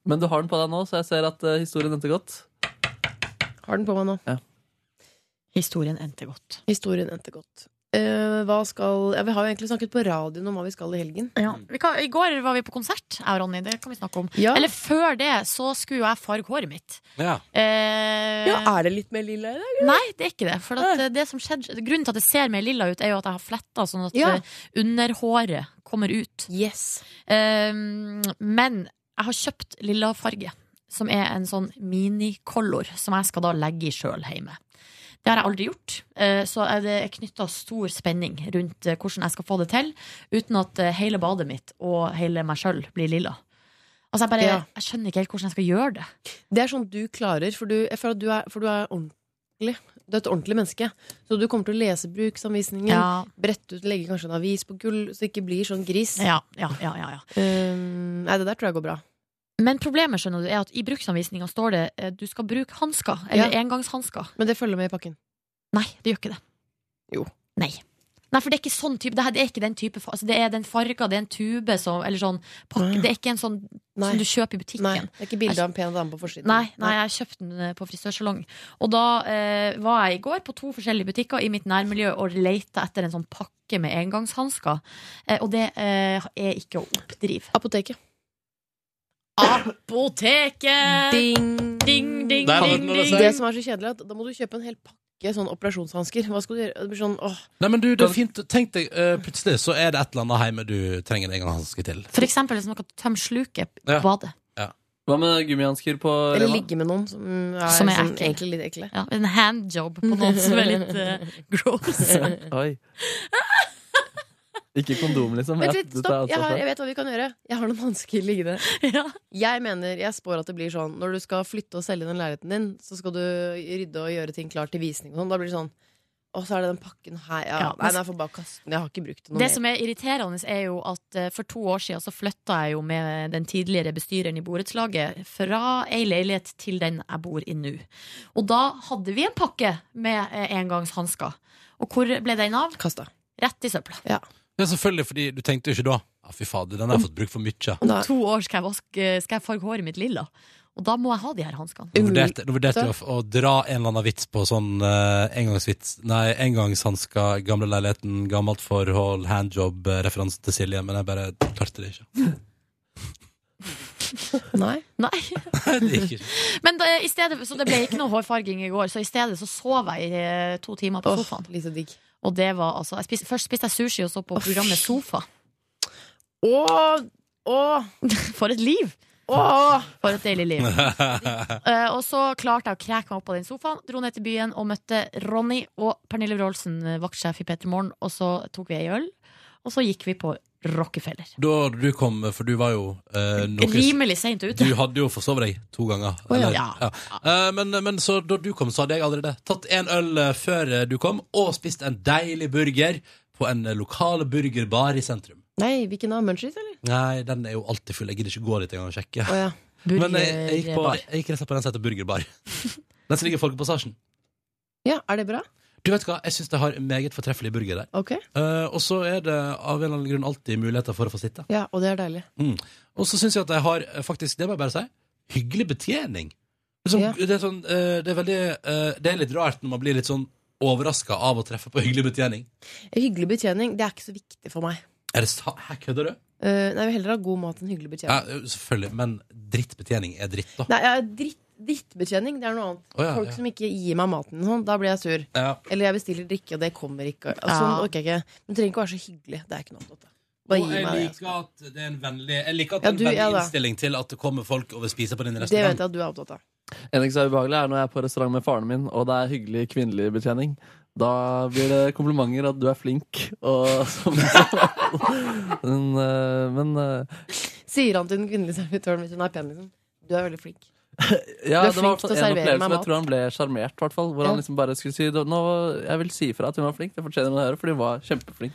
E: Men du har den på deg nå, så jeg ser at eh, historien endte godt.
B: Har den på meg nå.
G: Historien endte godt.
B: Historien endte godt. Eh, hva skal ja, Vi har jo egentlig snakket på radioen om hva vi skal i helgen.
G: Vi kan, I går var vi på konsert, jeg og Ronny. Det kan vi snakke om.
B: Ja.
G: Eller før det så skulle jo jeg farge håret mitt.
A: Ja.
G: Eh,
B: Ja, er det litt mer lilla i dag? eller?
G: Nei, det er ikke det. For at eh, det som skjedde, grunnen til at det ser mer lilla ut, er jo at jeg har fletta sånn at
B: Ja.
G: eh, underhåret kommer ut. Eh, men jeg har kjøpt lilla farge, som er en sånn minicolor, som jeg skal da legge i sjøl hjemme. Det har jeg aldri gjort, eh, så er det er knytta stor spenning rundt eh, hvordan jeg skal få det til, uten at eh, hele badet mitt og hele meg sjøl blir lilla. Altså, jeg bare
B: Ja.
G: Jeg skjønner ikke helt hvordan jeg skal gjøre det.
B: Det er sånn du klarer, for du, jeg føler at du er, for du er ordentlig. Du er et ordentlig menneske. Så du kommer til å lese bruksanvisningen,
G: Ja.
B: brette ut, legge kanskje en avis på gull, så det ikke blir sånn gris.
G: Ja, ja, ja, ja, ja.
B: Eh, nei, det der tror jeg går bra.
G: Men problemet skjønner du er at i bruksanvisninga står det eh, du skal bruke hansker, eller engangshansker.
B: Men det følger med i pakken.
G: Nei, det gjør ikke det.
B: Jo.
G: Nei. Nei, for det er ikke sånn type Det, her, det er ikke den type fa- altså, Det er den farga, det er en tube som Eller sånn pakke. Det er ikke en sånn som du kjøper i butikken.
B: Nei, det er ikke bilde av en pen dame på forsiden.
G: Nei, nei, jeg kjøpte den eh, på frisørsalong. Og da eh, var jeg i går på to forskjellige butikker i mitt nærmiljø og leita etter en sånn pakke med engangshansker. Eh, og det eh, er ikke å oppdrive.
B: Apoteket.
G: Apoteket!
B: Ding,
G: ding, ding,
A: Der har
G: ding.
A: den det å si.
B: Det som er så kjedelig, er at da må du kjøpe en hel pakke sånn operasjonshansker. Hva skal du gjøre? Det blir sånn, åh.
A: Nei, men du, det er fint. Tenk deg, eh, plutselig så er det et eller annet hjemme du trenger en engangshanske til.
G: For eksempel hvis noe tømmer sluket på
A: Ja.
G: badet.
A: Ja.
E: Hva med gummihansker på
B: Eller
E: Rema?
B: ligge med noen som er,
G: Som er
B: sånn,
G: ekle.
B: egentlig litt ekle.
G: Ja, en handjob på noen som er litt eh, gross.
E: Oi. Ikke kondom, liksom.
B: Vent
E: Ja,
B: litt,
E: du tar
B: stopp! Jeg, har,
E: ansvar for
B: jeg
E: det.
B: vet hva vi kan gjøre. Jeg har noen hansker liggende. Jeg mener, jeg spår at det blir sånn når du skal flytte og selge den leiligheten din, så skal du rydde og gjøre ting klart til visning og sånn. Da blir det sånn Og så er det den pakken her. Ja.
G: Ja,
B: Nei,
G: men-
B: den er for bare å kaste den. Jeg har ikke brukt den noe
G: Det som er irriterende, er jo at eh, for to år siden så flytta jeg jo med den tidligere bestyreren i borettslaget fra ei leilighet til den jeg bor i nå. Og da hadde vi en pakke med eh, engangshansker. Og hvor ble den av?
B: Kasta.
G: Rett i søpla.
A: Det er selvfølgelig fordi du tenkte jo ikke da Ja, fy fader, den har jeg fått bruk for mye.
G: Om to år skal jeg, vaske, skal jeg farge håret mitt lilla. Og da må jeg ha de her hanskene.
A: Nå vurderte, nå vurderte jeg å, å dra en eller annen vits på sånn eh, engangsvits Nei, engangshansker, gamle leiligheten, gammelt forhold, handjob, eh, referanse til Silje, men jeg bare klarte det ikke.
B: Nei.
G: Nei.
A: Det gikk ikke.
G: Men da, i stedet, så det ble ikke noe hårfarging i går, så i stedet så sov jeg i eh, to timer på sofaen. Og det var altså jeg spiste, Først spiste jeg sushi, og så på programmet Sofa.
B: Åh,
G: For et liv! For et deilig liv. Eh, og så klarte jeg å kreke meg opp på den sofaen, dro ned til byen og møtte Ronny og Pernille Wroldsen, eh, vaktsjef i P3 Morgen, og så tok vi ei øl, og så gikk vi på Rockefeller.
A: Da du kom, for du var jo eh, noe-
G: Rimelig seint ute.
A: Du hadde jo forsovet deg to ganger.
G: Å, ja.
A: eller-
G: Ja.
A: Eh, men, men så da du kom, så hadde jeg allerede tatt en øl eh, før eh, du kom, og spist en deilig burger på en eh, lokal burgerbar i sentrum.
B: Nei, hvilken av Munchies, eller?
A: Nei, den er jo alltid full. Jeg gidder ikke gå dit engang og sjekke.
B: Å, ja.
A: Men jeg, jeg, gikk på,
B: Burgerbar.
A: jeg gikk rett og slett på den som heter Burgerbar. Den som ligger i Folkepassasjen.
B: Ja, er det bra?
A: Du vet hva, jeg syns de har meget fortreffelige burgere der.
B: Ok.
A: Eh, og så er det av en eller annen grunn alltid muligheter for å få sitte.
B: Ja, og det er deilig.
A: Mm. Og så syns jeg at de har eh, faktisk, det må jeg bare si, hyggelig betjening. Det er, sånn, det, er sånn, eh, det, er veldig, eh, det er litt rart når man blir litt sånn overraska av å treffe på hyggelig betjening.
B: Hyggelig betjening, det er ikke så viktig for meg.
A: Er det sa... Her kødder du?
B: Eh, nei, jeg vil heller ha god mat enn hyggelig
A: Ja, eh,
B: betjening.
A: selvfølgelig. Men drittbetjening er dritt, da.
B: Nei, ja, dritt, drittbetjening, det er noe annet.
A: Å, ja,
B: Folk
A: ja.
B: som ikke gir meg maten, sånn, da blir jeg sur.
A: Ja.
B: Eller jeg bestiller drikke, og det kommer ikke. og- Altså,
A: Ja.
B: sånn orker jeg ikke. Men det trenger ikke å være så hyggelig. Det er ikke noe annet. da. Bare
A: Og
B: gi
A: jeg
B: meg det.
A: liker at det er en vennlig, jeg liker at
B: Ja,
A: det er en
B: du-
A: vennlig
B: ja da.
A: innstilling til at det kommer folk og vil spise på din
B: Det vet
A: restaurant.
B: jeg at du er opptatt av.
E: Enig som er ubehagelig er når jeg er på restaurant med faren min, og det er hyggelig kvinnelig betjening. Da blir det komplimenter at du er flink og sånn. Men, eh, men eh,
B: Sier han til den kvinnelige servitøren hvis hun er pen, liksom. Du er veldig flink.
E: ja,
B: Du er
E: det var i hvert
B: flink
E: fall
B: til å
E: en
B: servere meg
E: opplevelse hvor jeg
B: mat.
E: tror han ble sjarmert, i hvert fall. Hvor
B: Ja.
E: han liksom bare skulle si Nå, jeg vil si ifra at hun var flink, det fortjener hun å høre, for hun var kjempeflink.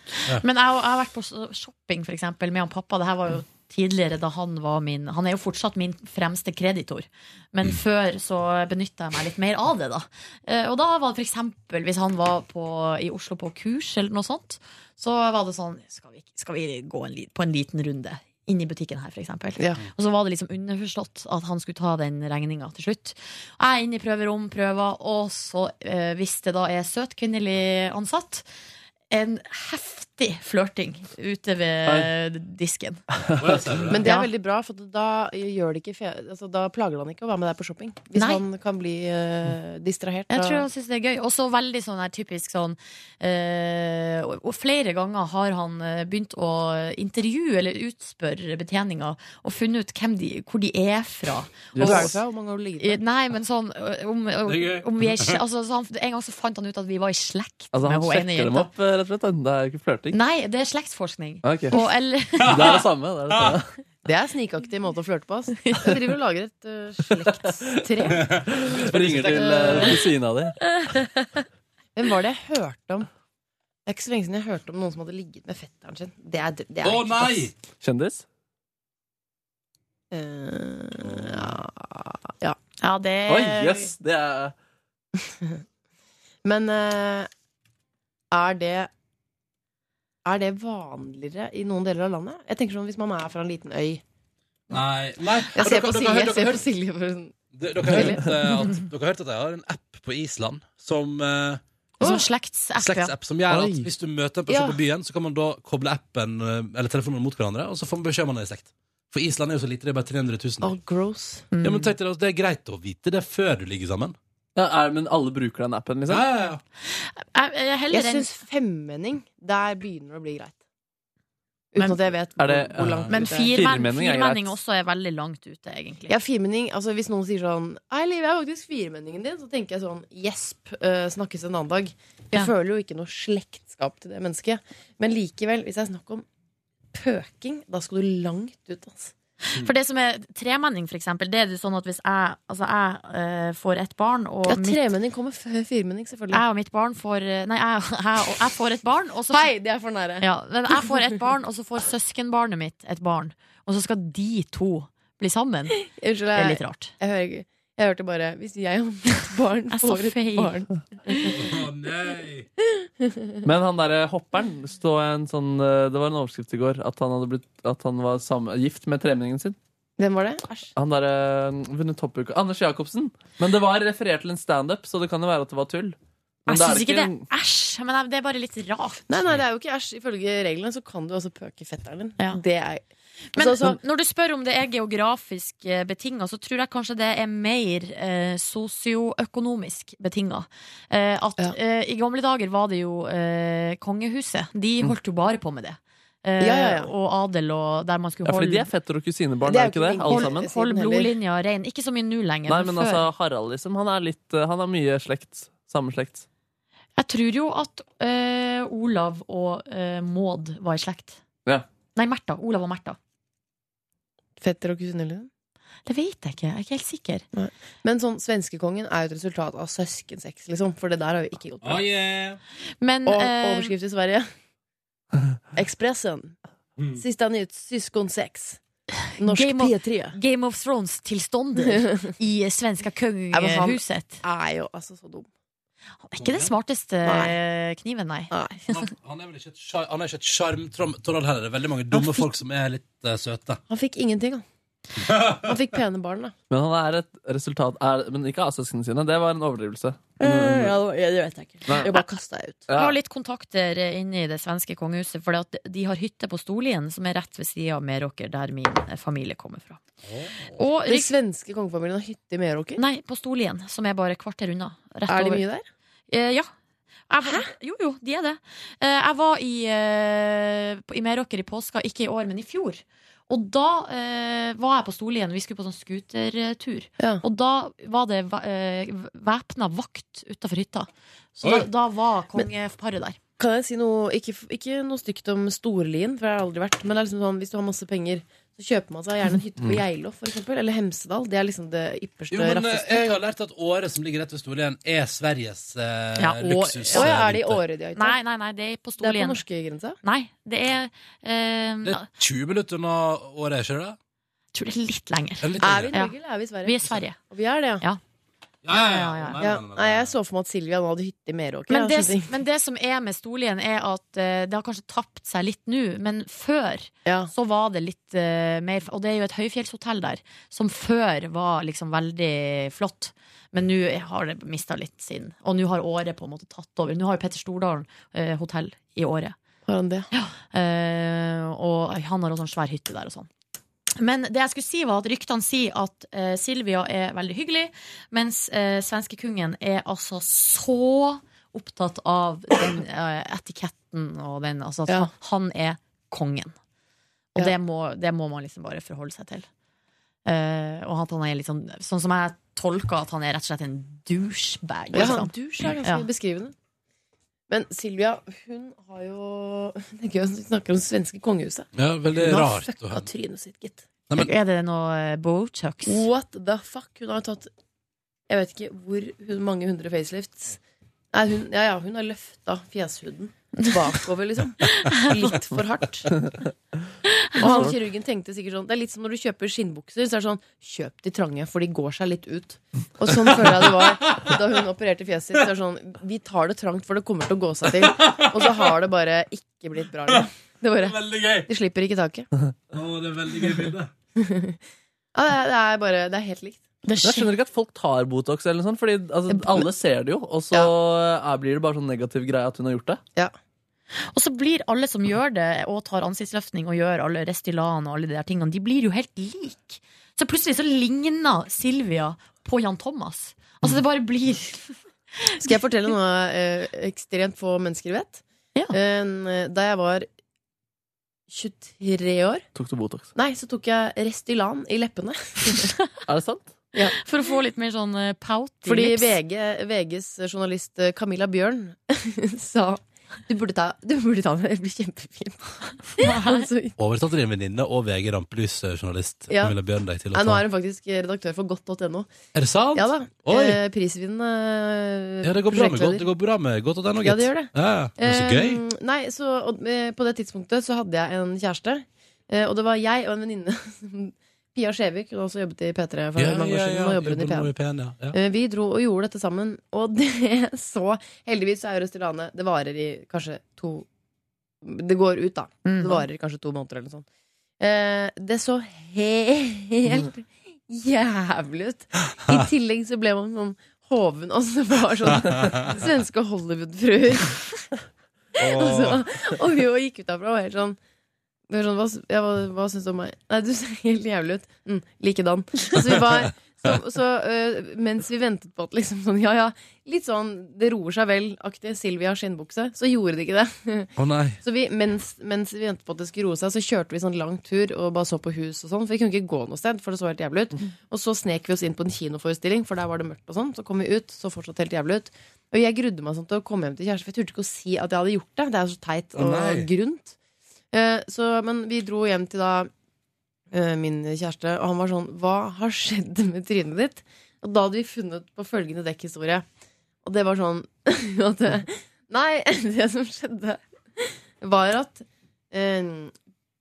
G: Men jeg, jeg har vært på s- shopping for eksempel, med han pappa. Det her var jo tidligere da han var min Han er jo fortsatt min fremste kreditor. Men før så benytta jeg meg litt mer av det, da. Eh, Og da var det for eksempel hvis han var på, i Oslo på kurs eller noe sånt, så var det sånn Skal vi, skal vi gå en, li- på en liten runde? Inn i butikken her, for eksempel. Og så var det liksom underforstått at han skulle ta den regninga til slutt. Jeg er inne i prøverom, prøver, og så, eh, hvis det da er søt kvinnelig ansatt, en heftig flørting ute ved disken.
B: Men det er
G: Ja.
B: veldig bra, for da, gjør det ikke fe altså, da plager han ikke å være med deg på shopping. Hvis
G: Nei.
B: han kan bli eh, distrahert.
G: Jeg
B: da-
G: tror han syns det er gøy. Og så veldig sånn her typisk sånn eh, og, og flere ganger har han eh, begynt å intervjue eller utspørre betjeninga og funnet ut hvem de, hvor de er fra.
B: Hvor
G: Og-
B: er du fra? Hvor mange år har du ligget
G: Eh, Nei, men sånn eh, om, om,
E: Det er gøy.
G: om vi er, sle- altså, så han, En gang så fant han ut at vi var i slekt
E: Altså,
G: med
E: han
G: hun ene
E: sjekker dem
G: jenta.
E: opp, eh, rett og slett. da. Det er jo ikke flørting.
G: Nei, det er slektsforskning.
B: Mm.
E: Ok.
G: Og eller,
E: Det er det samme. Det er det samme.
B: Det er snikaktig måte å flørte på. ass. Jeg driver og lager et eh, slektstre.
E: Ringer til eh, kusina di.
B: Hvem var det jeg hørte om? Det er ikke så lenge siden jeg hørte om noen som hadde ligget med fetteren sin. Det er, dr- det er
E: Å,
B: ekkelt,
E: nei!
B: ass.
E: Kjendis?
B: Eh, ja.
G: Ja, det
E: Oi, jøss! Yes, det er
B: Men eh, er det Er det vanligere i noen deler av landet? Jeg tenker sånn Hvis man er fra en liten øy
A: Nei, nei.
B: Jeg ser på Silje. Jeg ser på
A: Dere,
B: Silje for sånn.
A: dere, dere, har hørt, eh, at- dere har hørt at de har en app på Island som eh,
G: Sånn slektsapp. ja.
A: Slektsapp som gjør at
G: Oi.
A: hvis du møter en person
G: Ja.
A: på byen, så kan man da koble appen eh, eller telefonen mot hverandre, og så får man beskjed om man er i slekt. For Island er jo så lite, det er bare 300 000.
B: Oh, gross.
A: Ja, men tenk deg, altså, det er greit å vite det før du ligger sammen.
E: Ja, er, men alle bruker den appen, liksom?
A: Ja, ja, ja.
B: Jeg syns femmenning, der begynner det å bli greit. Uten at jeg vet
E: Er det,
B: hvor langt
G: Men
B: ut det er.
G: firmenn firmenning også er veldig langt ute, egentlig.
B: Ja, firmenning, altså Hvis noen sier sånn 'Hei, Liv, jeg er faktisk firmenningen din', så tenker jeg sånn 'Gjesp, eh, snakkes en annen dag'. Jeg føler jo ikke noe slektskap til det mennesket. Men likevel, hvis jeg snakker om pøking, da skal du langt ut. Altså.
E: Mm.
G: For det som er tremenning, for eksempel, det er det jo sånn at hvis jeg, altså jeg eh, får et barn og
B: Ja,
G: mitt-
B: tremenning kommer før firmenning, selvfølgelig.
G: Jeg og mitt barn får eh, Nei, jeg, jeg, og- jeg får et barn, og så
B: Hei, det er for nære.
G: Ja, men jeg får et barn, og så får søskenbarnet mitt et barn. Og så skal de to bli sammen.
B: Unnskyld,
G: Det er
B: jeg-
G: litt rart.
B: Jeg, hører, ikke- jeg hørte bare Hvis jeg og mitt barn
G: Jeg sa
B: får et
G: feil.
B: barn
E: Men han derre hopperen det stod en sånn, eh, Det var en overskrift i går at han, hadde blitt, at han var sammen, gift med tremenningen sin.
B: Hvem var det?
E: Han derre eh, vunnet hoppuka Anders Jacobsen. Men det var referert til en standup, så det kan jo være at det var tull. Men
G: Jeg
E: da er
G: syns
E: det
G: ikke det
E: en-
G: er æsj, men det er bare litt rart.
B: Nei, nei, det er jo ikke æsj. Ifølge reglene så kan du også pøke fetteren din. Det er
G: Men
B: altså, altså,
G: når du spør om det er geografisk eh, betinga, så tror jeg kanskje det er mer eh, sosioøkonomisk betinga. Eh, at eh, i gamle dager var det jo eh, kongehuset. De holdt jo bare på med det. Eh,
E: Mm. Ja, ja, ja.
G: Og adel og der man skulle
E: Ja, fordi
G: holde
E: de er fetter og kusinebarn, er ikke det? Alle sammen?
G: Hold, hold blodlinja rein. Ikke så mye nå lenger,
E: Nei,
G: men,
E: men
G: før.
E: altså, Harald, liksom, han er litt eh, Han har mye slekt. Samme slekt.
G: Jeg tror jo at eh, Olav og eh, Maud var i slekt.
E: Ja.
G: Nei, Märtha. Olav og Märtha.
B: fetter og kusinelue.
G: Det vet jeg ikke. Jeg er ikke helt sikker.
B: Men sånn, svenskekongen er jo et resultat av søskensex, liksom. For det der har jo ikke gått bra.
G: Oh,
A: yeah.
G: Men,
B: og
G: eh,
B: overskrift i Sverige. Ekspressen.
A: Mm.
B: Siste nytt. Syskonsex. Norsk
G: Game of-
B: P3.
G: Game of Thrones-tilstander i svenska
B: Ja, men han
G: kungahuset.
B: er jo altså så dum.
G: Ikke den smarteste eh,
A: Nei.
G: kniven, nei.
A: Han, han er vel ikke et sjar- han er ikke et sjarmtroll heller. Det er veldig mange dumme folk som er litt eh, søte.
B: Han fikk ingenting, han. Han fikk pene barn, da.
E: Men han er et resultat er, Men ikke av søsknene sine. Det var en overdrivelse. Øh,
B: Eh, det vet jeg ikke.
E: Nei.
B: Jeg bare kasta jeg ut.
E: Ja.
G: Jeg har litt kontakter eh, inne i det svenske kongehuset, for de har hytte på Storlien, som er rett ved sida av Meråker, der min eh, familie kommer fra. Og
B: Den svenske kongefamilien har hytte i Meråker?
G: Nei, på Storlien, som er bare et kvarter unna. Rett
B: Er de
G: over.
B: mye der?
G: Eh, ja. Jeg, var- Jo, jo, de er det. Eh, jeg var i, eh, på- i Meråker i påska, ikke i år, men i fjor. Og da eh, var jeg på Storlien, vi skulle på sånn skutertur. Og da var det va- eh, væpna vakt utafor hytta. Så
B: Oi.
G: da, da var kongeparet der.
B: Kan jeg si noe Ikke, ikke noe stygt om Storlien, for det har jeg aldri vært. Men det er liksom sånn, hvis du har masse penger, så kjøper man seg gjerne en hytte på
A: Mm.
B: Geilo, for eksempel. Eller Hemsedal. Det er liksom det ypperste,
A: Jo, men eh,
B: raffeste.
A: jeg har lært at Åre, som ligger rett ved Storlien, er Sveriges eh,
B: Ja, Åre.
A: luksus. eh,
B: Å ja, er det i
A: rute.
B: Åre de har hytte?
G: Nei, nei, nei, det er på
B: Det er på
G: Storlien.
B: norskegrensa?
G: Nei, det er eh,
A: Det er 20 minutter unna Åre, ikke det?
G: Jeg tror det er litt lenger.
B: Er
A: Er,
B: vi i Norge, eller er vi i Sverige?
G: Vi er i Sverige.
B: Og vi er det, ja.
A: Ja, ja, ja. Nei,
B: Ja,
A: nei, nei,
B: Nei, jeg så for meg at Silvia nå hadde hytte i Meråker. ja,
G: Men det,
B: skjønte jeg.
G: men det som er med Storlien, er at eh, det har kanskje tapt seg litt nå, men før så var det litt eh, mer Og det er jo et høyfjellshotell der, som før var liksom veldig flott. Men nå har det mista litt sin Og nå har Åre på en måte tatt over. Nå har jo Petter Stordalen eh, hotell i Åre.
B: Har han det?
G: Ja. Eh, og han har også en svær hytte der og sånn. Men det jeg skulle si var at ryktene sier at eh, Silvia er veldig hyggelig, mens eh, svenskekungen er altså så opptatt av den eh, etiketten og den Altså at
B: Ja.
G: han er kongen. Og
B: Ja.
G: det, må, det må man liksom bare forholde seg til. Eh, og at han er litt sånn Sånn som jeg tolker at han er rett og slett en douchebag.
B: Ja,
G: liksom.
B: du er ganske
G: Ja.
B: beskrivende. Men Silvia, hun har jo Det er gøy at vi snakker om det svenske kongehuset.
A: Ja, veldig
B: hun har
A: rart å
B: fucka
A: høre.
B: trynet sitt, gitt.
G: Er det noe eh, Botox?
B: What the fuck? Hun har tatt Jeg vet ikke hvor hun, mange hundre facelifts. Nei, hun, ja, ja, hun har løfta fjeshuden bakover, liksom. Litt for hardt. Og han kirurgen tenkte sikkert sånn Det er litt som når du kjøper skinnbukser. Så er det sånn Kjøp de trange, for de går seg litt ut. Og sånn føler jeg det var da hun opererte fjeset sitt. Så er det sånn Vi tar det trangt, for det kommer til å gå seg til. Og så har det bare ikke blitt bra. liksom. Det er
A: Veldig gøy.
B: De slipper ikke taket.
A: Å, det er veldig gøy bilde.
B: Ja, det er- det er bare Det er helt likt.
E: Men jeg skjønner ikke at folk tar Botox, eller noe sånt, Fordi altså, alle ser det jo, og så eh, blir det bare sånn negativ greie at hun har gjort det.
G: Og så blir alle som gjør det, og tar ansiktsløftning og gjør alle Restylan og alle de der tingene, de blir jo helt lik. Så plutselig så ligner Silvia på Jan Thomas. Altså det bare blir
B: Skal jeg fortelle noe eh, ekstremt få mennesker vet? En, eh, da jeg var 23 år,
E: Tok du Botox?
B: nei, så tok jeg Restylan i leppene.
E: Er det sant?
G: For å få litt mer sånn eh, pout i
B: Fordi
G: lips.
B: VG, VGs journalist eh, Camilla Bjørn sa Du burde ta, du burde ta den. Det blir kjempefint. Altså,
A: Overtatt din venninne og VG Rampelys-journalist
B: Ja.
A: Camilla Bjørndeg til å
B: Nei, nå
A: ta.
B: er hun faktisk redaktør for godt.no.
A: Er det sant?
B: Ja da.
A: Oi.
B: Eh, Prisvinnende
A: Ja, det går bra med godt. Det går bra med godt og den og
B: Ja, det gjør det.
A: Ja, men så gøy.
B: Eh, nei, så, og, eh, på det tidspunktet så hadde jeg en kjæreste. eh, og det var jeg og en venninne. som- Pia Skjevik, hun har også jobbet i P3 for
A: Ja,
B: mange år
A: ja,
B: siden.
A: ja,
B: Nå jobber hun i
A: jobber nå
B: P1.
A: i P1, ja, ja.
B: Eh, vi dro og gjorde dette sammen, og det så Heldigvis så er jo restaurantet Det varer i kanskje to Det går ut, da.
G: Mm.
B: Det varer kanskje to måneder eller noe sånt. Eh, det så helt jævlig ut. I tillegg så ble man sånn hoven, og så var sånn svenske Hollywood-fruer.
Q: Åh.
B: Altså, og vi jo gikk ut derfra og var helt sånn vi var sånn, hva, ja, hva, hva syns du om meg? Nei, du ser helt jævlig ut. Mm, Likedan. Altså, vi var, så så øh, mens vi ventet på at liksom sånn, ja ja, litt sånn det roer seg vel-aktig Silvia har skinnbukse, så gjorde det ikke det.
A: Å nei.
B: Så vi, mens, mens vi ventet på at det skulle roe seg, så kjørte vi sånn lang tur og bare så på hus og sånn. For vi kunne ikke gå noe sted, for det så helt jævlig ut. Og så snek vi oss inn på en kinoforestilling, for der var det mørkt og sånn. Så kom vi ut, så fortsatt helt jævlig ut. Og jeg grudde meg sånn til å komme hjem til kjæresten, for jeg turte ikke å si at jeg hadde gjort det. Det er jo så teit
G: Å,
B: og
G: nei.
B: grunt. Eh, så, men vi dro hjem til da eh, min kjæreste, og han var sånn Hva har skjedd med trynet ditt? Og da hadde vi funnet på følgende dekkhistorie. Og det var sånn at eh, Nei, det som skjedde, var at eh,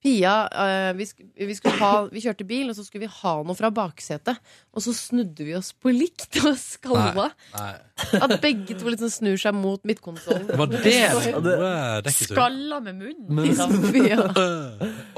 B: Pia eh, vi, sk vi, skulle ha, vi kjørte bil, og så skulle vi ha noe fra baksetet. Og så snudde vi oss på likt og skalva.
A: Nei.
B: At begge to liksom snur seg mot midtkonsollen.
A: Var det som Ja, det- var dekketur?
G: Skalla med munnen.
B: Men-
G: liksom.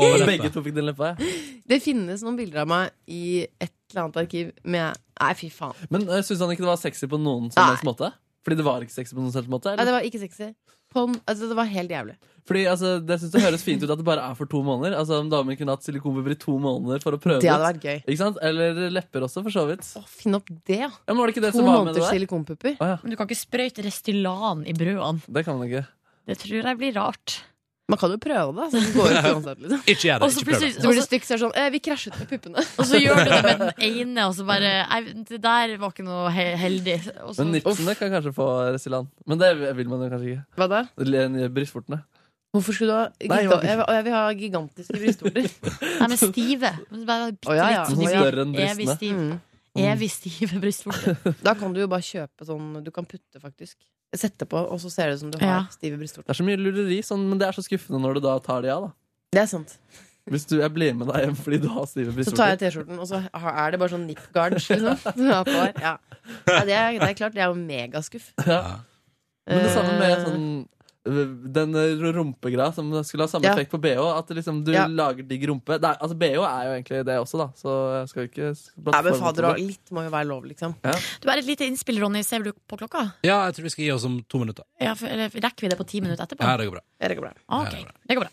A: Over leppa.
E: Begge to fikk den leppa, ja.
B: Det finnes noen bilder av meg i et eller annet arkiv med Nei, fy faen.
E: Men uh, syns han ikke det var sexy på noen som helst måte? Fordi det var ikke sexy på noen som helst måte?
B: Nei,
E: Eller?
B: det var ikke sexy. På, en- altså, det var helt jævlig.
E: Fordi altså, det, synes det høres fint ut at det bare er for to måneder. Altså Om damer kunne hatt silikonbubber i to måneder for å prøve
B: Det hadde
E: ut.
B: vært gøy.
E: Ikke sant? Eller lepper også, for så vidt.
B: Finn opp det, ja.
E: men var det ikke det
B: to
E: som var med det
B: måneders
E: der?
B: silikonpupper.
G: Men du kan ikke sprøyte Restylan i brødene.
E: Det kan man ikke.
G: Det tror jeg blir rart.
B: Man kan jo prøve det. Så det går jo ikke uansett, liksom.
A: Ikke gjør det.
G: Og så
A: Ikke prøv det.
G: plutselig-
B: Så blir det stygt, så er det sånn eh, Vi krasjet med puppene.
G: Og så gjør du det med den ene, og så bare Nei, det der var ikke noe he heldig. Og så,
E: Men nipsene kan kanskje få Resilan. Men det vil man jo kanskje ikke.
B: Hva da?
E: Le- Brystvortene.
B: Hvorfor skulle du ha
E: Nei, jeg var-
B: jeg, jeg vil ha gigantiske brystvorter.
G: Nei, men stive. Men Bare bitte
B: Å, ja, ja.
G: litt. så de
B: Å,
G: blir
B: ja. Større enn
G: evig
B: brystene.
G: stiv.
B: Mm.
G: Evig stive brystvorter.
B: Da kan du jo bare kjøpe sånn du kan putte, faktisk. Sette på, og så ser det ut som du har
E: Ja.
B: stive brystvorter.
E: Det er så mye lureri, sånn, men det er så skuffende når du da tar de av. da
B: Det er sant
E: Hvis du, jeg blir med deg hjem fordi du har stive
B: Så tar jeg
E: brystvorter.
B: T-skjorten, og så har- er det bare sånn nip guards, liksom. som jeg har på her. Ja. Nei, det, er, det er klart, det er jo megaskuff.
E: Ja. Men det samme med
B: Eh.
E: sånn øh, den øh, rumpegreia som skulle ha samme
B: Ja.
E: effekt på BH. At det liksom du
B: Ja.
E: lager digg rumpe. Nei, altså BH er jo egentlig det også, da. Så jeg skal ikke
B: Nei, men fader, og litt må jo være lov, liksom.
E: Ja.
G: Du er et lite innspill, Ronny. Ser du på klokka?
A: Ja, jeg tror vi skal gi oss om to minutter.
G: Ja, for, eller, rekker vi det på ti minutter etterpå?
A: Ja, det går bra.
B: Ja, det går bra.
G: Ah, ok.
A: Ja, det
G: Det går bra.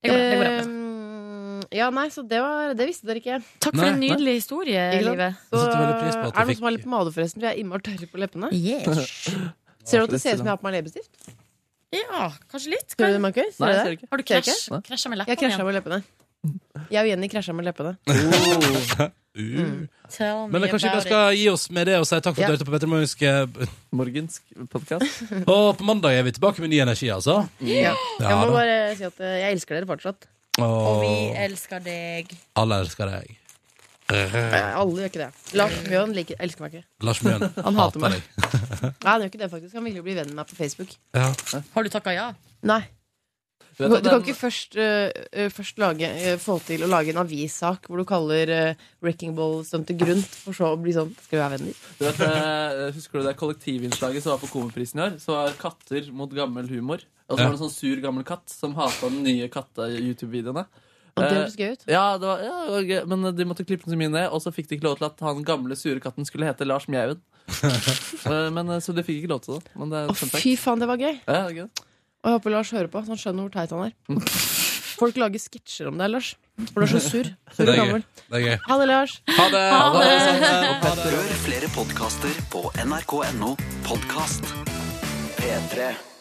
G: Det går bra. Det går bra.
B: Ehm, ja, nei, så det, var, det visste dere ikke.
G: Takk for en nydelig historie, Live.
B: Så,
G: Jeg setter veldig pris på
B: er det
G: at vi
B: noen
G: fikk-
B: som har litt pomade, forresten? For jeg er innmari tørr på leppene.
G: Yes.
B: Ser du at det ser ut som jeg har på meg leppestift?
G: Ja, kanskje litt.
B: Ser du det, Markus?
G: Nei, jeg
B: du det?
G: ser ikke. Har du
B: Ser jeg
G: krasj-
B: ikke?
G: krasja med leppene
B: Jeg krasja
G: igjen?
B: med leppene. Jeg og Jenny krasja med leppene. Mm,
A: Uh.
G: Tell
A: Men
G: me
A: kanskje vi
G: about
A: bare skal gi oss med det og si takk for at
G: Ja.
A: du hørte på Petter Morgensk
E: Morgensk podkast.
A: Og på mandag er vi tilbake med ny energi, altså.
B: Ja. Jeg
A: Ja
B: må
A: da.
B: bare si at eh, jeg elsker dere fortsatt.
A: Og
G: elsker deg.
A: alle elsker deg. Eh,
B: Alle gjør ikke det. Lars Mjøen liker, elsker meg ikke.
A: Lars Mjøen
B: Han hater meg.
A: deg.
B: Nei, han gjør ikke det, faktisk. Han ville jo bli venn med meg på Facebook.
A: ja.
G: Har du takka ja?
B: Nei.
E: Du
B: Du,
E: vet at
B: kan
E: den-
B: ikke først, eh, eh, først lage, eh, få til å lage en avissak hvor du kaller uh, Wrecking Ball-stuntet grunt, for så å bli sånn Skal vi være venner?
E: Du vet, eh, husker du det kollektivinnslaget som var på Komiprisen i år? Så var katter mot gammel humor. Og så
A: Ja.
E: var det en sånn sur gammel katt som hata den nye katte-YouTube-videoene.
B: Og det
E: Eh,
B: hørtes gøy ut.
E: Ja, det var, ja det var gøy. men eh, de måtte klippe den så mye ned. Og så fikk de ikke lov til at han gamle sure katten skulle hete Lars Mjauen. Eh, men, eh, så de fikk ikke lov til det. Men det er
B: Å,
E: kjempeakt.
B: fy faen, det var gøy!
E: Ja, det er gøy.
B: Og jeg håper Lars hører på, så han skjønner hvor teit han er. Folk lager sketsjer om deg, Lars. For du er så sur. Sur og
A: Det er
B: gammel.
A: gøy. Det er gøy.
B: Ha det, Lars.
A: Ha det! Ha det, alle sammen. Ha det.
C: Hør flere podkaster på nrk.no podkast. P3.